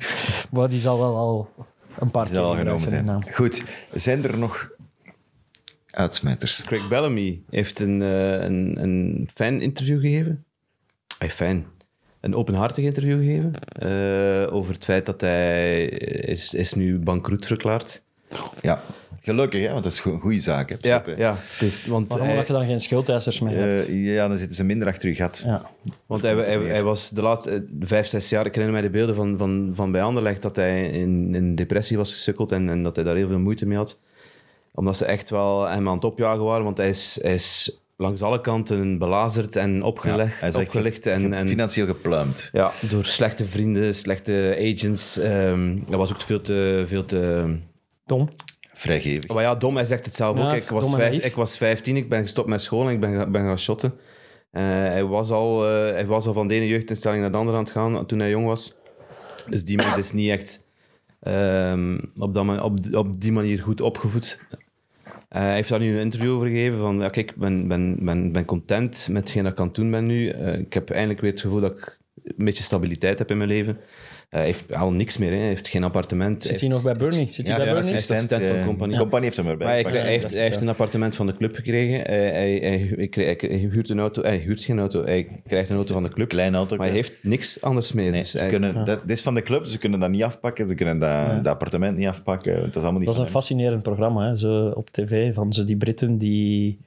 Speaker 3: Maar die zal wel al een paar
Speaker 2: Die zal al
Speaker 3: keer
Speaker 2: genomen
Speaker 3: die
Speaker 2: zijn.
Speaker 3: naam.
Speaker 2: Goed, zijn er nog uitsmijters?
Speaker 4: Craig Bellamy heeft een, eh, een, een fan-interview gegeven. Ay, fan. Een openhartig interview gegeven. eh, over het feit dat hij is, is nu bankroet verklaard.
Speaker 2: Ja, gelukkig, hè, want dat is een goede zaak. Hè.
Speaker 4: Ja,
Speaker 2: Zet, hè.
Speaker 4: ja het is- want
Speaker 3: Waarom
Speaker 4: hij,
Speaker 3: omdat je dan geen schuldeisers meer hebt?
Speaker 2: Eh, ja, dan zitten ze minder achter je gat.
Speaker 3: Ja.
Speaker 4: Want hij, hij, hij was de laatste eh, vijf, zes jaar, ik herinner mij de beelden van, van, van bij Anderlecht, dat hij in, in depressie was gesukkeld en, en dat hij daar heel veel moeite mee had. Omdat ze echt wel hem aan het opjagen waren, want hij is, hij is langs alle kanten belazerd en opgelegd,
Speaker 2: hij is echt
Speaker 4: opgelicht. En, en,
Speaker 2: Financieel gepluimd.
Speaker 4: ja, door slechte vrienden, slechte agents. ehm, dat was ook veel te... Veel te
Speaker 3: Tom.
Speaker 2: Vrijgevig.
Speaker 4: maar ja, dom, hij zegt het zelf
Speaker 3: Ja,
Speaker 4: ook. Ik was,
Speaker 3: dom en
Speaker 4: vijf-
Speaker 3: naïef.
Speaker 4: ik was 15, ik ben gestopt met school en ik ben, ga- ben gaan shotten. Eh, hij, was al, eh, hij was al van de ene jeugdinstelling naar de andere aan het gaan toen hij jong was. Dus die mens is niet echt ehm, op, dat, ma- op, die- op die manier goed opgevoed. Eh, hij heeft daar nu een interview over gegeven van, ja, kijk, ik ben, ben, ben, ben content met hetgeen dat ik aan het doen ben nu. Eh, ik heb eindelijk weer het gevoel dat ik een beetje stabiliteit heb in mijn leven. Eh, hij heeft al niks meer, hè. hij heeft geen appartement.
Speaker 3: Zit hij
Speaker 4: heeft-
Speaker 3: nog bij Burnley? Zit hij
Speaker 2: Ja,
Speaker 3: bij
Speaker 2: ja,
Speaker 3: Burnley?
Speaker 4: hij is assistent
Speaker 2: eh,
Speaker 4: van Company.
Speaker 2: de Company heeft hem erbij.
Speaker 4: Maar hij,
Speaker 2: gepakt.
Speaker 4: kreeg- hij heeft,
Speaker 3: dat
Speaker 4: hij
Speaker 3: is
Speaker 4: heeft
Speaker 3: zo.
Speaker 4: een appartement van de club gekregen. Eh, hij, hij, hij, kreeg- hij huurt een auto. Hij huurt geen auto. Hij krijgt een auto van de club.
Speaker 2: Klein auto.
Speaker 4: Maar hij heeft niks anders meer.
Speaker 2: Nee,
Speaker 4: Dus
Speaker 2: ze
Speaker 4: hij-
Speaker 2: kunnen, dat, dit is van de club, ze kunnen dat niet afpakken. Ze kunnen dat, dat appartement niet afpakken. want Dat is allemaal niet
Speaker 3: Dat is
Speaker 2: van
Speaker 3: een fascinerend programma hè? Zo op tv van zo die Britten die.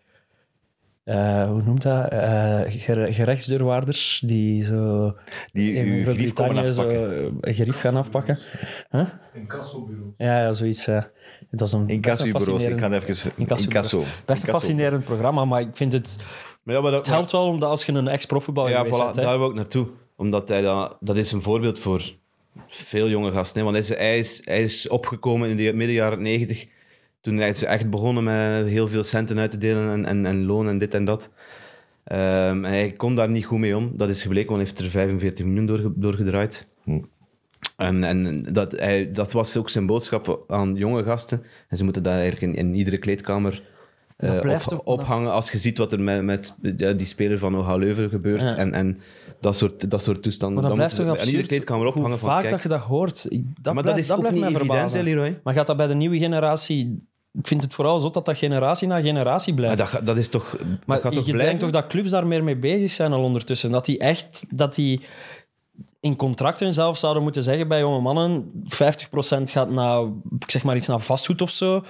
Speaker 3: eh, hoe noemt dat? Eh, gere- gerechtsdeurwaarders die zo.
Speaker 2: hem. Die
Speaker 3: in
Speaker 2: uw grief komen
Speaker 4: eh,
Speaker 3: Groot-Brittannië zo
Speaker 2: afpakken.
Speaker 3: een gerief gaan afpakken. Huh? Ja, ja, zoiets. ja. Dat is een best een
Speaker 2: Incassobureaus, ik
Speaker 3: fascinerend-
Speaker 2: ga het even...
Speaker 3: Incasso.
Speaker 2: Incasso.
Speaker 3: Best een fascinerend programma, maar ik vind het...
Speaker 4: Maar ja, maar dat,
Speaker 3: Het helpt wel omdat als je een ex-profvoetballer
Speaker 4: ja,
Speaker 3: ja, geweest
Speaker 4: voilà,
Speaker 3: bent, hè.
Speaker 4: daar wil ik naartoe. Omdat hij dat, dat is een voorbeeld voor veel jonge gasten. Hè? Want hij is, hij, is, hij is opgekomen in de midden jaren 90. Toen hij is echt begonnen met heel veel centen uit te delen en, en, en loon en dit en dat. Ehm, en hij kon daar niet goed mee om. Dat is gebleken, want hij heeft er 45 miljoen door, doorgedraaid. En, en dat, hij, dat was ook zijn boodschap aan jonge gasten. En ze moeten daar eigenlijk in, in iedere kleedkamer eh,
Speaker 3: blijft
Speaker 4: op-
Speaker 3: ook-
Speaker 4: ophangen als je ziet wat er met, met ja, die speler van OH Leuven gebeurt.
Speaker 3: Ja.
Speaker 4: En, en dat soort, dat soort toestanden.
Speaker 3: Maar dat
Speaker 4: Dan
Speaker 3: blijft
Speaker 4: moeten
Speaker 3: toch
Speaker 4: ze in
Speaker 3: absurd.
Speaker 4: iedere kleedkamer ophangen
Speaker 3: Hoe
Speaker 4: van,
Speaker 3: vaak
Speaker 4: kijk,
Speaker 3: dat je dat hoort. ik- Dat
Speaker 4: Maar
Speaker 3: blijft,
Speaker 4: dat is ook
Speaker 3: blijft
Speaker 4: niet
Speaker 3: mij
Speaker 4: evident, hè,
Speaker 3: verbazen.
Speaker 4: Leroy?
Speaker 3: Maar gaat dat bij de nieuwe generatie... Ik vind het vooral zot dat dat generatie na generatie
Speaker 4: Maar
Speaker 3: blijft.
Speaker 4: dat, ga- dat is toch...
Speaker 3: Maar
Speaker 4: dat gaat toch
Speaker 3: je
Speaker 4: blijven?
Speaker 3: denkt toch dat clubs daar meer mee bezig zijn al ondertussen? Dat die echt... Dat die in contracten zelf zouden moeten zeggen bij jonge mannen... 50% gaat naar, ik zeg maar iets, naar vastgoed of zo.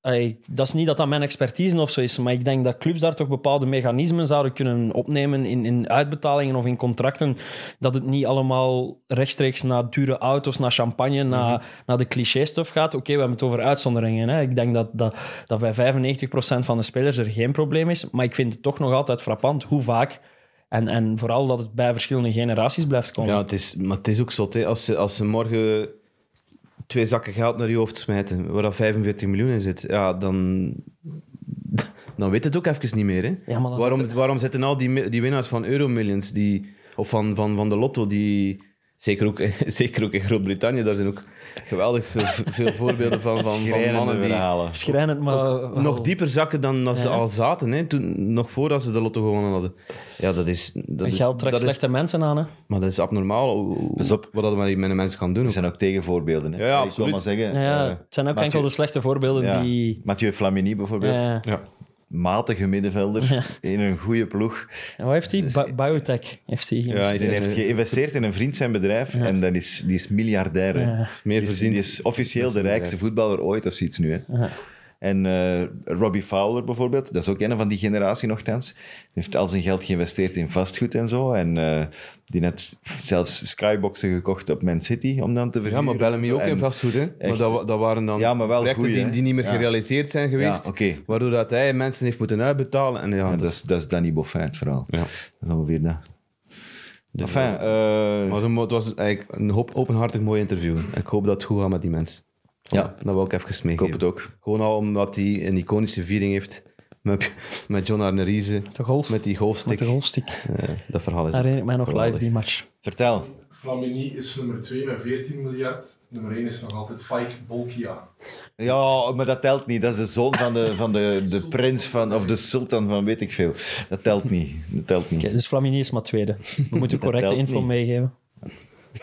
Speaker 3: Ey, dat is niet dat dat mijn expertise of zo is, maar ik denk dat clubs daar toch bepaalde mechanismen zouden kunnen opnemen in, in uitbetalingen of in contracten. Dat het niet allemaal rechtstreeks naar dure auto's, naar champagne,
Speaker 4: Mhm.
Speaker 3: naar, naar de cliché-stuff gaat. Oké, we hebben het over uitzonderingen. Hè. Ik denk dat, dat, dat bij 95% van de spelers er geen probleem is, maar ik vind het toch nog altijd frappant hoe vaak. En, en vooral dat het bij verschillende generaties blijft komen.
Speaker 4: Ja, het is, maar het is ook zot. Hè. Als, ze, als ze morgen twee zakken geld naar je hoofd smijten, waar dat 45 miljoen in zit, ja, dan, dan weet het ook even niet meer. Hè.
Speaker 3: Ja, maar dan
Speaker 4: waarom,
Speaker 3: zit
Speaker 4: waarom zitten al die, mi- die winnaars van Euromillions die, of van, van, van de lotto, die, zeker, ook, zeker ook in Groot-Brittannië, daar zijn ook geweldig veel voorbeelden van, van, van mannen die
Speaker 2: verhalen.
Speaker 3: Schrijnend, maar... oh,
Speaker 4: nog dieper zakken dan dat ze
Speaker 3: Ja.
Speaker 4: al zaten, hè, toen, nog voordat ze de lotto gewonnen hadden. Ja, dat is... Dat is-
Speaker 3: Geld trekt
Speaker 4: dat is
Speaker 3: slechte mensen aan, hè.
Speaker 4: maar dat is abnormaal hoe- hoe-
Speaker 2: Pas Dus op. Dus
Speaker 4: wat dat met die met de mensen kan doen.
Speaker 2: Er zijn ook tegenvoorbeelden. Hè.
Speaker 4: Ja, ja,
Speaker 2: ik wil
Speaker 4: absoluut.
Speaker 2: maar zeggen...
Speaker 3: Ja, ja,
Speaker 2: eh,
Speaker 3: het zijn ook
Speaker 2: Mathieu-
Speaker 3: enkel de slechte voorbeelden
Speaker 2: ja,
Speaker 3: die...
Speaker 2: Mathieu Flamini bijvoorbeeld.
Speaker 3: Ja.
Speaker 4: Ja.
Speaker 2: Matige middenvelder in een goede ploeg.
Speaker 3: Eh, En wat heeft
Speaker 2: Dus
Speaker 3: hij? Bi- biotech heeft hij.
Speaker 4: Ja, ik eh,
Speaker 2: Die
Speaker 4: denk
Speaker 2: heeft geïnvesteerd in een vriend zijn bedrijf en dat is, die is miljardair. hè.
Speaker 3: Ja.
Speaker 4: Meer
Speaker 2: die, is,
Speaker 4: verdient.
Speaker 2: die is officieel de rijkste voetballer ooit of zoiets nu. Hè. En eh, Robbie Fowler bijvoorbeeld, dat is ook een van die generatie nogthans. Die heeft al zijn geld geïnvesteerd in vastgoed en zo. En eh, die net zelfs skyboxen gekocht op Man City om dan te
Speaker 4: ja,
Speaker 2: verhuren.
Speaker 4: maar Bellamy ook in
Speaker 2: En-
Speaker 4: vastgoed. Hè? Maar
Speaker 2: echt.
Speaker 4: dat, wa- dat waren dan
Speaker 2: Ja, maar wel
Speaker 4: projecten
Speaker 2: goeie,
Speaker 4: die,
Speaker 2: hè?
Speaker 4: die niet meer
Speaker 2: Ja.
Speaker 4: gerealiseerd zijn geweest.
Speaker 2: Ja, oké.
Speaker 4: Waardoor dat hij mensen heeft moeten uitbetalen. En ja, dus-
Speaker 2: Ja,
Speaker 4: dat
Speaker 2: dat, is, dat is Danny Boffin het verhaal.
Speaker 4: Ja.
Speaker 2: Dat is ongeveer dat. Enfin, eh,
Speaker 4: maar zo- het was eigenlijk een hoop, openhartig mooi interview. Ik hoop dat het goed gaat met die mensen.
Speaker 2: Ja.
Speaker 4: Dat wil ik even
Speaker 2: ik hoop het
Speaker 4: meegeven.
Speaker 2: ook.
Speaker 4: Gewoon al omdat hij een iconische viering heeft met, met John Arnerize.
Speaker 3: Met de golf.
Speaker 4: Met die
Speaker 3: Met
Speaker 4: golfstick.
Speaker 3: de golfstick.
Speaker 4: Eh, dat verhaal is ook
Speaker 3: Herinner ik mij nog live
Speaker 4: geweldig.
Speaker 3: die match.
Speaker 2: Vertel.
Speaker 5: Flamini is nummer 2 met 14 miljard. Nummer 1 is nog altijd Fike Bolkia.
Speaker 2: Ja, maar dat telt niet. Dat is de zoon van de, van de, de prins van, of de sultan van weet ik veel. Dat telt niet. Dat telt niet.
Speaker 3: Oké, dus Flamini is maar tweede. We moeten correcte
Speaker 2: telt
Speaker 3: info
Speaker 2: niet.
Speaker 3: meegeven.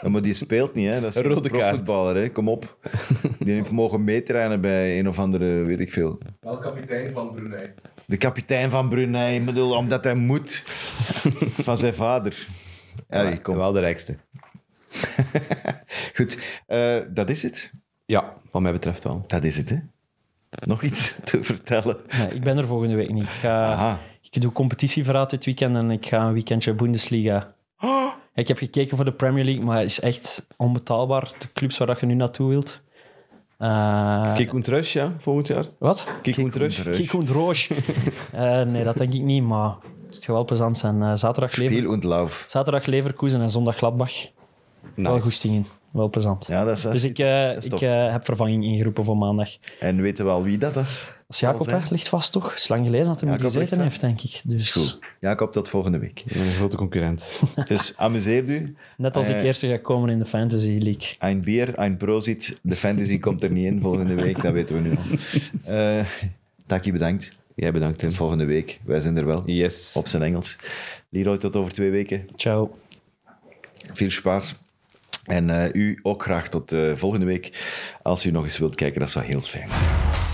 Speaker 2: Ja, maar die speelt niet, hè. Dat is
Speaker 4: Een rode
Speaker 2: een profvoetballer, hè. Kom op. Die heeft mogen meetrainen bij een of andere, weet ik veel.
Speaker 5: Wel kapitein van Brunei.
Speaker 2: De kapitein van Brunei, ik bedoel, omdat hij moet. Van zijn vader. Allee, kom.
Speaker 4: Wel de rijkste.
Speaker 2: Goed, eh, dat is het.
Speaker 4: Ja, wat mij betreft wel.
Speaker 2: Dat is het, hè. Nog iets te vertellen.
Speaker 3: Nee, ik ben er volgende week niet. Ik, ga,
Speaker 2: Aha.
Speaker 3: ik doe competitieverraad dit weekend en ik ga een weekendje Bundesliga. Ik heb gekeken voor de Premier League, maar het is echt onbetaalbaar. De clubs waar dat je nu naartoe wilt. Eh,
Speaker 4: Kik und Rush, ja, volgend jaar.
Speaker 3: Wat?
Speaker 4: Kik und Rush.
Speaker 2: Rush.
Speaker 3: Kik und Roos. Eh, nee, dat denk ik niet, maar het gaat wel plezant zijn. Eh, zaterdag, lever,
Speaker 2: Spiel und Lauf.
Speaker 3: zaterdag Leverkusen en zondag Gladbach. Wel goesting in. Wel plezant.
Speaker 2: Ja, dat is,
Speaker 3: dus ik, eh,
Speaker 2: is
Speaker 3: ik
Speaker 2: tof.
Speaker 3: eh, heb vervanging ingeroepen voor maandag.
Speaker 2: En weten we al wie dat is?
Speaker 3: Dat is Jacob, hè? ligt vast toch? is lang geleden dat hij me
Speaker 2: Jacob ligt
Speaker 3: gezeten heeft, denk ik. Dus
Speaker 2: Goed. Jacob, tot volgende week.
Speaker 4: Een grote concurrent.
Speaker 2: Dus amuseer u.
Speaker 3: net als ik
Speaker 2: Eh.
Speaker 3: eerste ga komen in de Fantasy League.
Speaker 2: Ein Bier, ein Prozit. De fantasy komt er niet in volgende week, dat weten we nu al. Eh Taki, bedankt.
Speaker 4: Jij bedankt, Tim.
Speaker 2: Tot volgende week. Wij zijn er wel.
Speaker 4: Yes.
Speaker 2: Op zijn Engels. Leroy, tot over twee weken.
Speaker 3: Ciao.
Speaker 2: Veel spaas. En eh, u ook graag tot eh, volgende week. Als u nog eens wilt kijken, dat zou heel fijn zijn.